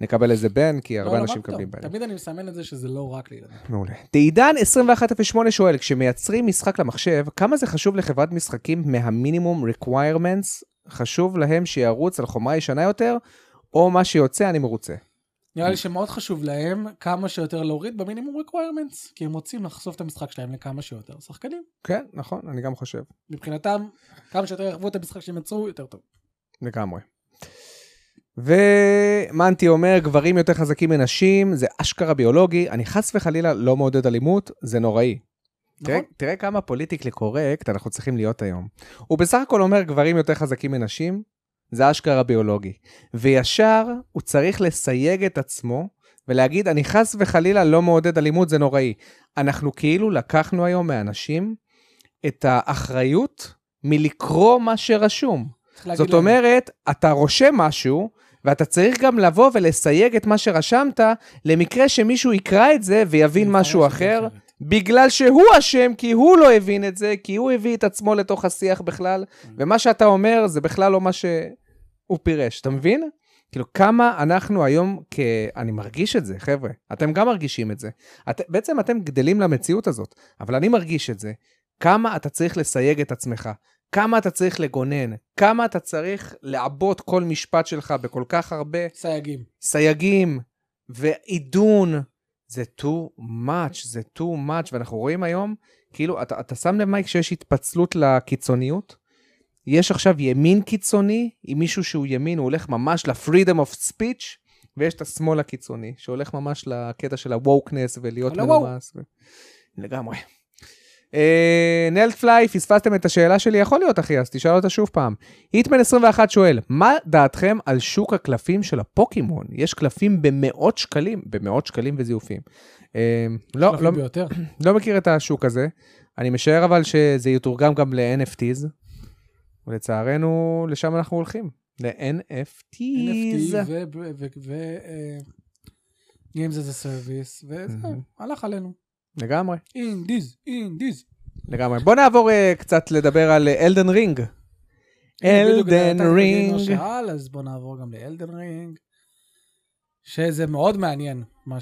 [SPEAKER 2] נקבל איזה בן, כי
[SPEAKER 1] לא,
[SPEAKER 2] הרבה
[SPEAKER 1] לא,
[SPEAKER 2] אנשים
[SPEAKER 1] מה פתאום?
[SPEAKER 2] מקבלים בן.
[SPEAKER 1] תמיד אני מסמן את זה שזה לא רק לילדים.
[SPEAKER 2] מעולה. תעידן 2108 שואל, כשמייצרים משחק למחשב, כמה זה חשוב לחברת משחקים מהמינימום requirements? חשוב להם שירוץ על חומרה ישנה יותר, או מה שיוצא אני מרוצה.
[SPEAKER 1] נראה לי שמאוד חשוב להם כמה שיותר להוריד במינימום requirements, כי הם רוצים לחשוף את המשחק שלהם לכמה שיותר שחקנים.
[SPEAKER 2] כן, נכון, אני גם חושב.
[SPEAKER 1] מבחינתם, כמה שיותר יחוו את המשחק שהם יצרו, יותר טוב.
[SPEAKER 2] לגמרי. ומנטי אומר, גברים יותר חזקים מנשים, זה אשכרה ביולוגי, אני חס וחלילה לא מעודד אלימות, זה נוראי. תראה,
[SPEAKER 1] נכון?
[SPEAKER 2] תראה כמה פוליטיקלי קורקט אנחנו צריכים להיות היום. הוא בסך הכל אומר, גברים יותר חזקים מנשים, זה אשכרה ביולוגי. וישר הוא צריך לסייג את עצמו ולהגיד, אני חס וחלילה לא מעודד אלימות, זה נוראי. אנחנו כאילו לקחנו היום מאנשים את האחריות מלקרוא מה שרשום.
[SPEAKER 1] צריך להגיד
[SPEAKER 2] זאת
[SPEAKER 1] להם,
[SPEAKER 2] אומרת, אתה רושם משהו, ואתה צריך גם לבוא ולסייג את מה שרשמת, למקרה שמישהו יקרא את זה ויבין
[SPEAKER 1] "אני
[SPEAKER 2] משהו
[SPEAKER 1] מפרש את זה
[SPEAKER 2] אחר,
[SPEAKER 1] אחרת."
[SPEAKER 2] בגלל שהוא אשם, כי הוא לא הבין את זה, כי הוא הביא את עצמו לתוך השיח בכלל, ומה שאתה אומר זה בכלל לא מה שהוא פירש, אתה מבין? כאילו, כמה אנחנו היום, כ... אני מרגיש את זה, חבר'ה, אתם גם מרגישים את זה. את... בעצם אתם גדלים למציאות הזאת, אבל אני מרגיש את זה. כמה אתה צריך לסייג את עצמך, כמה אתה צריך לגונן, כמה אתה צריך לעבות כל משפט שלך בכל כך הרבה
[SPEAKER 1] סייגים.
[SPEAKER 2] סייגים ועידון, זה too much, זה too much, ואנחנו רואים היום, כאילו, אתה, אתה שם לב מייק שיש התפצלות לקיצוניות? יש עכשיו ימין קיצוני, עם מישהו שהוא ימין, הוא הולך ממש ל-freedom of speech, ויש את השמאל הקיצוני, שהולך ממש לקטע של ה-wokeness ולהיות
[SPEAKER 1] על ה-woke.
[SPEAKER 2] מנומס. ו... לגמרי. אה, נלט פליי, פספסתם את השאלה שלי? יכול להיות, אחי, אז תשאל אותה שוב פעם. היטמן 21 שואל, מה דעתכם על שוק הקלפים של הפוקימון? יש קלפים במאות שקלים, במאות שקלים וזיופים. אה, לא,
[SPEAKER 1] לא,
[SPEAKER 2] לא,
[SPEAKER 1] ביותר.
[SPEAKER 2] לא מכיר את השוק הזה. אני משער אבל שזה יתורגם גם ל-NFTs. ולצערנו, לשם אנחנו הולכים. ל-NFTs.
[SPEAKER 1] NFT ו... ו- ו- ו- אה, Games as a Service, וזהו,
[SPEAKER 2] Mhm.
[SPEAKER 1] הלך עלינו.
[SPEAKER 2] לגמרי,
[SPEAKER 1] In this, in this.
[SPEAKER 2] לגמרי. בוא נעבור אה, קצת לדבר על אה, אלדן רינג.
[SPEAKER 1] בדיוק,
[SPEAKER 2] כן, אלדן
[SPEAKER 1] אתה
[SPEAKER 2] רינג.
[SPEAKER 1] מבין מה שאל, אז בוא נעבור גם לאלדן רינג. שזה מאוד מעניין מה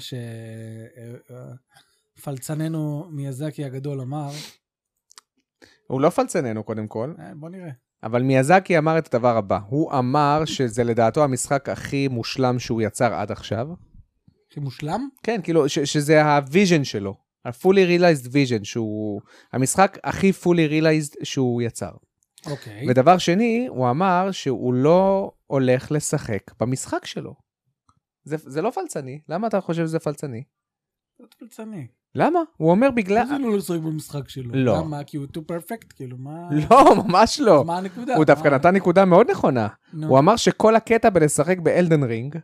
[SPEAKER 1] שפלצננו מיאזקי הגדול אמר.
[SPEAKER 2] הוא לא פלצננו קודם כל.
[SPEAKER 1] אה, בוא נראה.
[SPEAKER 2] אבל מיאזקי אמר את הדבר הבא, הוא אמר שזה לדעתו המשחק הכי מושלם שהוא יצר עד עכשיו.
[SPEAKER 1] הכי מושלם?
[SPEAKER 2] כן, כאילו, ש- שזה הוויז'ן שלו, ה-fully realized vision, שהוא המשחק הכי fully realized שהוא יצר.
[SPEAKER 1] אוקיי.
[SPEAKER 2] ודבר שני, הוא אמר שהוא לא הולך לשחק במשחק שלו. זה, זה לא פלצני, למה אתה חושב שזה פלצני?
[SPEAKER 1] זה פלצני.
[SPEAKER 2] למה? הוא אומר בגלל...
[SPEAKER 1] מה זה לא לשחק במשחק שלו?
[SPEAKER 2] לא.
[SPEAKER 1] למה? כי הוא too perfect? כאילו, מה...
[SPEAKER 2] לא, ממש לא.
[SPEAKER 1] מה הנקודה?
[SPEAKER 2] הוא דווקא
[SPEAKER 1] מה-
[SPEAKER 2] נתן נקודה מאוד נכונה.
[SPEAKER 1] נו.
[SPEAKER 2] הוא אמר שכל הקטע בלשחק באלדן רינג,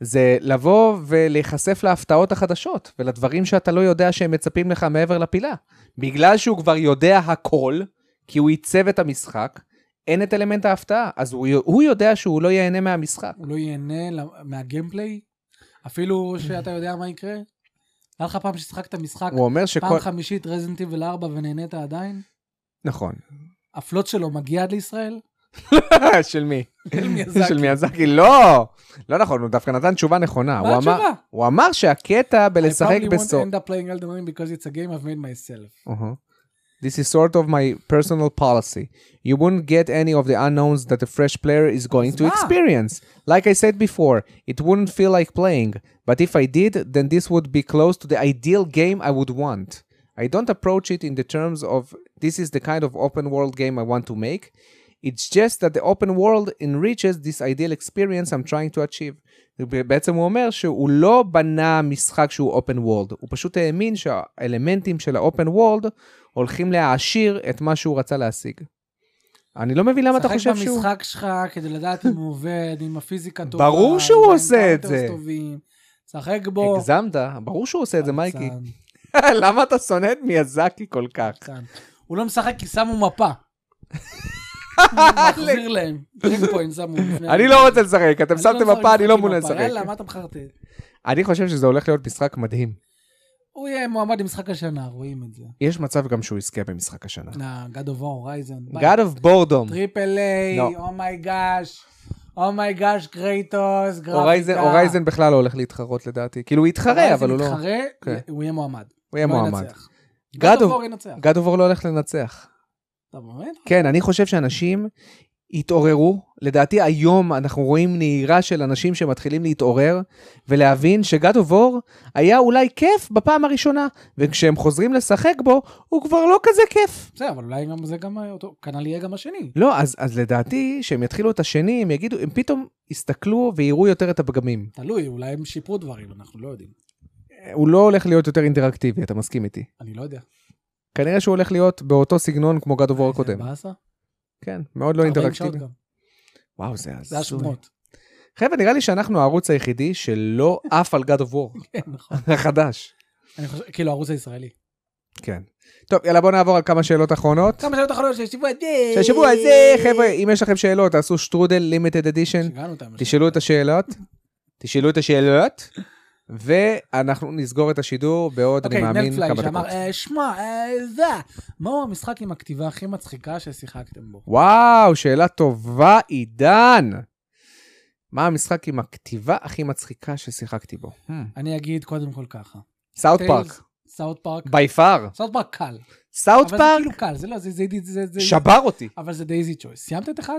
[SPEAKER 2] זה לבוא ולהיחשף להפתעות החדשות, ולדברים שאתה לא יודע שהם מצפים לך מעבר לפינה. בגלל שהוא כבר יודע הכל, כי הוא עיצב את המשחק, אין את אלמנט ההפתעה, אז הוא, הוא יודע שהוא לא ייהנה מהמשחק.
[SPEAKER 1] הוא לא ייהנה ל- מהגיימפליי? אפילו שאתה יודע מה יקרה? היה לך פעם ששיחקת משחק,
[SPEAKER 2] הוא אומר שכל...
[SPEAKER 1] פעם חמישית רזנט איבל 4 ונהנית עדיין?
[SPEAKER 2] נכון.
[SPEAKER 1] הפלוט שלו מגיע עד לישראל?
[SPEAKER 2] של מי?
[SPEAKER 1] של מיאזקי.
[SPEAKER 2] של מיאזקי, לא! לא נכון, הוא דווקא נתן תשובה נכונה.
[SPEAKER 1] מה
[SPEAKER 2] הוא אמר-
[SPEAKER 1] התשובה?
[SPEAKER 2] הוא אמר שהקטע בלשחק
[SPEAKER 1] I probably
[SPEAKER 2] בסוף...
[SPEAKER 1] won't end up playing Elden Ring because it's a game I've made myself.
[SPEAKER 2] אהה. This is sort of my personal policy. You won't get any of the unknowns that a fresh player is going to
[SPEAKER 1] מה?
[SPEAKER 2] experience. Like I said before, it wouldn't feel like playing, but if I did, then this would be close to the ideal game I would want. I don't approach it in the terms of this is the kind of open world game I want to make. It's just that the open world enriches this ideal experience I'm trying to achieve. בעצם הוא אומר שהוא לא בנה משחק שהוא אופן וורלד, הוא פשוט האמין שהאלמנטים של האופן וורלד הולכים להעשיר את מה שהוא רצה להשיג. אני לא מבין למה אתה חושב
[SPEAKER 1] שחק
[SPEAKER 2] שהוא...
[SPEAKER 1] במשחק שלך כדי לדעת אם הוא עובד, אם הפיזיקה טובה.
[SPEAKER 2] ברור
[SPEAKER 1] אם
[SPEAKER 2] שהוא
[SPEAKER 1] ה-encounters
[SPEAKER 2] עושה את זה.
[SPEAKER 1] טובים. שחק בו.
[SPEAKER 2] הגזמת, ברור שהוא עושה את זה מייקי.
[SPEAKER 1] פלצן,
[SPEAKER 2] למה אתה שונא את מיאזקי כל כך?
[SPEAKER 1] פלצן. הוא לא משחק כי שמו מפה. הוא מחזיר להם. טריק פוינט שמו לפני.
[SPEAKER 2] אני לא רוצה לשחק, אתם שמתם
[SPEAKER 1] משחק
[SPEAKER 2] מפה, אני
[SPEAKER 1] עם
[SPEAKER 2] לא מעוניין
[SPEAKER 1] מפה.
[SPEAKER 2] לשחק.
[SPEAKER 1] יאללה, מה אתה מחרטט?
[SPEAKER 2] אני חושב שזה הולך להיות משחק מדהים.
[SPEAKER 1] הוא יהיה מועמד למשחק השנה, רואים את זה.
[SPEAKER 2] יש מצב גם שהוא יזכה במשחק השנה.
[SPEAKER 1] נא, God of War, הורייזן.
[SPEAKER 2] God of Boredom.
[SPEAKER 1] טריפל איי, oh
[SPEAKER 2] לא.
[SPEAKER 1] אומייגאש. oh אומייגאש, קרייטוס, גרפיקה.
[SPEAKER 2] הורייזן- הורייזן בכלל לא הולך להתחרות לדעתי. כאילו הוא יתחרה, אבל הוא לא...
[SPEAKER 1] הורייזן
[SPEAKER 2] כן.
[SPEAKER 1] יתחרה, הוא יהיה מועמד.
[SPEAKER 2] הוא יהיה
[SPEAKER 1] לא
[SPEAKER 2] מועמד.
[SPEAKER 1] ינצח.
[SPEAKER 2] God
[SPEAKER 1] God of
[SPEAKER 2] of-
[SPEAKER 1] War ינצח.
[SPEAKER 2] God of War לא הולך לנצח.
[SPEAKER 1] אתה באמת?
[SPEAKER 2] כן, אני חושב שאנשים התעוררו. לדעתי היום אנחנו רואים נהירה של אנשים שמתחילים להתעורר ולהבין שגד אובור היה אולי כיף בפעם הראשונה, וכשהם חוזרים לשחק בו, הוא כבר לא כזה כיף.
[SPEAKER 1] בסדר, אבל אולי גם זה גם אותו, כנ"ל יהיה גם השני.
[SPEAKER 2] לא, אז, אז לדעתי, שהם יתחילו את השני, הם יגידו, הם פתאום יסתכלו ויראו יותר את הפגמים.
[SPEAKER 1] תלוי, אולי הם שיפרו דברים, אנחנו לא יודעים.
[SPEAKER 2] הוא לא הולך להיות יותר אינטראקטיבי, אתה מסכים איתי.
[SPEAKER 1] אני לא יודע.
[SPEAKER 2] כנראה שהוא הולך להיות באותו סגנון כמו גד אובור
[SPEAKER 1] זה
[SPEAKER 2] הקודם.
[SPEAKER 1] באסה?
[SPEAKER 2] כן, מאוד לא
[SPEAKER 1] 40 שעות
[SPEAKER 2] אינטראקטיבי.
[SPEAKER 1] גם.
[SPEAKER 2] וואו, זה הזוי.
[SPEAKER 1] זה השמות.
[SPEAKER 2] חבר'ה, נראה לי שאנחנו הערוץ היחידי שלא עף על God of War
[SPEAKER 1] כן, נכון.
[SPEAKER 2] החדש.
[SPEAKER 1] אני חושב, כאילו, הערוץ הישראלי.
[SPEAKER 2] כן. טוב, יאללה, בואו נעבור על כמה שאלות אחרונות.
[SPEAKER 1] כמה שאלות אחרונות של השבוע הזה.
[SPEAKER 2] שהשבוע הזה, חבר'ה, אם יש לכם שאלות, תעשו שטרודל לימיטד אדישן,
[SPEAKER 1] שיגענו אותם.
[SPEAKER 2] תשאלו את השאלות, תשאלו את השאלות, ואנחנו נסגור את השידור בעוד, אני
[SPEAKER 1] אוקיי,
[SPEAKER 2] מאמין,
[SPEAKER 1] נלפליי
[SPEAKER 2] כמה דקות.
[SPEAKER 1] שאמר, אה, שמע, אה, זה, מהו המשחק עם הכתיבה הכי מצחיקה ששיחקתם בו?
[SPEAKER 2] וואו, שאלה טובה, עידן. מה המשחק עם הכתיבה הכי מצחיקה ששיחקתי בו?
[SPEAKER 1] אני אגיד קודם כל ככה.
[SPEAKER 2] סאוט
[SPEAKER 1] Hmm. Tales,
[SPEAKER 2] פארק,
[SPEAKER 1] סאוט פארק.
[SPEAKER 2] בי פאר.
[SPEAKER 1] סאוט פארק קל.
[SPEAKER 2] סאוט
[SPEAKER 1] אבל זה
[SPEAKER 2] פארק
[SPEAKER 1] כאילו קל, זה לא, זה- זה- זה- זה- זה-
[SPEAKER 2] שבר אותי.
[SPEAKER 1] אבל זה דייזי צ'וייס. סיימת את אחד?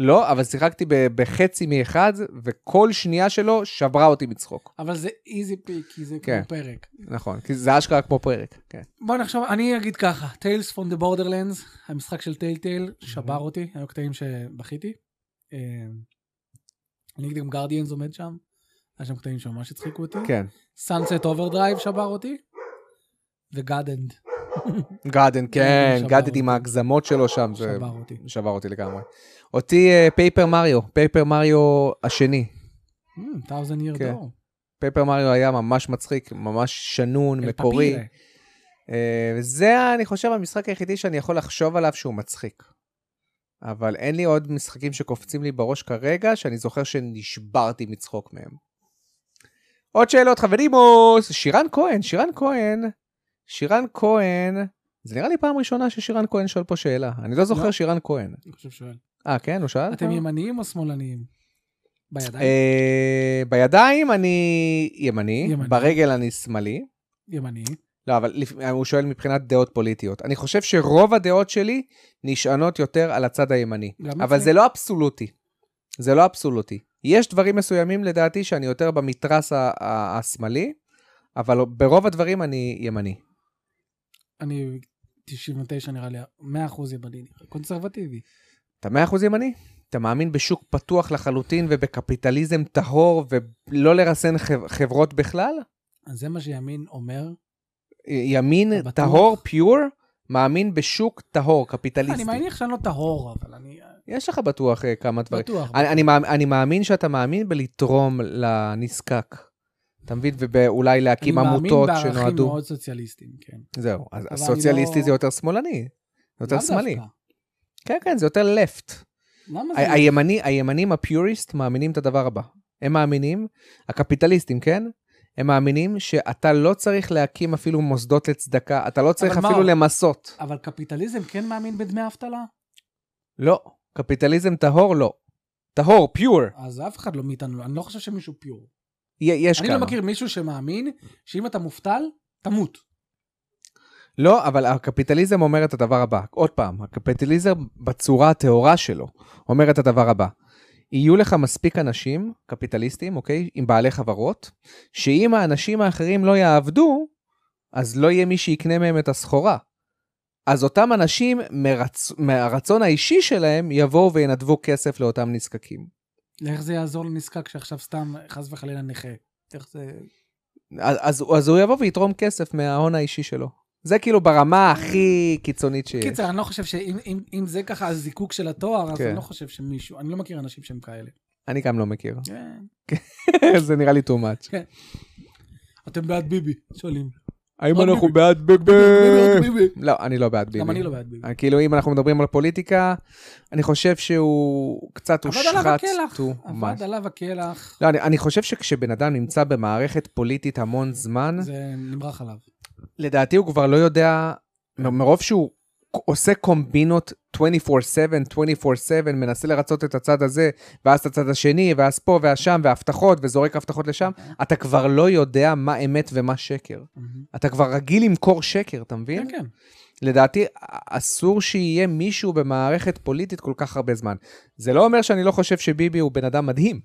[SPEAKER 2] לא, אבל שיחקתי ב- בחצי מאחד, וכל שנייה שלו שברה אותי מצחוק.
[SPEAKER 1] אבל זה איזי פי, כי זה
[SPEAKER 2] כן.
[SPEAKER 1] כמו פרק.
[SPEAKER 2] נכון, כי זה אשכרה כמו פרק. כן.
[SPEAKER 1] בוא נחשוב, אני אגיד ככה, Tales from the Borderlands, המשחק של טייל טייל, שבר אותי, היו קטעים שבכיתי. אה, אני אגיד גם גרדיאנס עומד שם, היה שם קטעים שממש הצחיקו אותי.
[SPEAKER 2] כן.
[SPEAKER 1] Sunset Overdrive שבר אותי, ו-God End
[SPEAKER 2] גאדן, כן,
[SPEAKER 1] שבר
[SPEAKER 2] גאדן
[SPEAKER 1] אותי.
[SPEAKER 2] עם ההגזמות שלו שם, זה
[SPEAKER 1] שבר אותי.
[SPEAKER 2] שבר אותי לגמרי. אותי אה, פייפר מריו, פייפר מריו השני.
[SPEAKER 1] Hmm, Thousand Year
[SPEAKER 2] כן.
[SPEAKER 1] Door.
[SPEAKER 2] פייפר מריו היה ממש מצחיק, ממש שנון,
[SPEAKER 1] אל
[SPEAKER 2] מקורי.
[SPEAKER 1] כן, פפירה.
[SPEAKER 2] אה, וזה, אני חושב, המשחק היחידי שאני יכול לחשוב עליו שהוא מצחיק. אבל אין לי עוד משחקים שקופצים לי בראש כרגע, שאני זוכר שנשברתי מצחוק מהם. עוד שאלות, חברימוס! שירן כהן, שירן כהן, שירן כהן. זה נראה לי פעם ראשונה ששירן כהן שואל פה שאלה. אני לא זוכר
[SPEAKER 1] לא.
[SPEAKER 2] שירן כהן.
[SPEAKER 1] אני חושב שואל.
[SPEAKER 2] אה, כן, הוא שאל?
[SPEAKER 1] אתם ימניים או שמאלניים? בידיים?
[SPEAKER 2] אה, בידיים אני ימני,
[SPEAKER 1] ימני.
[SPEAKER 2] ברגל אני שמאלי.
[SPEAKER 1] ימני.
[SPEAKER 2] לא, אבל לפ- הוא שואל מבחינת דעות פוליטיות. אני חושב שרוב הדעות שלי נשענות יותר על הצד הימני.
[SPEAKER 1] גם
[SPEAKER 2] אבל
[SPEAKER 1] אצלי.
[SPEAKER 2] זה לא אבסולוטי. זה לא אבסולוטי. יש דברים מסוימים לדעתי שאני יותר במתרס ה- ה- השמאלי, אבל ברוב הדברים אני ימני. לא-
[SPEAKER 1] אני 99 נראה לי, 100% ימני, נראה לי. קונסרבטיבי.
[SPEAKER 2] אתה מאה אחוז ימני? אתה מאמין בשוק פתוח לחלוטין ובקפיטליזם טהור ולא לרסן חב- חברות בכלל?
[SPEAKER 1] אז זה מה שימין אומר.
[SPEAKER 2] ימין
[SPEAKER 1] אתה בטוח?
[SPEAKER 2] טהור, פיור, מאמין בשוק טהור,
[SPEAKER 1] אני
[SPEAKER 2] קפיטליסטי.
[SPEAKER 1] מניח שאני לא טהור, אבל אני אה,
[SPEAKER 2] יש לך בטוח אה, כמה דברים.
[SPEAKER 1] בטוח.
[SPEAKER 2] אני, אני, מאמ- אני מאמין שאתה מאמין בלתרום לנזקק. אתה מבין? ואולי להקים עמותות
[SPEAKER 1] אני מאמין בערכים
[SPEAKER 2] שנועדו...
[SPEAKER 1] מאוד סוציאליסטיים, כן.
[SPEAKER 2] זהו, אז
[SPEAKER 1] אבל
[SPEAKER 2] הסוציאליסטי
[SPEAKER 1] אני לא-
[SPEAKER 2] זה יותר שמאלני. זה יותר
[SPEAKER 1] לאו
[SPEAKER 2] שמאלי.
[SPEAKER 1] דווקא.
[SPEAKER 2] כן, כן, זה יותר לפט.
[SPEAKER 1] למה
[SPEAKER 2] ה-
[SPEAKER 1] זה?
[SPEAKER 2] הימני, הימנים הפיוריסט מאמינים את הדבר הבא. הם מאמינים, הקפיטליסטים, כן? הם מאמינים שאתה לא צריך להקים אפילו מוסדות לצדקה, אתה לא צריך
[SPEAKER 1] אבל מה
[SPEAKER 2] אפילו
[SPEAKER 1] הוא-
[SPEAKER 2] למסות.
[SPEAKER 1] לא- אבל קפיטליזם כן מאמין בדמי אבטלה?
[SPEAKER 2] לא. קפיטליזם טהור, לא. טהור, פיור.
[SPEAKER 1] אז אף אחד לא מאיתנו, אני לא חושב שמישהו פיור.
[SPEAKER 2] יש
[SPEAKER 1] אני
[SPEAKER 2] כמה.
[SPEAKER 1] לא מכיר מישהו שמאמין שאם אתה מובטל, תמות.
[SPEAKER 2] לא, אבל הקפיטליזם אומר את הדבר הבא. עוד פעם, הקפיטליזם בצורה הטהורה שלו אומר את הדבר הבא. יהיו לך מספיק אנשים, קפיטליסטים, אוקיי? עם בעלי חברות, שאם האנשים האחרים לא יעבדו, אז לא יהיה מי שיקנה מהם את הסחורה. אז אותם אנשים, מרצ... מהרצון האישי שלהם, יבואו וינדבו כסף לאותם נזקקים.
[SPEAKER 1] איך זה יעזור לנזקק שעכשיו סתם, חס וחלילה, נכה? איך זה...
[SPEAKER 2] אז, אז, אז הוא יבוא ויתרום כסף מההון האישי שלו. זה כאילו ברמה הכי קיצונית שיש.
[SPEAKER 1] קיצר, אני לא חושב שאם אם, אם זה ככה הזיקוק של התואר, אז
[SPEAKER 2] כן.
[SPEAKER 1] אני לא חושב שמישהו, אני לא מכיר אנשים שהם כאלה.
[SPEAKER 2] אני גם לא מכיר.
[SPEAKER 1] כן.
[SPEAKER 2] זה נראה לי too much.
[SPEAKER 1] אתם בעד ביבי, שואלים.
[SPEAKER 2] אה. האם
[SPEAKER 1] רק
[SPEAKER 2] אנחנו
[SPEAKER 1] ביבי.
[SPEAKER 2] בעד ביג
[SPEAKER 1] ביבי, רק
[SPEAKER 2] ביבי?
[SPEAKER 1] ביבי.
[SPEAKER 2] לא, אני לא בעד ביבי.
[SPEAKER 1] גם אני לא בעד ביבי.
[SPEAKER 2] אה, כאילו, אם אנחנו מדברים על פוליטיקה, אני חושב שהוא קצת
[SPEAKER 1] עבד עליו
[SPEAKER 2] הושחת
[SPEAKER 1] הקלח,
[SPEAKER 2] too
[SPEAKER 1] עבד
[SPEAKER 2] much.
[SPEAKER 1] עליו הקלח,
[SPEAKER 2] לא, אני, אני חושב שכשבן אדם נמצא במערכת פוליטית המון זמן, זה...
[SPEAKER 1] זה נמרח עליו.
[SPEAKER 2] לדעתי הוא כבר לא יודע,
[SPEAKER 1] כן.
[SPEAKER 2] מ- מרוב שהוא עושה קומבינות 24/7, 24/7, מנסה לרצות את הצד הזה, ואז את הצד השני, ואז פה ואז שם, והבטחות, וזורק הבטחות לשם,
[SPEAKER 1] כן.
[SPEAKER 2] אתה כבר לא יודע מה אמת ומה שקר.
[SPEAKER 1] מהמם.
[SPEAKER 2] אתה כבר רגיל למכור שקר, אתה מבין?
[SPEAKER 1] כן, כן.
[SPEAKER 2] לדעתי, אסור שיהיה מישהו במערכת פוליטית כל כך הרבה זמן. זה לא אומר שאני לא חושב שביבי הוא בן אדם מדהים,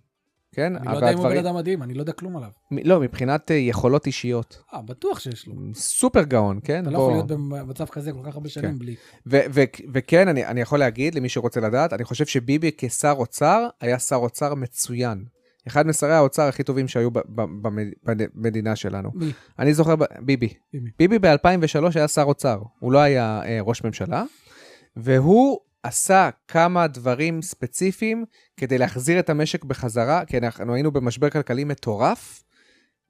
[SPEAKER 2] כן?
[SPEAKER 1] אני
[SPEAKER 2] אבל
[SPEAKER 1] לא יודע אם הוא
[SPEAKER 2] הדברים-
[SPEAKER 1] בן אדם מדהים, אני לא יודע כלום עליו.
[SPEAKER 2] מ- לא, מבחינת אה, יכולות אישיות.
[SPEAKER 1] אה, בטוח שיש לו.
[SPEAKER 2] סופר גאון, כן?
[SPEAKER 1] אתה לא
[SPEAKER 2] בוא.
[SPEAKER 1] יכול להיות במצב כזה כל כך הרבה שנים
[SPEAKER 2] כן.
[SPEAKER 1] בלי.
[SPEAKER 2] ו- ו- וכן, אני, אני יכול להגיד למי שרוצה לדעת, אני חושב שביבי כשר אוצר, היה שר אוצר מצוין. אחד משרי האוצר הכי טובים שהיו ב- ב- במד- במדינה שלנו.
[SPEAKER 1] מי?
[SPEAKER 2] אני זוכר, ב- ביבי.
[SPEAKER 1] ביבי.
[SPEAKER 2] ביבי ב-2003 היה שר אוצר, הוא לא היה אה, ראש ממשלה, והוא עשה כמה דברים ספציפיים כדי להחזיר את המשק בחזרה, כי אנחנו היינו במשבר כלכלי מטורף,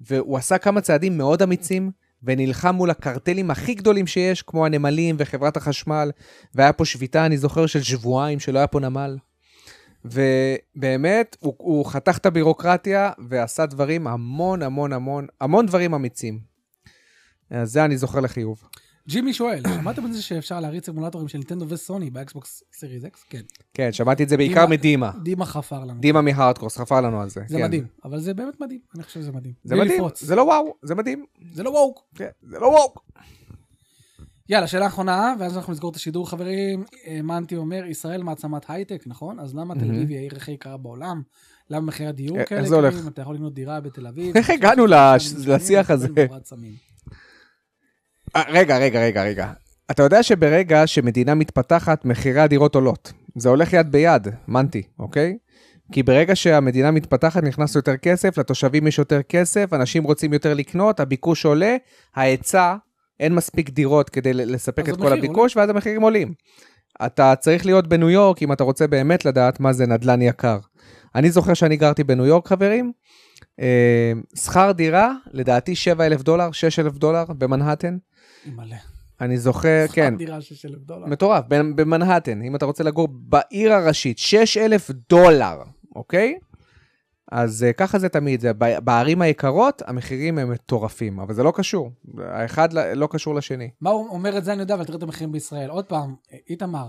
[SPEAKER 2] והוא עשה כמה צעדים מאוד אמיצים, ונלחם מול הקרטלים הכי גדולים שיש, כמו הנמלים וחברת החשמל, והיה פה שביתה, אני זוכר, של שבועיים שלא היה פה נמל. ובאמת, הוא, הוא חתך את הבירוקרטיה ועשה דברים, המון המון המון, המון דברים אמיצים. אז זה אני זוכר לחיוב.
[SPEAKER 1] ג'ימי שואל, שמעתם על זה שאפשר להריץ אמולטורים של נינטנדו וסוני באקסבוקס סיריס אקס? כן.
[SPEAKER 2] כן, שמעתי את זה בעיקר
[SPEAKER 1] דימה-
[SPEAKER 2] מדימה.
[SPEAKER 1] דימה חפר לנו.
[SPEAKER 2] דימה מהארדקורס, חפר לנו על זה.
[SPEAKER 1] זה
[SPEAKER 2] כן.
[SPEAKER 1] מדהים, אבל זה באמת מדהים, אני חושב שזה מדהים.
[SPEAKER 2] זה
[SPEAKER 1] בלי
[SPEAKER 2] מדהים,
[SPEAKER 1] לפרוץ.
[SPEAKER 2] זה לא וואו, זה מדהים.
[SPEAKER 1] זה לא ווק.
[SPEAKER 2] כן, זה לא וואו.
[SPEAKER 1] יאללה, שאלה אחרונה, ואז אנחנו נסגור את השידור, חברים. אה, מנטי אומר, ישראל מעצמת הייטק, נכון? אז למה תל אביב היא העיר הכי יקרה בעולם? למה מחירי הדיור
[SPEAKER 2] איך
[SPEAKER 1] כאלה?
[SPEAKER 2] אה, זה הולך?
[SPEAKER 1] גבוהים? אתה יכול לקנות דירה בתל אביב.
[SPEAKER 2] איך הגענו לש- לשיח הזה?
[SPEAKER 1] תמורת סמים.
[SPEAKER 2] אה, רגע, רגע, רגע, רגע. אתה יודע שברגע שמדינה מתפתחת, מחירי הדירות עולות. זה הולך יד ביד, מנטי, אוקיי? כי ברגע שהמדינה מתפתחת, נכנס יותר כסף, לתושבים יש יותר כסף, אנשים רוצים יותר לקנות, הביקוש עולה, ההיצע, אין מספיק דירות כדי ל- לספק
[SPEAKER 1] אז
[SPEAKER 2] את כל
[SPEAKER 1] המחיר
[SPEAKER 2] הביקוש, ואז המחירים עולים. אתה צריך להיות בניו יורק אם אתה רוצה באמת לדעת מה זה נדל"ן יקר. אני זוכר שאני גרתי בניו יורק, חברים. אה, שכר דירה, לדעתי 7,000 דולר, 6,000 דולר במנהטן.
[SPEAKER 1] מלא.
[SPEAKER 2] אני זוכר, כן,
[SPEAKER 1] שכר דירה של 6,000 דולר.
[SPEAKER 2] מטורף, ב- במנהטן, אם אתה רוצה לגור בעיר הראשית, 6,000 דולר, אוקיי? אז אה, ככה זה תמיד, זה ב- בערים היקרות המחירים הם מטורפים, אבל זה לא קשור, האחד ל- לא קשור לשני.
[SPEAKER 1] מה הוא אומר את זה אני יודע, אבל תראה את המחירים בישראל. עוד פעם, איתמר,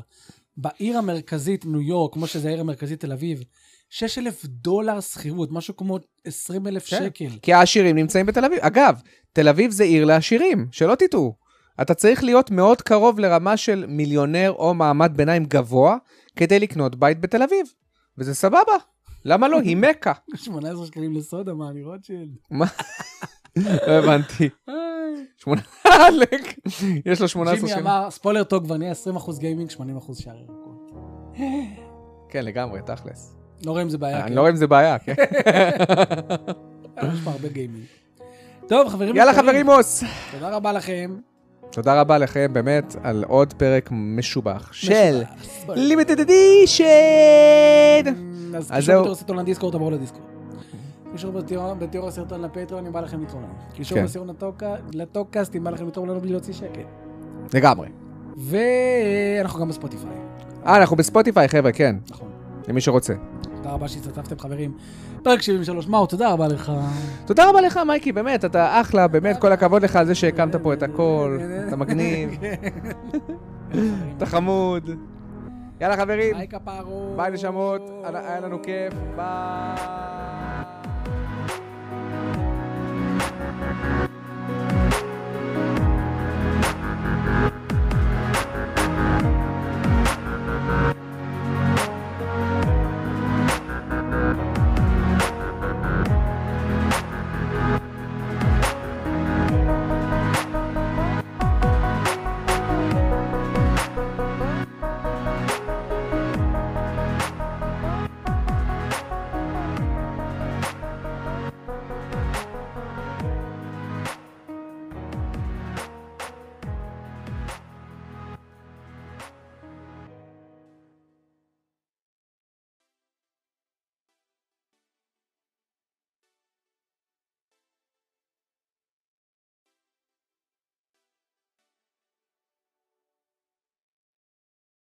[SPEAKER 1] בעיר המרכזית ניו יורק, כמו שזה העיר המרכזית תל אביב, 6,000 דולר שכירות, משהו כמו 20,000
[SPEAKER 2] כן.
[SPEAKER 1] שקל.
[SPEAKER 2] כי העשירים נמצאים בתל אביב. אגב, תל אביב זה עיר לעשירים, שלא תטעו. אתה צריך להיות מאוד קרוב לרמה של מיליונר או מעמד ביניים גבוה כדי לקנות בית בתל אביב, וזה סבבה, למה לא? היא מכה.
[SPEAKER 1] 18 שקלים לסודה, מה, אני רוטשילד?
[SPEAKER 2] מה? לא הבנתי.
[SPEAKER 1] אה,
[SPEAKER 2] שמונה... עלק. יש לו 18
[SPEAKER 1] ג'ימי
[SPEAKER 2] שנים.
[SPEAKER 1] אמר, ספוילר טוב, כבר נהיה 20% גיימינג, 80% שער ירקות.
[SPEAKER 2] כן, לגמרי, תכלס.
[SPEAKER 1] לא רואה אם זה בעיה.
[SPEAKER 2] אני
[SPEAKER 1] כן. אה,
[SPEAKER 2] לא רואה אם זה בעיה, כן.
[SPEAKER 1] יש פה הרבה גיימינג. טוב, חברים
[SPEAKER 2] יאללה
[SPEAKER 1] יקרים,
[SPEAKER 2] חברים מוס.
[SPEAKER 1] תודה רבה לכם.
[SPEAKER 2] תודה רבה לכם באמת על עוד פרק משובח של
[SPEAKER 1] משובח.
[SPEAKER 2] לימטד אדישן.
[SPEAKER 1] אז
[SPEAKER 2] אז
[SPEAKER 1] קישור
[SPEAKER 2] זהו.
[SPEAKER 1] בתיאור הסרטון לדיסקורד, תבואו לדיסקורד. קישור בתיאור- בתיאור הסרטון לפטריון, אם בא לכם לתרום לנו. קישור
[SPEAKER 2] כן.
[SPEAKER 1] בסרטון לטוקה- לטוקקאסט, אם בא לכם לתרום לנו בלי להוציא שקל.
[SPEAKER 2] לגמרי.
[SPEAKER 1] ואנחנו גם בספוטיפיי,
[SPEAKER 2] אה, אנחנו בספוטיפיי, חבר'ה, כן,
[SPEAKER 1] נכון.
[SPEAKER 2] למי שרוצה.
[SPEAKER 1] תודה רבה שהצטרפתם חברים. פרק 73, מאור, תודה רבה לך.
[SPEAKER 2] תודה רבה לך, מייקי, באמת, אתה אחלה, באמת, כל הכבוד לך על זה שהקמת פה את הכל, אתה מגניב, אתה חמוד. יאללה חברים,
[SPEAKER 1] ביי כפרות.
[SPEAKER 2] ביי נשמות, היה לנו כיף, ביי.